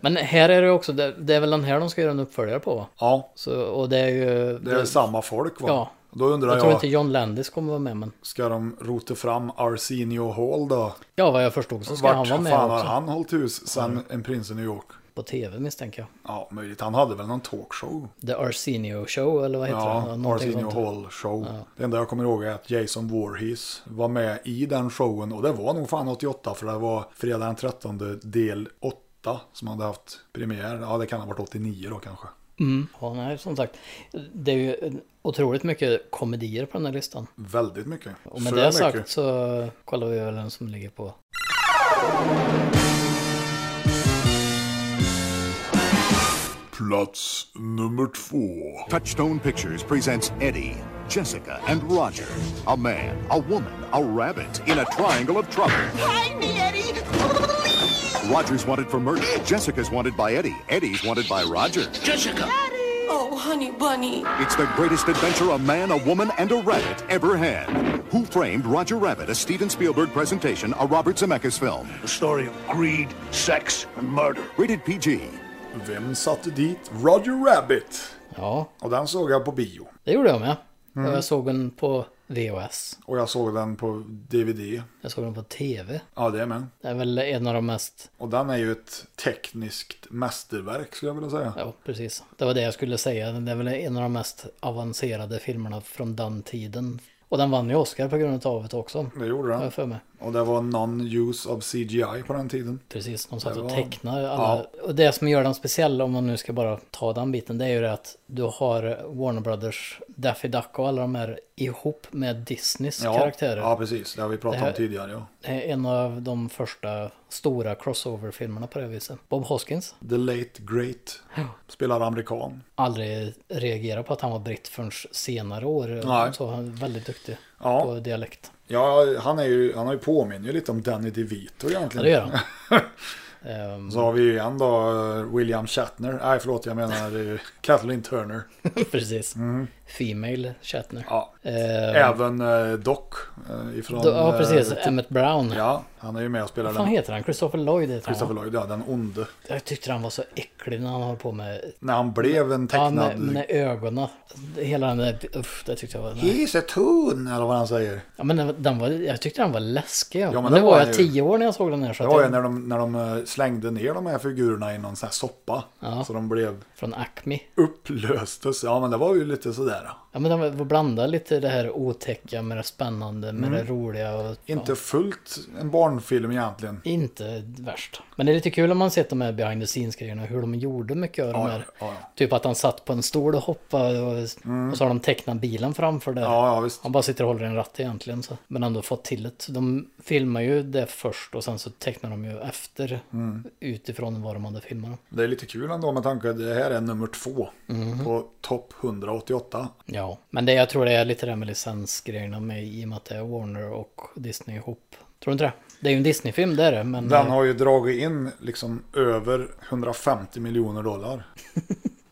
Men här är det också, det, det är väl den här de ska göra en uppföljare på va? Ja. Så, och det är ju... Det är samma folk va? Ja. Då undrar Jag tror jag- inte John Landis kommer vara med men... Ska de rota fram Arsenio Hall då? Ja, vad jag förstod så ska Vart han vara med fan också. har han hållit hus sen En prins i New York? På tv misstänker jag. Ja, möjligt. Han hade väl någon talkshow? The Arsenio Show eller vad heter Ja, det? Någonting Arsenio sånt. Hall show. Det enda jag kommer ihåg är att Jason Voorhees var med i den showen och det var nog fan 88 för det var fredag den 13 del 8 som hade haft premiär. Ja, det kan ha varit 89 då kanske. Mm. Ja, nej, som sagt. Det är ju otroligt mycket komedier på den här listan. Väldigt mycket. Och med För det mycket. sagt så kollar vi väl den som ligger på. Plots number four. Touchstone Pictures presents Eddie, Jessica, and Roger. A man, a woman, a rabbit in a triangle of trouble. Find me, Eddie! Roger's wanted for murder. Jessica's wanted by Eddie. Eddie's wanted by Roger. Jessica! Oh, honey bunny. It's the greatest adventure a man, a woman, and a rabbit ever had. Who Framed Roger Rabbit, a Steven Spielberg presentation, a Robert Zemeckis film. The story of greed, sex, and murder. Rated PG. Vem satte dit Roger Rabbit? Ja. Och den såg jag på bio. Det gjorde jag med. Mm. Jag såg den på VHS. Och jag såg den på DVD. Jag såg den på TV. Ja, det är med. Det är väl en av de mest... Och den är ju ett tekniskt mästerverk skulle jag vilja säga. Ja, precis. Det var det jag skulle säga. Det är väl en av de mest avancerade filmerna från den tiden. Och den vann ju Oscar på grund av det också. Det gjorde Har den. jag för mig. Och det var non-use of CGI på den tiden. Precis, de satt Det och var- tecknade alla. Och det som gör den speciell, om man nu ska bara ta den biten, det är ju det att du har Warner Brothers, Daffy Duck och alla de här ihop med Disneys Ja, karaktärer. ja, precis. Det har vi pratat Det här- om tidigare. Ja. Det är en av de första stora crossover-filmerna på det viset. Bob Hoskins. The Late Great spelar amerikan. Aldrig reagerat på att han var britt förrän senare år. Nej. Så han är väldigt duktig Ja. på dialekt. Ja, han, är ju, han har ju påminner ju lite om Danny DeVito Ja, egentligen. det gör han. Ehm, Så har vi ju en då, eh, William Shatner. Nej, förlåt, jag menar eh, Kathleen Turner. Precis. Female Shatner. Mm. Ja. Eh, Även eh, Doc eh, ifrån... Då- ja, precis. eh, typ- Emmett Brown. Ja, han är ju med och spelar Vad fan den. heter han? Christopher Lloyd heter Christopher han. Lloyd, ja, den onde. Jag tyckte han var så äcklig när han höll på med... När han blev en tecknad... Ja, med, med ögonen. Hela den där... Uff, det tyckte jag var... nej. He's a toon, eller vad han säger. Ja, men den, den var, jag tyckte den var läskig. Ja, men men det det var var jag ju- tio år när jag såg den här. Så Det att var ju jag- när de, när de eh, slängde ner de här figurerna i någon sån här soppa. Ja. Så de blev Från Acme. upplöstes. Ja, men det var ju lite sådär. då. Ja, men den var blandad lite det här otäcka med det spännande med Mm. det roliga. Och, Inte ja, fullt en barnfilm egentligen. inte värst. Men det är lite kul om man sett de här behind the scenes grejerna. Hur de gjorde mycket av Ja, de här. ja, ja. Mm. Typ att han satt på en stol och hoppade. Och, och så har de tecknat bilen framför det. Ja, ja, visst. Han bara sitter och håller i en ratt egentligen. Så. Men ändå fått till det. De filmar ju det först och sen så tecknar de ju efter. Mm. Utifrån vad de hade filmat. Det är lite kul ändå med tanke att det här är nummer två Mhm. på topp Mm. 188. Ja, men det, jag tror det är lite det här med licensgrejerna med i och med att det är Warner och Disney ihop. Tror du inte det? Det är ju en Disney-film, det är det. Men Den eh, har ju dragit in liksom över 150 miljoner dollar.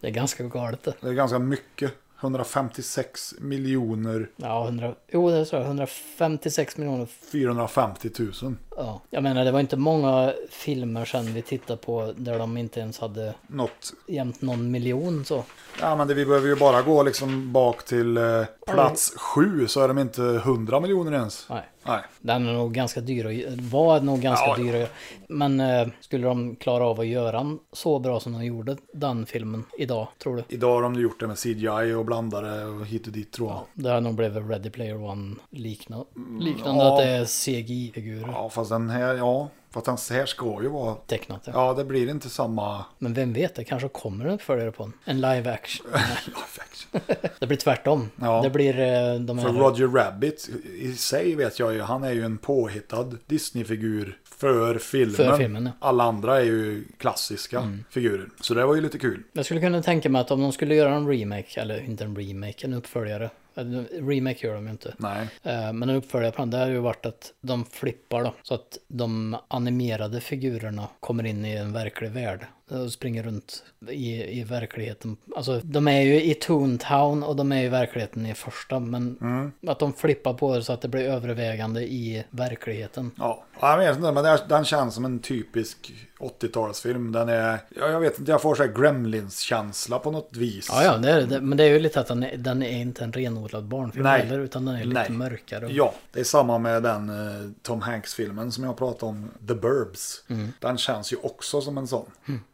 det är ganska galet det. Det är ganska mycket. 156 miljoner Ja, 100, jo det tror jag. 156 miljoner. 450 000. Ja. Jag menar, det var inte många filmer sen vi tittade på där de inte ens hade Något. jämt någon miljon så. Ja, men det, vi behöver ju bara gå liksom bak till eh, plats sju så är de inte 100 miljoner ens. Nej. Nej. Den är nog ganska dyr och var nog ganska Ja, ja. dyr. att- Men eh, skulle de klara av att göra den så bra som de gjorde den filmen idag, tror du? Idag har de ju gjort det med CGI och blandare och hit och dit tror jag. Det har nog blivit Ready Player One likna, liknande, Mm, ja. att det är CGI-figurer. Ja, fast den här, ja. Fast den här ska ju vara... Tecknat, ja. Ja, det blir inte samma... Men vem vet, det kanske kommer en uppföljare på en. En live action. det blir tvärtom. Ja. Det blir eh, de För här... Roger Rabbit i sig vet jag ju, han är ju en påhittad Disney-figur för filmen. För filmen, ja. Mm. Alla andra är ju klassiska figurer. Så det var ju lite kul. Jag skulle kunna tänka mig att om de skulle göra en remake, eller inte en remake, en uppföljare. En Remake gör de ju inte. Nej. Eh, Men en uppföljare på den, det har ju varit att de flippar då. Så att de animerade figurerna kommer in i en verklig värld. Och springer runt i, i verkligheten. Alltså de är ju i Toontown och de är i verkligheten i första. Men Mm. att de flippar på det så att det blir övervägande i verkligheten. Ja, jag vet inte, men den- den känns som en typisk 80-talsfilm. Den är, ja, jag vet inte, jag får så här Gremlins-känsla på något vis. Ja, ja, det är, det. men det är ju lite att den är, den är inte en renodlad barnfilm Nej. heller, utan den är lite Nej. mörkare. och- Ja, det är samma med den Mm. eh, Tom Hanks-filmen som jag pratade om, The Burbs. Den känns ju också som en sån.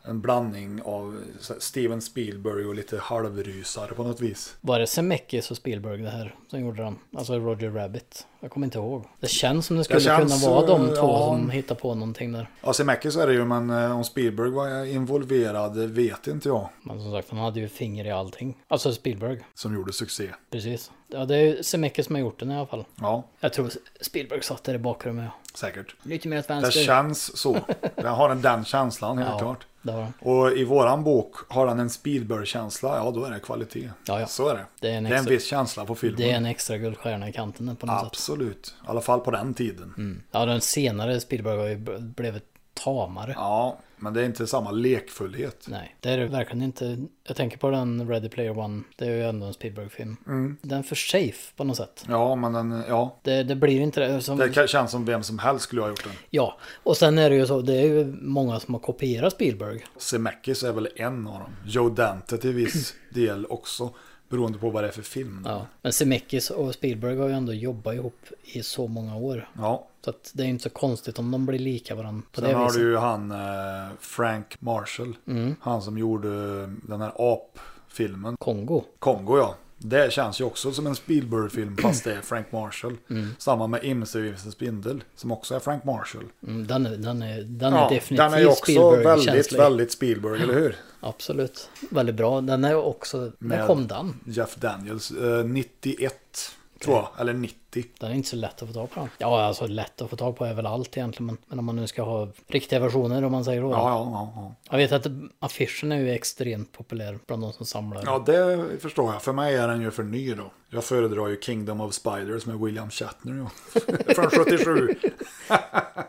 en blandning av eh, så här Steven Spielberg och lite halvrysare på något vis. Var det Zemeckis och Spielberg det här som gjorde den? Alltså Roger Rabbit. Jag kommer inte ihåg. Det känns som det skulle känns, kunna vara de eh, två ja. som hittar på någonting där. Ja, Zemeckis är det ju, men eh, om Spielberg var involverad eh, vet inte jag. Men som sagt, han hade ju finger i allting. Alltså Spielberg. Som gjorde succé. Precis. Ja, det är ju Zemeckis som har gjort den i alla fall. Ja. Jag tror Spielberg satt där i bakrummet. Säkert. Lite mer åt Det vänster. känns så. Den har den, den känslan helt Ja, klart. det har den. Och i våran bok, har den en Spielberg-känsla, ja då är det kvalitet. Ja, ja. Så är det. Det är en extra- viss känsla på filmen. Det är en extra guldstjärna i kanten där på något sätt. Absolut. I alla fall på den tiden. Ja, den senare Spielberg har ju b- blivit tamare. Ja, men det är inte samma lekfullhet. Nej, det är det verkligen inte. Jag tänker på den Ready Player One. Det är ju ändå en Spielberg-film. Mm. Den är för safe på något sätt. Ja, men den, ja. Det, det blir inte det. Som... Det kan- känns som vem som helst skulle ha gjort den. Ja, och sen är det ju så. Det är ju många som har kopierat Spielberg. Zemeckis är väl en av dem. Joe Dante till viss del också. Beroende på vad det är för film. Ja. Men Zemeckis och Spielberg har ju ändå jobbat ihop i så många år. Ja. Så att det är inte så konstigt om de blir lika varandra på Sen det har viset. du ju han eh, Frank Marshall. Mm. Han som gjorde den här apfilmen. Kongo. Kongo ja. Det känns ju också som en Spielberg-film fast det är Frank Marshall. Mm. Samma med Imse Vimse Spindel som också är Frank Marshall. Mm, Den är, den är, den Ja, är definitivt den är ju också väldigt, Spielberg-känslig. väldigt Spielberg, eller hur? Absolut. Väldigt bra. Den är också... När kom den? Jeff Daniels. Eh, 91 tror jag, eller 90. Den är inte så lätt att få tag på. Den. Ja, alltså lätt att få tag på är väl allt egentligen. Men, men om man nu ska ha riktiga versioner om man säger då. Ja, ja, ja, ja. Jag vet att affischen är ju extremt populär bland de som samlar. Ja, det förstår jag. För mig är den ju för ny då. Jag föredrar ju Kingdom of Spiders med William Shatner. Ja. Från 77.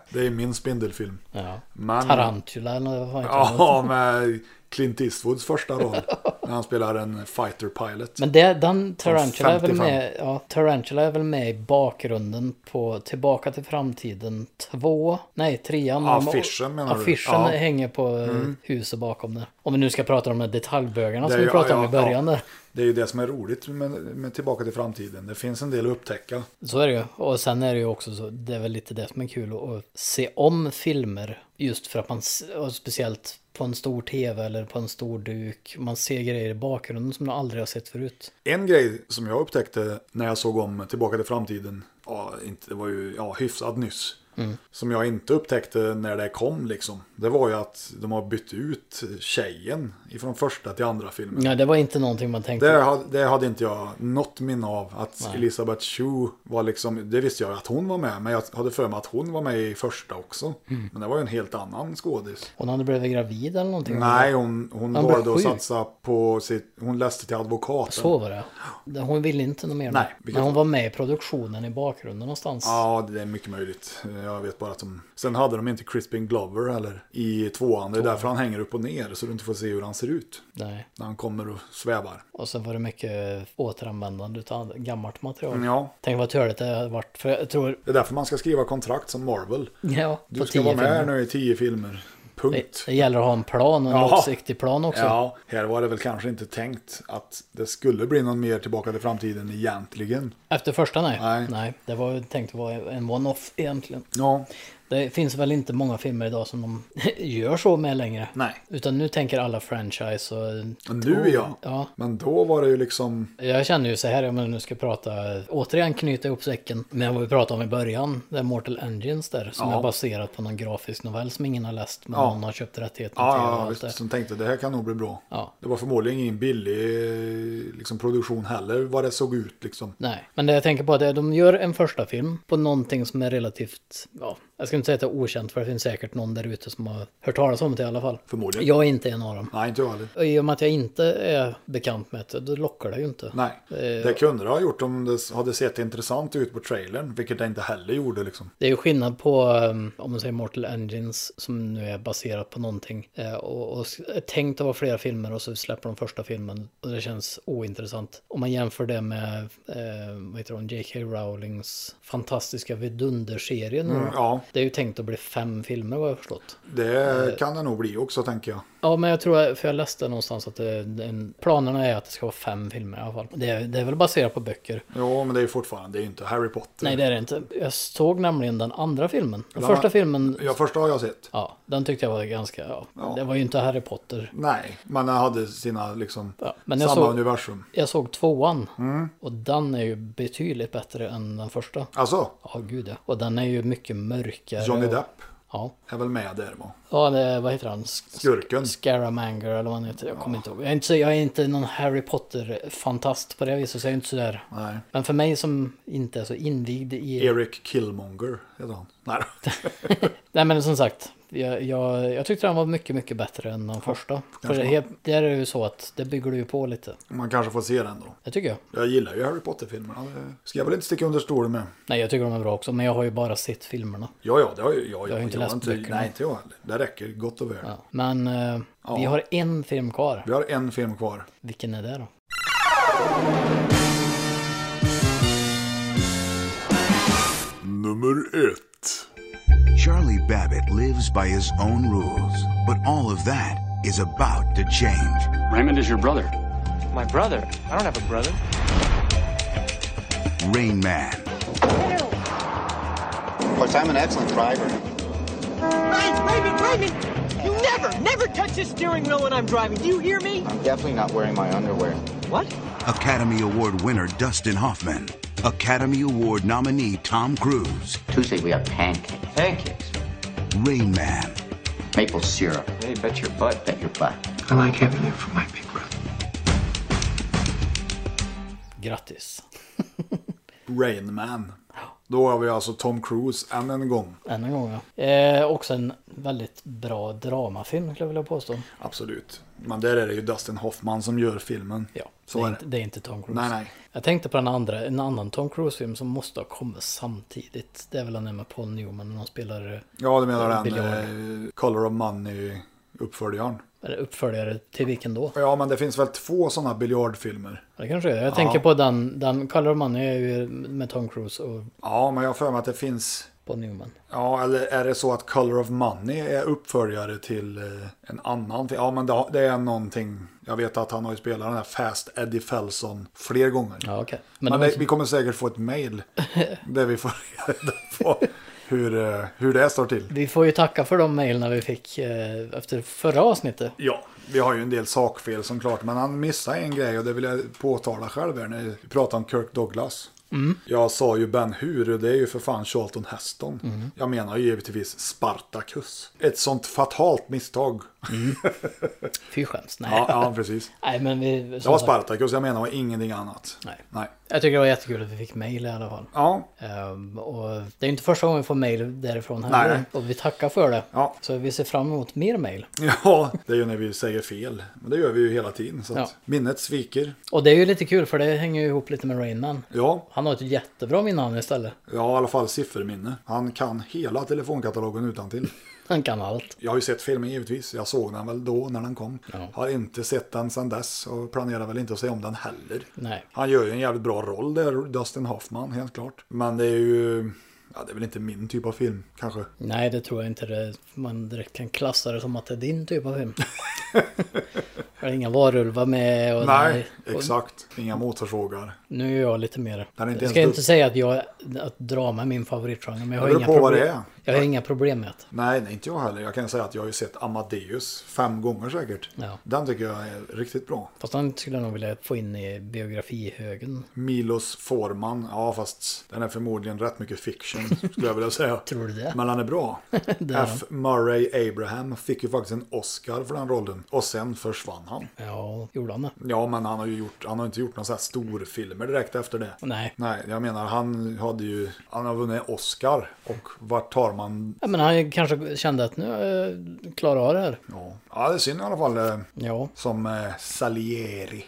det är min spindelfilm. Ja. Men- Tarantula eller vad fan heter Ja, den? med Clint Eastwoods första roll. när han spelar en fighter pilot. Men det, den Tarantula är, väl 55. med, ja, Tarantula är väl med i bakgrunden på Tillbaka till framtiden 2. Nej, 3. Affischen menar du? Affischen Ja. hänger på eh, Mm. huset bakom det. Om vi nu ska prata om de här detaljbögarna Det är som vi ju- pratade om ja, i början ja. där. Det är ju det som är roligt med, med Tillbaka till framtiden. Det finns en del att upptäcka. Så är det ju. Och sen är det ju också så, det är väl lite det som är kul att, att se om filmer. Just för att man, s- och speciellt på en stor tv eller på en stor duk, man ser grejer i bakgrunden som man aldrig har sett förut. En grej som jag upptäckte när jag såg om Tillbaka till framtiden, ja, inte, det var ju ja, hyfsat nyss, Mm. som jag inte upptäckte när det kom, liksom, det var ju att de har bytt ut tjejen från första till andra filmen. Nej, det var inte någonting man tänkte. Det hade, det hade inte jag något minne av. Att Nej. Elisabeth Chu var liksom, det visste jag att hon var med, men jag hade för mig att hon var med i första också. Mm. Men det var ju en helt annan skådis. Hon hade blivit gravid eller någonting? Nej, hon, hon Han blev valde att sjuk. satsa på sitt, hon läste till advokaten. Så var det. Hon ville inte något mer. Nej, vilket- Men hon var med i produktionen i bakgrunden någonstans. Ja, det är mycket möjligt. Jag vet bara att de... Sen hade de inte Crispin Glover heller i tvåan. Det är därför han hänger upp och ner så du inte får se hur han ser ut. Nej. När han kommer och svävar. Och sen var det mycket återanvändande av gammalt material. Ja. Tänk vad törligt det hade varit. För jag tror... Det är därför man ska skriva kontrakt som Marvel. Ja, du på ska tio vara med här filmer. nu i tio filmer. Punkt. Det gäller att ha en plan och en Ja. långsiktig plan också. Ja, här var det väl kanske inte tänkt att det skulle bli någon mer Tillbaka till framtiden egentligen. Efter första nej. Nej. det var ju tänkt att vara en one-off egentligen. Ja. Det finns väl inte många filmer idag som de gör så med längre. Nej. Utan nu tänker alla franchise och... Men nu ja. Ja. Men då var det ju liksom... Jag känner ju så här, om jag nu ska prata, återigen knyta ihop säcken med vad vi pratade om i början, det är Mortal Engines där, som Ja. är baserat på någon grafisk novell som ingen har läst, men Ja. någon har köpt rättigheten Ja, till och ja, allt visst. det. Som tänkte det här kan nog bli bra. Ja. Det var förmodligen ingen billig eh, liksom, produktion heller, vad det såg ut liksom. Nej, men det jag tänker på är att de gör en första film på någonting som är relativt, ja, jag ska inte säga att det är okänt, för det finns säkert någon där ute som har hört talas om det i alla fall. Förmodligen. Jag är inte en av dem. Nej, inte jag heller. Och I och med att jag inte är bekant med det, då lockar det ju inte. Nej, Eh, det kunde det ha gjort om det hade sett intressant ut på trailern, vilket det inte heller gjorde liksom. Det är ju skillnad på, um, om man säger Mortal Engines, som nu är baserat på någonting, eh, och, och s- är tänkt att vara flera filmer och så släpper de första filmen och det känns ointressant. Om man jämför det med, eh, vad heter hon, J.K. Rowlings fantastiska vidunderserie nu. Mm, ja. Det är ju tänkt att bli fem filmer vad jag har förstått. Det Eh, kan det nog bli också tänker jag. Ja, men jag tror, för jag läste någonstans att det, den, planerna är att det ska vara fem filmer i alla fall. Det, är- det är väl baserat på böcker. Jo, men det är ju fortfarande, det är ju inte Harry Potter. Nej, det är det inte. Jag såg nämligen den andra filmen. Den Eller- första filmen, Ja, första har jag sett. Ja, den tyckte jag var ganska, ja. Det var ju inte Harry Potter. Nej, men den hade sina liksom Men jag samma såg, universum. Jag såg tvåan. Och den är ju betydligt bättre än den första. Alltså? Ja, gud ja. Och den är ju mycket mörkare. Johnny och- Depp Ja. är väl med där va? Ja, det, vad heter han? Sk- Skurken. Scaramanger eller vad han heter. Jag kommer inte ihåg. Jag är inte, så- jag är inte någon Harry Potter-fantast på det viset, så jag är inte sådär. Nej. Men för mig som inte är så invigd i... Eric Killmonger heter han. Nej, då. Nej, men som sagt. Jag, jag, jag tyckte den var mycket, mycket bättre än den första. För kanske det, man- helt- där är det ju så att det bygger du ju på lite. man kanske får se den då. Det tycker jag. Jag gillar ju Harry Potter-filmerna. Det ska jag väl inte sticka under stolen med. Nej, jag tycker de är bra också, men jag har ju bara sett filmerna. Ja, ja, det har ju jag. Jag har inte läst böckerna. Nej, inte jag heller. Det räcker gott och väl. Men eh, Ja. vi har en film kvar. Vi har en film kvar. Vilken är det då? Nummer ett. Charlie Babbitt lives by his own rules, but all of that is about to change. Raymond is your brother. My brother? I don't have a brother. Rain Man. Of course, I'm an excellent driver. Raymond, Raymond, Raymond! You never, never touch the steering wheel when I'm driving. Do you hear me? I'm definitely not wearing my underwear. What? Academy Award winner Dustin Hoffman. Academy Award nominee Tom Cruise. Tuesday we have pancakes. Pancakes. Rain Man. Maple syrup. Hey, bet your butt. Bet your butt. I like having you for my big brother. Grattis. Rain Man. Då har vi alltså Tom Cruise än en gång. Än en gång ja. Eh, också en väldigt bra dramafilm skulle jag vilja påstå. Absolut. Men där är det ju Dustin Hoffman som gör filmen. Ja, så det, är är inte, det är inte Tom Cruise. Nej, nej. Jag tänkte på den andra, en annan Tom Cruise-film som måste ha kommit samtidigt. Det är väl den där med Paul Newman när han spelar... eh, Ja, du menar den biljard. eh, Color of Money-uppföljaren. Eller uppföljare till vilken då? Ja, men det finns väl två sådana biljardfilmer. Det kanske är. Jag Ja. tänker på den, den Color of Money är ju med Tom Cruise och Ja, men jag har för mig att det finns... Paul Newman. Ja, eller är det så att Color of Money är uppföljare till eh, en annan film? Ja, men det, har- det är någonting. Jag vet att han har ju spelat den här Fast Eddie Felson fler gånger. Ja, okej. Men, Men vi, det- vi kommer säkert få ett mail där vi får reda på hur, eh, hur det står till. Vi får ju tacka för de mejlen vi fick eh, efter förra avsnittet. Ja, vi har ju en del sakfel som klart, men han missade en grej och det vill jag påtala själv här när vi pratar om Kirk Douglas. Mm. Jag sa ju Ben Hur, och det är ju för fan Charlton Heston. Mm. Jag menar ju givetvis Spartacus. Ett sånt fatalt misstag. Fy skäms, nej. Ja, ja, precis. Nej, men vi... Det var Spartacus, jag menar och ingenting annat. Nej. Nej. Jag tycker det var jättekul att vi fick mejl i alla fall. Ehm, Ja. och det är ju inte första gången vi får mejl därifrån Nej. heller. Och vi tackar för det. Ja. Så vi ser fram emot mer mejl. Ja, det är ju när vi säger fel. Men det gör vi ju hela tiden. Så att Ja. minnet sviker. Och det är ju lite kul för det hänger ju ihop lite med Rainman. Ja. Han har ett jättebra minnamn istället. Ja, i alla fall sifferminne. Han kan hela telefonkatalogen utan till. Han kan allt. Jag har ju sett filmen givetvis. Jag såg den väl då när den kom. Har inte sett den sedan dess och planerar väl inte att se om den heller. Nej. Han gör ju en jävligt bra roll där, Dustin Hoffman, helt klart. Men det är ju... Ja, det är väl inte min typ av film, kanske. Nej, det tror jag inte det, man direkt kan klassa det som att det är din typ av film. det är inga varulvar med och... Nej, och- exakt. Inga motförsågar. Nu är jag lite mer... Den är inte ens jag ska dubb- inte säga att, jag, att drama är min favoritgenre, men jag har, Det beror inga på vad problem, det är. jag har inga problem med det. Nej, nej, inte jag heller. Jag kan säga att jag har ju sett Amadeus fem gånger säkert. Ja. Den tycker jag är riktigt bra. Fast han skulle jag nog vilja få in i biografihögen. Milos Forman, ja fast den är förmodligen rätt mycket fiction skulle jag vilja säga. Tror du det? Men han är bra. Det är F. Murray Abraham fick ju faktiskt en Oscar för den rollen och sen försvann han. Ja, gjorde han det? Ja, men han har ju gjort, han har inte gjort några så här storfilmer direkt efter det. Nej. Nej, jag menar han hade ju, han har vunnit Oscar och vart tar man? Ja, men han kanske kände att nu eh, klarar jag det här. Ja, ja det är synd i alla fall. eh, Ja. Som eh, Salieri.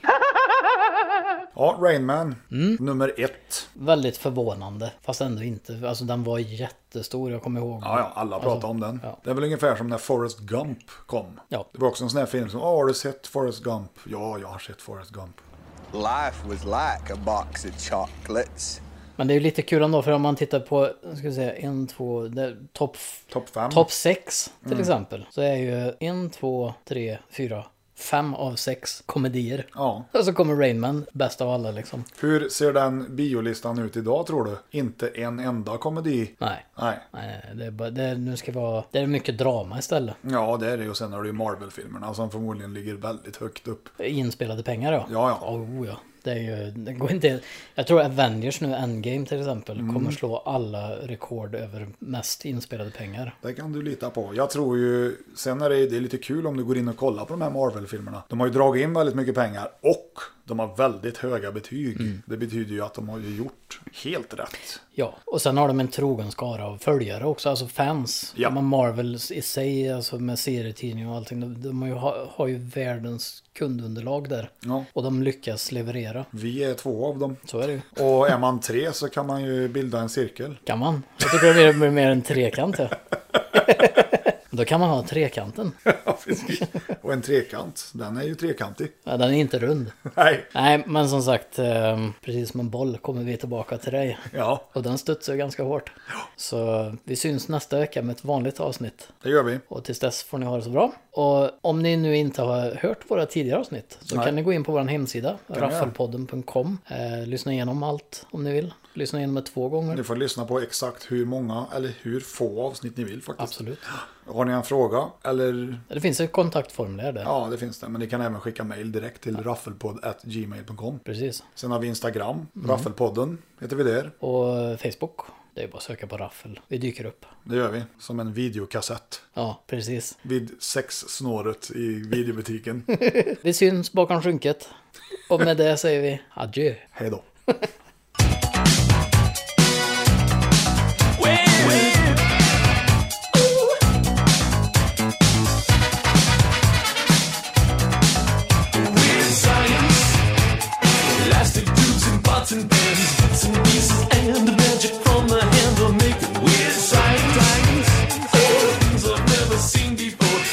Ja, Rain Man, Mm. nummer ett. Väldigt förvånande, fast ändå inte. Alltså den var jättestor, jag kommer ihåg. Ja, ja, alla Alltså, pratar om den. Det är väl ungefär som när Forrest Gump kom. Ja. Det var också en sån här film som, "Åh, har du sett Forrest Gump? Ja, jag har sett Forrest Gump. Life was like a box of chocolates. Men det är ju lite kul ändå för om man tittar på, ska vi säga, en, två, där, topp... Topp fem. Topp sex till Mm. exempel. Så är ju en, två, tre, fyra, fem av sex komedier. Ja. Och så kommer Rainman, bäst av alla liksom. Hur ser den biolistan ut idag tror du? Inte en enda komedi? Nej. Nej. Nej, det är bara, det är, nu ska vara, det är mycket drama istället. Ja, det är det ju. Och sen har du ju Marvel-filmerna som förmodligen ligger väldigt högt upp. Inspelade pengar då? Ja, ja. Oh, ja. Det, är ju, det går inte... Jag tror Avengers nu, Endgame till exempel, Mm. kommer slå alla rekord över mest inspelade pengar. Det kan du lita på. Jag tror ju, sen är det, det är lite kul om du går in och kollar på de här Marvel-filmerna. De har ju dragit in väldigt mycket pengar och de har väldigt höga betyg. Det betyder ju att de har ju gjort helt rätt. Ja, och sen har de en trogen skara av följare också, alltså fans. Ja. Ja. Man Marvel i sig, alltså med serietidningar och allting, de, de har, ju, ha- har ju världens kundunderlag där. Ja. Och de lyckas leverera. Vi är två av dem. Så är det ju. Och är man tre så kan man ju bilda en cirkel. Kan man? Jag tycker det blir mer en trekant. Ja. Då kan man ha trekanten. Ja, precis. Och en trekant, den är ju trekantig. Ja, den är inte rund. Nej. Nej, men som sagt, eh, precis som en boll kommer vi tillbaka till dig. Ja. Och den studsar ju ganska hårt. Så vi syns nästa vecka med ett vanligt avsnitt. Det gör vi. Och tills dess får ni ha det så bra. Och om ni nu inte har hört våra tidigare avsnitt så Nej. kan ni gå in på vår hemsida, Kan ni göra. raffelpodden.com. Eh, lyssna igenom allt om ni vill. Lyssna igenom det två gånger. Ni får lyssna på exakt hur många eller hur få avsnitt ni vill faktiskt. Absolut. Har ni en fråga eller? Det finns ett kontaktformulär där. Ja, det finns det. Men ni kan även skicka mejl direkt till raffelpodd.gmail.com. Precis. Sen har vi Instagram, Raffelpodden heter vi där. Och Facebook, det är bara att söka på raffel. Vi dyker upp. Det gör vi, som en videokassett. Ja, precis. Vid sexsnåret i videobutiken. vi syns bakom skynket. Och med det säger vi adjö. Hej då. Weird science, elastic tubes and pots and pans, bits and pieces and the magic from my hand are making weird science. Oh, things I've never seen before.